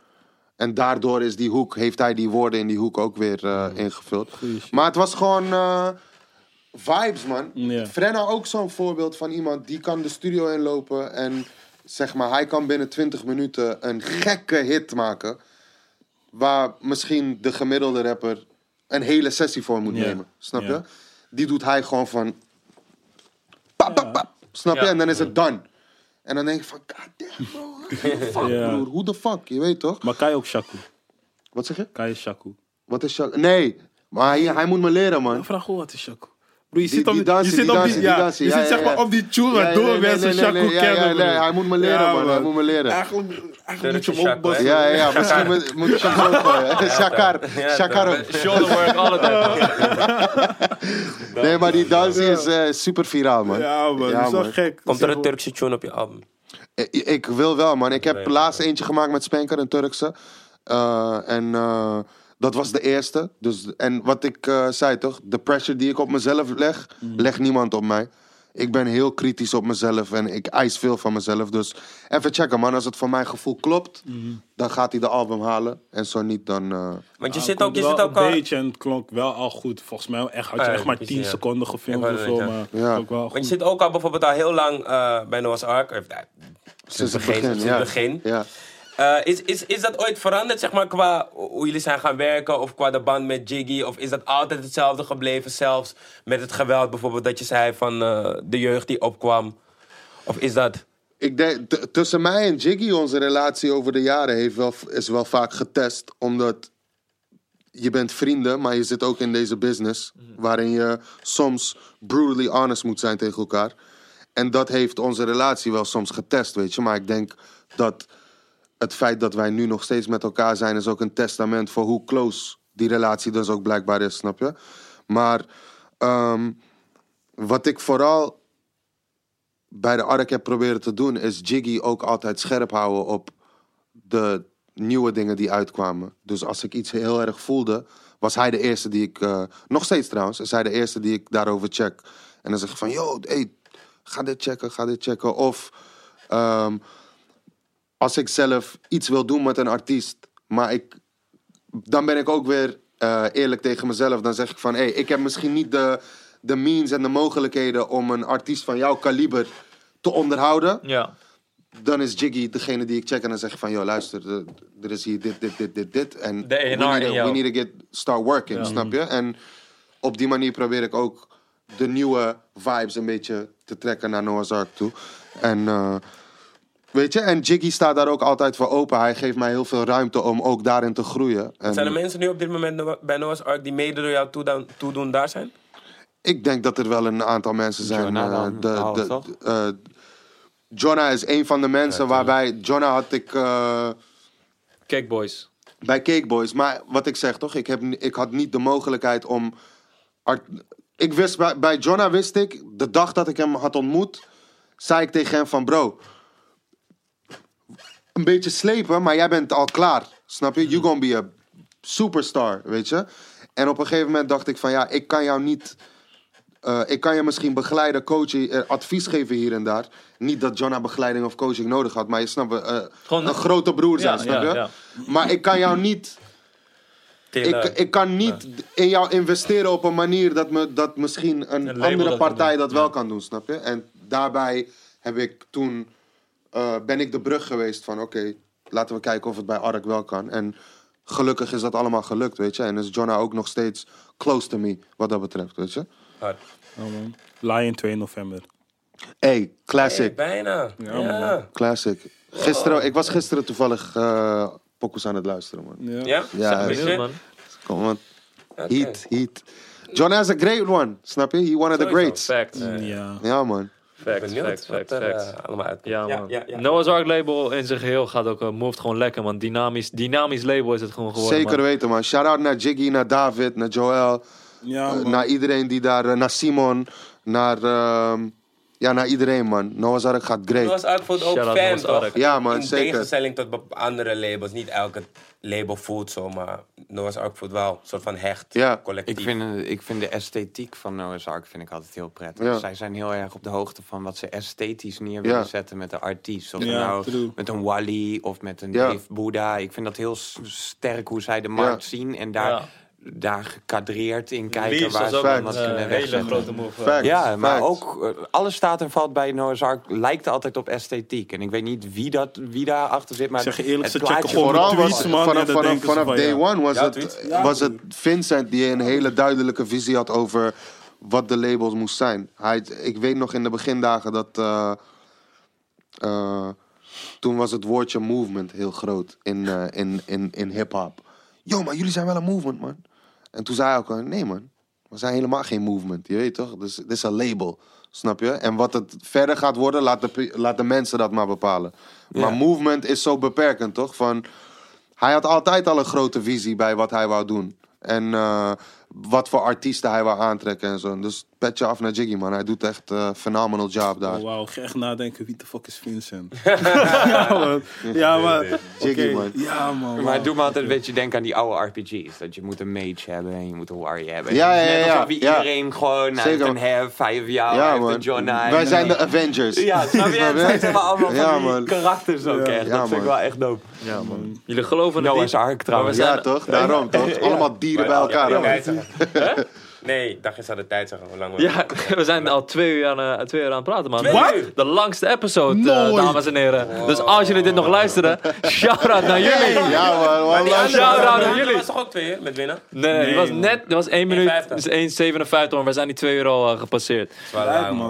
[SPEAKER 3] En daardoor is die hoek, heeft hij die woorden in die hoek ook weer eh, ingevuld. Maar het was gewoon eh, vibes, man.
[SPEAKER 1] Ja.
[SPEAKER 3] Frenna ook zo'n voorbeeld van iemand die kan de studio inlopen. En zeg maar, hij kan binnen 20 minuten een gekke hit maken. Waar misschien de gemiddelde rapper een hele sessie voor moet
[SPEAKER 1] Ja.
[SPEAKER 3] nemen. Snap
[SPEAKER 1] Ja.
[SPEAKER 3] je? Die doet hij gewoon van. Pap, pap, pap. Snap je?
[SPEAKER 2] Ja.
[SPEAKER 3] En dan is het done. En dan denk ik van, god damn bro, what the fuck
[SPEAKER 1] Ja.
[SPEAKER 3] broer, hoe de fuck, je weet toch?
[SPEAKER 1] Maar Kai ook Shaku.
[SPEAKER 3] Wat zeg je?
[SPEAKER 1] Kai is Shaku.
[SPEAKER 3] Wat is Shaq? Nee, maar hij, hij moet me leren,
[SPEAKER 1] Ik
[SPEAKER 3] man.
[SPEAKER 1] vraag hoe wat is Shaku? Bro, je
[SPEAKER 3] Die-
[SPEAKER 1] zit op
[SPEAKER 3] die
[SPEAKER 1] die, je
[SPEAKER 3] dansen,
[SPEAKER 1] zit
[SPEAKER 3] die
[SPEAKER 1] op
[SPEAKER 3] dansen,
[SPEAKER 1] die,
[SPEAKER 3] die
[SPEAKER 1] ja, je
[SPEAKER 3] dansen. Ja,
[SPEAKER 1] zit
[SPEAKER 3] ja,
[SPEAKER 1] zeg maar
[SPEAKER 3] ja.
[SPEAKER 1] op die tune
[SPEAKER 3] Ja,
[SPEAKER 1] waardoor
[SPEAKER 3] nee, nee,
[SPEAKER 1] mensen
[SPEAKER 3] nee, nee,
[SPEAKER 1] Shaku
[SPEAKER 3] nee, ja,
[SPEAKER 1] kennen.
[SPEAKER 3] ja, nee,
[SPEAKER 1] bro.
[SPEAKER 3] hij moet me leren, man, hij moet me leren.
[SPEAKER 1] Eigenlijk, eigenlijk moet je
[SPEAKER 5] Turkse
[SPEAKER 1] hem ook
[SPEAKER 5] Shaku, hè?
[SPEAKER 1] bas-
[SPEAKER 3] Ja, ja, ja. Misschien moet- moet ik Shaq ook gooien. Shakar, Shakar ook.
[SPEAKER 2] Shoulder work, alle tijd.
[SPEAKER 3] Nee, maar die dans is eh, super viraal, man.
[SPEAKER 1] Ja, man, dat is wel
[SPEAKER 3] man.
[SPEAKER 1] gek.
[SPEAKER 5] Komt er
[SPEAKER 1] Zeg
[SPEAKER 5] een
[SPEAKER 1] maar-
[SPEAKER 5] Turkse tune op je album?
[SPEAKER 3] Ik, Eh, ik wil wel, man. Ik heb laatst eentje gemaakt met Spanker, een Turkse. Eh, en eh, dat was de eerste. Dus, en wat ik eh, zei toch, de pressure die ik op mezelf leg, legt niemand op mij. Ik ben heel kritisch op mezelf en ik eis veel van mezelf. Dus even checken, man. Als het voor mijn gevoel klopt, dan gaat hij de album halen. En zo niet, dan... eh,
[SPEAKER 5] Want je
[SPEAKER 1] Ja,
[SPEAKER 5] zit
[SPEAKER 1] het
[SPEAKER 5] ook, je
[SPEAKER 1] komt
[SPEAKER 5] zit
[SPEAKER 1] wel
[SPEAKER 5] ook
[SPEAKER 1] een
[SPEAKER 5] al...
[SPEAKER 1] beetje en het klonk wel al goed. Volgens mij echt, had je
[SPEAKER 5] Ja,
[SPEAKER 1] echt maar 10
[SPEAKER 5] precies, ja.
[SPEAKER 1] seconden gefilmd
[SPEAKER 5] Ik wou
[SPEAKER 1] of zo,
[SPEAKER 5] net zeggen.
[SPEAKER 1] maar
[SPEAKER 3] Ja.
[SPEAKER 1] het klonk wel
[SPEAKER 5] Want
[SPEAKER 1] goed.
[SPEAKER 5] je zit ook al bijvoorbeeld al heel lang eh, bij Noah's Ark. Of, nou,
[SPEAKER 3] sinds het
[SPEAKER 5] begin,
[SPEAKER 3] begin,
[SPEAKER 5] sinds
[SPEAKER 3] ja.
[SPEAKER 5] het begin.
[SPEAKER 3] Ja.
[SPEAKER 5] Eh, is, is, is dat ooit veranderd, zeg maar, qua hoe jullie zijn gaan werken of qua de band met Jiggy? Of is dat altijd hetzelfde gebleven, zelfs met het geweld bijvoorbeeld dat je zei van eh, de jeugd die opkwam? Of is dat...
[SPEAKER 3] Ik denk, t- tussen mij en Jiggy, onze relatie over de jaren heeft wel, is wel vaak getest. Omdat je bent vrienden, maar je zit ook in deze business. Waarin je soms brutally honest moet zijn tegen elkaar. En dat heeft onze relatie wel soms getest, weet je. Maar ik denk dat het feit dat wij nu nog steeds met elkaar zijn... is ook een testament voor hoe close die relatie dus ook blijkbaar is, snap je? Maar ehm, wat ik vooral bij de Ark heb proberen te doen, is Jiggy ook altijd scherp houden op de nieuwe dingen die uitkwamen. Dus als ik iets heel erg voelde, was hij de eerste die ik. eh, nog steeds trouwens, is hij de eerste die ik daarover check. En dan zeg ik van: yo, hey, ga dit checken, ga dit checken. Of ehm, als ik zelf iets wil doen met een artiest, maar ik dan ben ik ook weer eh, eerlijk tegen mezelf. Dan zeg ik van, hé, hey, ik heb misschien niet de, de means en de mogelijkheden om een artiest van jouw kaliber te onderhouden.
[SPEAKER 2] Ja.
[SPEAKER 3] Dan is Jiggy degene die ik check en dan zeg ik van, joh, luister, eh, er is hier dit, dit, dit, dit, dit. En
[SPEAKER 2] De
[SPEAKER 3] we,
[SPEAKER 2] A&R
[SPEAKER 3] need
[SPEAKER 2] in
[SPEAKER 3] to,
[SPEAKER 2] jou.
[SPEAKER 3] we need to get, start working, snap je? En op die manier probeer ik ook de nieuwe vibes een beetje te trekken naar Noah's Ark toe. En eh, Weet je, en Jiggy staat daar ook altijd voor open. Hij geeft mij heel veel ruimte om ook daarin te groeien. En
[SPEAKER 5] Zijn er mensen nu op dit moment no- bij Noah's Ark die mede door jou toedoen, toedoen daar zijn?
[SPEAKER 3] ik denk dat er wel een aantal mensen zijn.
[SPEAKER 4] Jonah
[SPEAKER 3] eh,
[SPEAKER 4] dan,
[SPEAKER 3] de,
[SPEAKER 4] nou,
[SPEAKER 3] de,
[SPEAKER 4] toch?
[SPEAKER 3] eh, Jonah is een van de mensen waarbij... Jonah had ik... eh,
[SPEAKER 2] Cake Boys.
[SPEAKER 3] bij Cakeboys. Maar wat ik zeg toch, ik, heb, ni- ik had niet de mogelijkheid om. art- ik wist bij, bij Jonna wist ik, de dag dat ik hem had ontmoet, zei ik tegen hem van bro. Een beetje slepen, maar jij bent al klaar. Snap je? You gonna be a superstar, weet je? En op een gegeven moment dacht ik van ja, ik kan jou niet. eh, ik kan je misschien begeleiden, coachen, eh, advies geven hier en daar. Niet dat Jonna begeleiding of coaching nodig had, maar je snapt, eh,
[SPEAKER 2] Gewoon-
[SPEAKER 3] een grote broer zijn,
[SPEAKER 2] Ja,
[SPEAKER 3] snap je?
[SPEAKER 2] ja, ja.
[SPEAKER 3] Maar ik kan jou niet. Ik,
[SPEAKER 5] Tillen.
[SPEAKER 3] ik kan niet in jou investeren op een manier dat, me, dat misschien een,
[SPEAKER 2] Een label
[SPEAKER 3] andere
[SPEAKER 2] dat kan
[SPEAKER 3] partij
[SPEAKER 2] doen.
[SPEAKER 3] dat wel kan doen, snap je? En daarbij heb ik toen, eh, ben ik de brug geweest van oké, laten we kijken of het bij Ark wel kan. En gelukkig is dat allemaal gelukt, weet je? En is Jonna ook nog steeds close to me wat dat betreft, weet je?
[SPEAKER 5] Hard.
[SPEAKER 1] Lion 2 november.
[SPEAKER 3] Hey,
[SPEAKER 5] Hey,
[SPEAKER 3] classic,
[SPEAKER 5] bijna. Ja. Ja?
[SPEAKER 3] classic. Gisteren, ik was gisteren toevallig eh pokus aan het luisteren, man.
[SPEAKER 5] ja?
[SPEAKER 3] Ja,
[SPEAKER 5] Weet
[SPEAKER 2] Benieuwd,
[SPEAKER 5] je?
[SPEAKER 2] man.
[SPEAKER 3] Kom on.
[SPEAKER 5] Oké.
[SPEAKER 3] Heat, heat. John has a great one, snap je? He one of the
[SPEAKER 5] Sowieso.
[SPEAKER 3] greats.
[SPEAKER 2] Fact.
[SPEAKER 1] Ja.
[SPEAKER 3] Ja, man.
[SPEAKER 2] Fact,
[SPEAKER 5] Benieuwd
[SPEAKER 2] fact,
[SPEAKER 5] wat
[SPEAKER 2] fact,
[SPEAKER 5] er
[SPEAKER 2] fact.
[SPEAKER 5] eh, allemaal uitkomt.
[SPEAKER 2] Ja, man.
[SPEAKER 5] ja, ja.
[SPEAKER 2] Noah's Ark label in zijn geheel gaat ook, eh, moved gewoon lekker, man. Dynamisch, dynamisch label is het gewoon geworden,
[SPEAKER 3] Zeker
[SPEAKER 2] man.
[SPEAKER 3] weten, man. Shout-out naar Jiggy, naar David, naar Joel.
[SPEAKER 1] Ja,
[SPEAKER 3] eh,
[SPEAKER 1] man.
[SPEAKER 3] naar iedereen die daar... eh, naar Simon, naar... ehm, ja, naar iedereen, man. Noah's Ark gaat great.
[SPEAKER 5] Noah's Ark voelt ook
[SPEAKER 2] Shout-out
[SPEAKER 5] fan,
[SPEAKER 2] Noah's
[SPEAKER 5] toch?
[SPEAKER 2] Ark.
[SPEAKER 3] Ja, man,
[SPEAKER 5] In
[SPEAKER 3] zeker.
[SPEAKER 5] tegenstelling tot be- andere labels. Niet elke label voelt zo, maar Noah's Ark voelt wel een soort van hecht,
[SPEAKER 3] Ja.
[SPEAKER 5] collectief.
[SPEAKER 4] Ik vind, eh, ik vind de esthetiek van Noah's Ark vind ik altijd heel prettig.
[SPEAKER 3] Ja.
[SPEAKER 4] Zij zijn heel erg op de hoogte van wat ze esthetisch neer willen
[SPEAKER 3] Ja.
[SPEAKER 4] zetten met de artiest. Of
[SPEAKER 1] Ja,
[SPEAKER 4] nou
[SPEAKER 1] true.
[SPEAKER 4] met een Wally of met een
[SPEAKER 3] Ja.
[SPEAKER 4] Dave Buddha. Ik vind dat heel s- sterk hoe zij de markt zien en daar,
[SPEAKER 2] Ja.
[SPEAKER 4] daar gekadreerd in kijken
[SPEAKER 2] Leaves
[SPEAKER 4] waar
[SPEAKER 2] was ook
[SPEAKER 4] ze
[SPEAKER 2] een
[SPEAKER 4] wat
[SPEAKER 2] eh,
[SPEAKER 4] kunnen
[SPEAKER 2] hele
[SPEAKER 4] wegzetten.
[SPEAKER 2] grote move. eh.
[SPEAKER 3] Fact.
[SPEAKER 4] Ja, maar
[SPEAKER 3] Facts.
[SPEAKER 4] ook eh, alles staat en valt bij Noah's Ark. Lijkt altijd op esthetiek. En ik weet niet wie, dat, wie daar achter zit, maar
[SPEAKER 1] Ik zeg je eerlijk,
[SPEAKER 4] het
[SPEAKER 1] ze checken
[SPEAKER 4] plaatje
[SPEAKER 1] gewoon
[SPEAKER 4] vooral
[SPEAKER 3] Vooral
[SPEAKER 1] tweets,
[SPEAKER 3] was,
[SPEAKER 1] man,
[SPEAKER 3] vanaf,
[SPEAKER 1] en dan
[SPEAKER 3] vanaf,
[SPEAKER 1] denken ze
[SPEAKER 3] vanaf
[SPEAKER 1] van,
[SPEAKER 3] day
[SPEAKER 1] ja.
[SPEAKER 3] one was,
[SPEAKER 5] Ja,
[SPEAKER 3] het,
[SPEAKER 5] tweets.
[SPEAKER 3] was het Vincent die een hele duidelijke visie had over wat de labels moest zijn. Hij, ik weet nog in de begindagen dat... eh, eh, toen was het woordje movement heel groot in, eh, in, in, in hip-hop. Yo, maar jullie zijn wel een movement, man. En toen zei hij ook, al, nee man, we zijn helemaal geen movement. Je weet toch, Dus dit is een label, snap je? En wat het verder gaat worden, laat de, pri- laat de mensen dat maar bepalen. Maar movement is zo beperkend, toch? Van, hij had altijd al een grote visie bij wat hij wou doen. En eh, wat voor artiesten hij wou aantrekken en zo. Dus petje af naar Jiggy, man. Hij doet echt een phenomenal job daar.
[SPEAKER 1] Oh, Wauw, ga echt nadenken, wie de fuck is Vincent? ja, man. Ja, man.
[SPEAKER 3] Jiggy,
[SPEAKER 1] Oké,
[SPEAKER 3] man.
[SPEAKER 1] Ja, man.
[SPEAKER 4] Maar
[SPEAKER 1] wauw.
[SPEAKER 4] het doet me altijd een beetje denken aan die oude RPG's. Dat je moet een mage hebben en je moet een warrior hebben.
[SPEAKER 3] Ja,
[SPEAKER 4] Het is
[SPEAKER 3] ja,
[SPEAKER 4] net
[SPEAKER 3] ja,
[SPEAKER 4] alsof we
[SPEAKER 3] ja.
[SPEAKER 4] iedereen gewoon
[SPEAKER 3] Zeker.
[SPEAKER 4] uit een have, vijf jaar,
[SPEAKER 3] Ja,
[SPEAKER 4] heeft
[SPEAKER 3] man.
[SPEAKER 4] een Jonah.
[SPEAKER 3] Wij zijn de Avengers.
[SPEAKER 4] Ja, snap je? Het zijn zeg maar allemaal
[SPEAKER 3] Ja,
[SPEAKER 4] van
[SPEAKER 3] man.
[SPEAKER 4] die karakters ook echt.
[SPEAKER 3] Ja,
[SPEAKER 4] dat vind ik
[SPEAKER 3] man.
[SPEAKER 4] wel echt dope.
[SPEAKER 2] Ja, man. Jullie geloven het
[SPEAKER 4] Noah's
[SPEAKER 2] niet.
[SPEAKER 4] Ark trouwens.
[SPEAKER 2] Maar we
[SPEAKER 3] Ja,
[SPEAKER 2] zijn-
[SPEAKER 3] toch? Daarom, toch? Allemaal dieren bij elkaar.
[SPEAKER 5] Ja,
[SPEAKER 3] hè, man?
[SPEAKER 5] tijd zeggen. Hè? Nee, ik dacht eens aan de tijd zeggen. Hoe lang we-
[SPEAKER 2] Ja, we zijn al twee uur aan, eh, twee uur aan het praten, man.
[SPEAKER 5] Twee uur?
[SPEAKER 2] De langste episode, eh, dames en heren. Dus als jullie dit nog luisteren, shout-out naar jullie.
[SPEAKER 3] Ja, man.
[SPEAKER 5] Die
[SPEAKER 3] wallah.
[SPEAKER 5] andere-
[SPEAKER 2] shout-out
[SPEAKER 5] die
[SPEAKER 2] aan
[SPEAKER 5] andere
[SPEAKER 2] jullie.
[SPEAKER 5] was toch ook twee uur met winnen?
[SPEAKER 2] Nee, nee, die was net, dat was 1 minuut,
[SPEAKER 5] 1,50.
[SPEAKER 2] dus 1,57, maar we zijn die twee uur al eh, gepasseerd.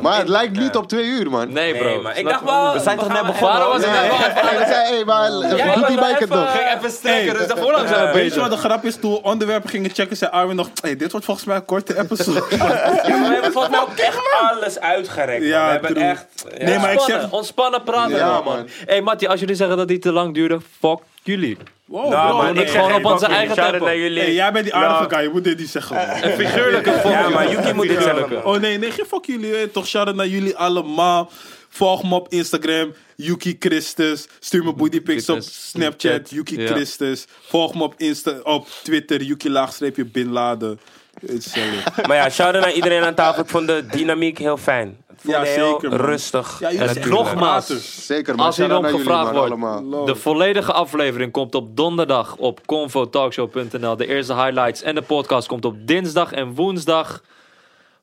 [SPEAKER 3] Maar het lijkt niet op twee uur, man. Eh,
[SPEAKER 2] Nee, bro.
[SPEAKER 5] Nee, maar ik
[SPEAKER 2] Snap
[SPEAKER 5] dacht
[SPEAKER 2] je?
[SPEAKER 5] wel...
[SPEAKER 4] We zijn toch net begonnen?
[SPEAKER 2] Waarom was het
[SPEAKER 3] Hey,
[SPEAKER 2] net wel-
[SPEAKER 3] hey, we zijn- hey, maar
[SPEAKER 5] Jij
[SPEAKER 3] doet die
[SPEAKER 5] was wel
[SPEAKER 3] bike het
[SPEAKER 5] even-
[SPEAKER 3] nog?
[SPEAKER 5] Ging even steken, dus daarvoor
[SPEAKER 2] Hoe lang zijn we
[SPEAKER 1] Weet je
[SPEAKER 2] bezig?
[SPEAKER 1] wat de grap is? Toen we onderwerpen gingen checken, zei Armin nog... Hey, dit wordt volgens mij een korte episode.
[SPEAKER 5] Ja, maar we hebben volgens mij ook echt alles uitgerekt.
[SPEAKER 1] Ja,
[SPEAKER 5] Ja, we hebben
[SPEAKER 1] true.
[SPEAKER 5] echt... ja.
[SPEAKER 1] Nee, maar ik zeg...
[SPEAKER 2] Ontspannen, ontspannen praten,
[SPEAKER 3] Ja,
[SPEAKER 2] man.
[SPEAKER 3] man.
[SPEAKER 2] Hé, hey, Mattie, als jullie zeggen dat die te lang duurde, fuck jullie.
[SPEAKER 1] Wow,
[SPEAKER 5] Nou,
[SPEAKER 1] bro.
[SPEAKER 5] maar
[SPEAKER 2] het
[SPEAKER 5] ik
[SPEAKER 2] gewoon
[SPEAKER 5] zeg
[SPEAKER 2] op onze eigen tempo.
[SPEAKER 5] tempo. naar jullie.
[SPEAKER 1] Hey, jij bent die aardige
[SPEAKER 5] Ja.
[SPEAKER 1] guy, je moet dit niet zeggen. man.
[SPEAKER 2] Figuurlijke fuck
[SPEAKER 5] Ja, maar
[SPEAKER 2] jullie.
[SPEAKER 5] Yuki moet dit
[SPEAKER 2] Figuurlijke.
[SPEAKER 5] zeggen.
[SPEAKER 1] Oh nee, nee, geen fuck jullie. hè. Toch shout-out naar jullie allemaal. Volg me op Instagram, Yuki Christus. Stuur me bodypics op
[SPEAKER 2] Christus.
[SPEAKER 1] Snapchat, Yuki
[SPEAKER 2] Ja.
[SPEAKER 1] Christus. Volg me op, Insta op Twitter, Yuki laagstreepje Bin Laden. Hetzelfde.
[SPEAKER 5] Maar ja, shout-out naar iedereen aan tafel. Ik vond de dynamiek heel fijn. Het voelde
[SPEAKER 1] Ja,
[SPEAKER 5] heel
[SPEAKER 1] zeker, man.
[SPEAKER 5] rustig.
[SPEAKER 1] Ja, jullie
[SPEAKER 5] en
[SPEAKER 1] zijn echt
[SPEAKER 5] natuurlijk.
[SPEAKER 2] nogmaals.
[SPEAKER 1] praters.
[SPEAKER 3] Zeker, man.
[SPEAKER 2] Als
[SPEAKER 3] Shout
[SPEAKER 2] hierom
[SPEAKER 3] out naar jullie,
[SPEAKER 2] gevraagd
[SPEAKER 3] man.
[SPEAKER 2] wordt,
[SPEAKER 3] Allemaal.
[SPEAKER 1] Love.
[SPEAKER 2] de volledige aflevering komt op donderdag op convotalkshow.nl. De eerste highlights en de podcast komt op dinsdag en woensdag.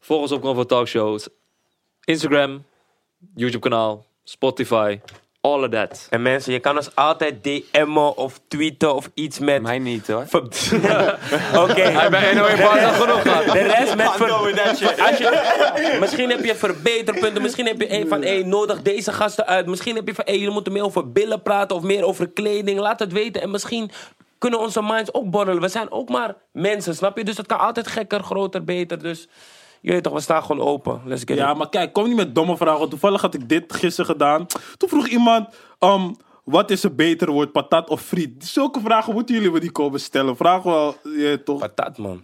[SPEAKER 2] Volg ons op Convo Talkshow. Instagram, YouTube kanaal, Spotify. all of that.
[SPEAKER 5] En mensen, je kan ons altijd DM'en of tweeten of iets met...
[SPEAKER 4] Mij niet hoor.
[SPEAKER 5] Ver- Oké.
[SPEAKER 2] Hij bij NOE Bars al genoeg gehad.
[SPEAKER 5] De rest met ver- Als je- Misschien heb je verbeterpunten. Misschien heb je een van hey, nodig deze gasten uit. Misschien heb je van hey, jullie moeten meer over billen praten of meer over kleding. Laat het weten. En misschien kunnen onze minds ook borrelen. We zijn ook maar mensen, snap je? Dus het kan altijd gekker, groter, beter. Dus je weet toch, we staan gewoon open. Let's get
[SPEAKER 1] Ja,
[SPEAKER 5] it.
[SPEAKER 1] maar kijk, kom niet met domme vragen. want Toevallig had ik dit gisteren gedaan. Toen vroeg iemand, ehm, wat is een beter woord, patat of friet? Zulke vragen moeten jullie me niet komen stellen. Vraag wel, je, toch?
[SPEAKER 5] Patat, man.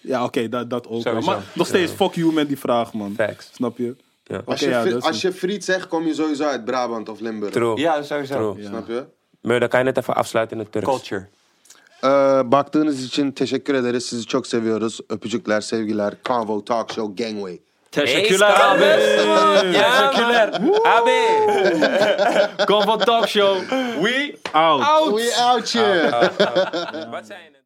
[SPEAKER 1] Ja, oké, dat, dat ook. wel.
[SPEAKER 4] Sowieso.
[SPEAKER 1] Maar nog steeds, fuck you met die vraag, man.
[SPEAKER 5] Facts.
[SPEAKER 1] Snap je?
[SPEAKER 5] Ja.
[SPEAKER 1] Oké,
[SPEAKER 3] Als, je,
[SPEAKER 1] ja,
[SPEAKER 3] fri-
[SPEAKER 1] dat is-
[SPEAKER 3] als je friet zegt, kom je sowieso uit Brabant of Limburg.
[SPEAKER 5] True.
[SPEAKER 4] Ja, sowieso.
[SPEAKER 5] True.
[SPEAKER 3] Snap je?
[SPEAKER 5] Maar dan kan je net even afsluiten in het Turks.
[SPEAKER 4] Culture.
[SPEAKER 3] Ee, baktığınız için teşekkür ederiz. Sizi çok seviyoruz. Öpücükler, sevgiler. Convo Talk Show Gangway.
[SPEAKER 2] Teşekkürler
[SPEAKER 5] Hey,
[SPEAKER 2] abi.
[SPEAKER 5] Ja, man. AB.
[SPEAKER 2] Kom van Talk Show. We
[SPEAKER 1] Out.
[SPEAKER 3] We out here.
[SPEAKER 5] Wat zijn het?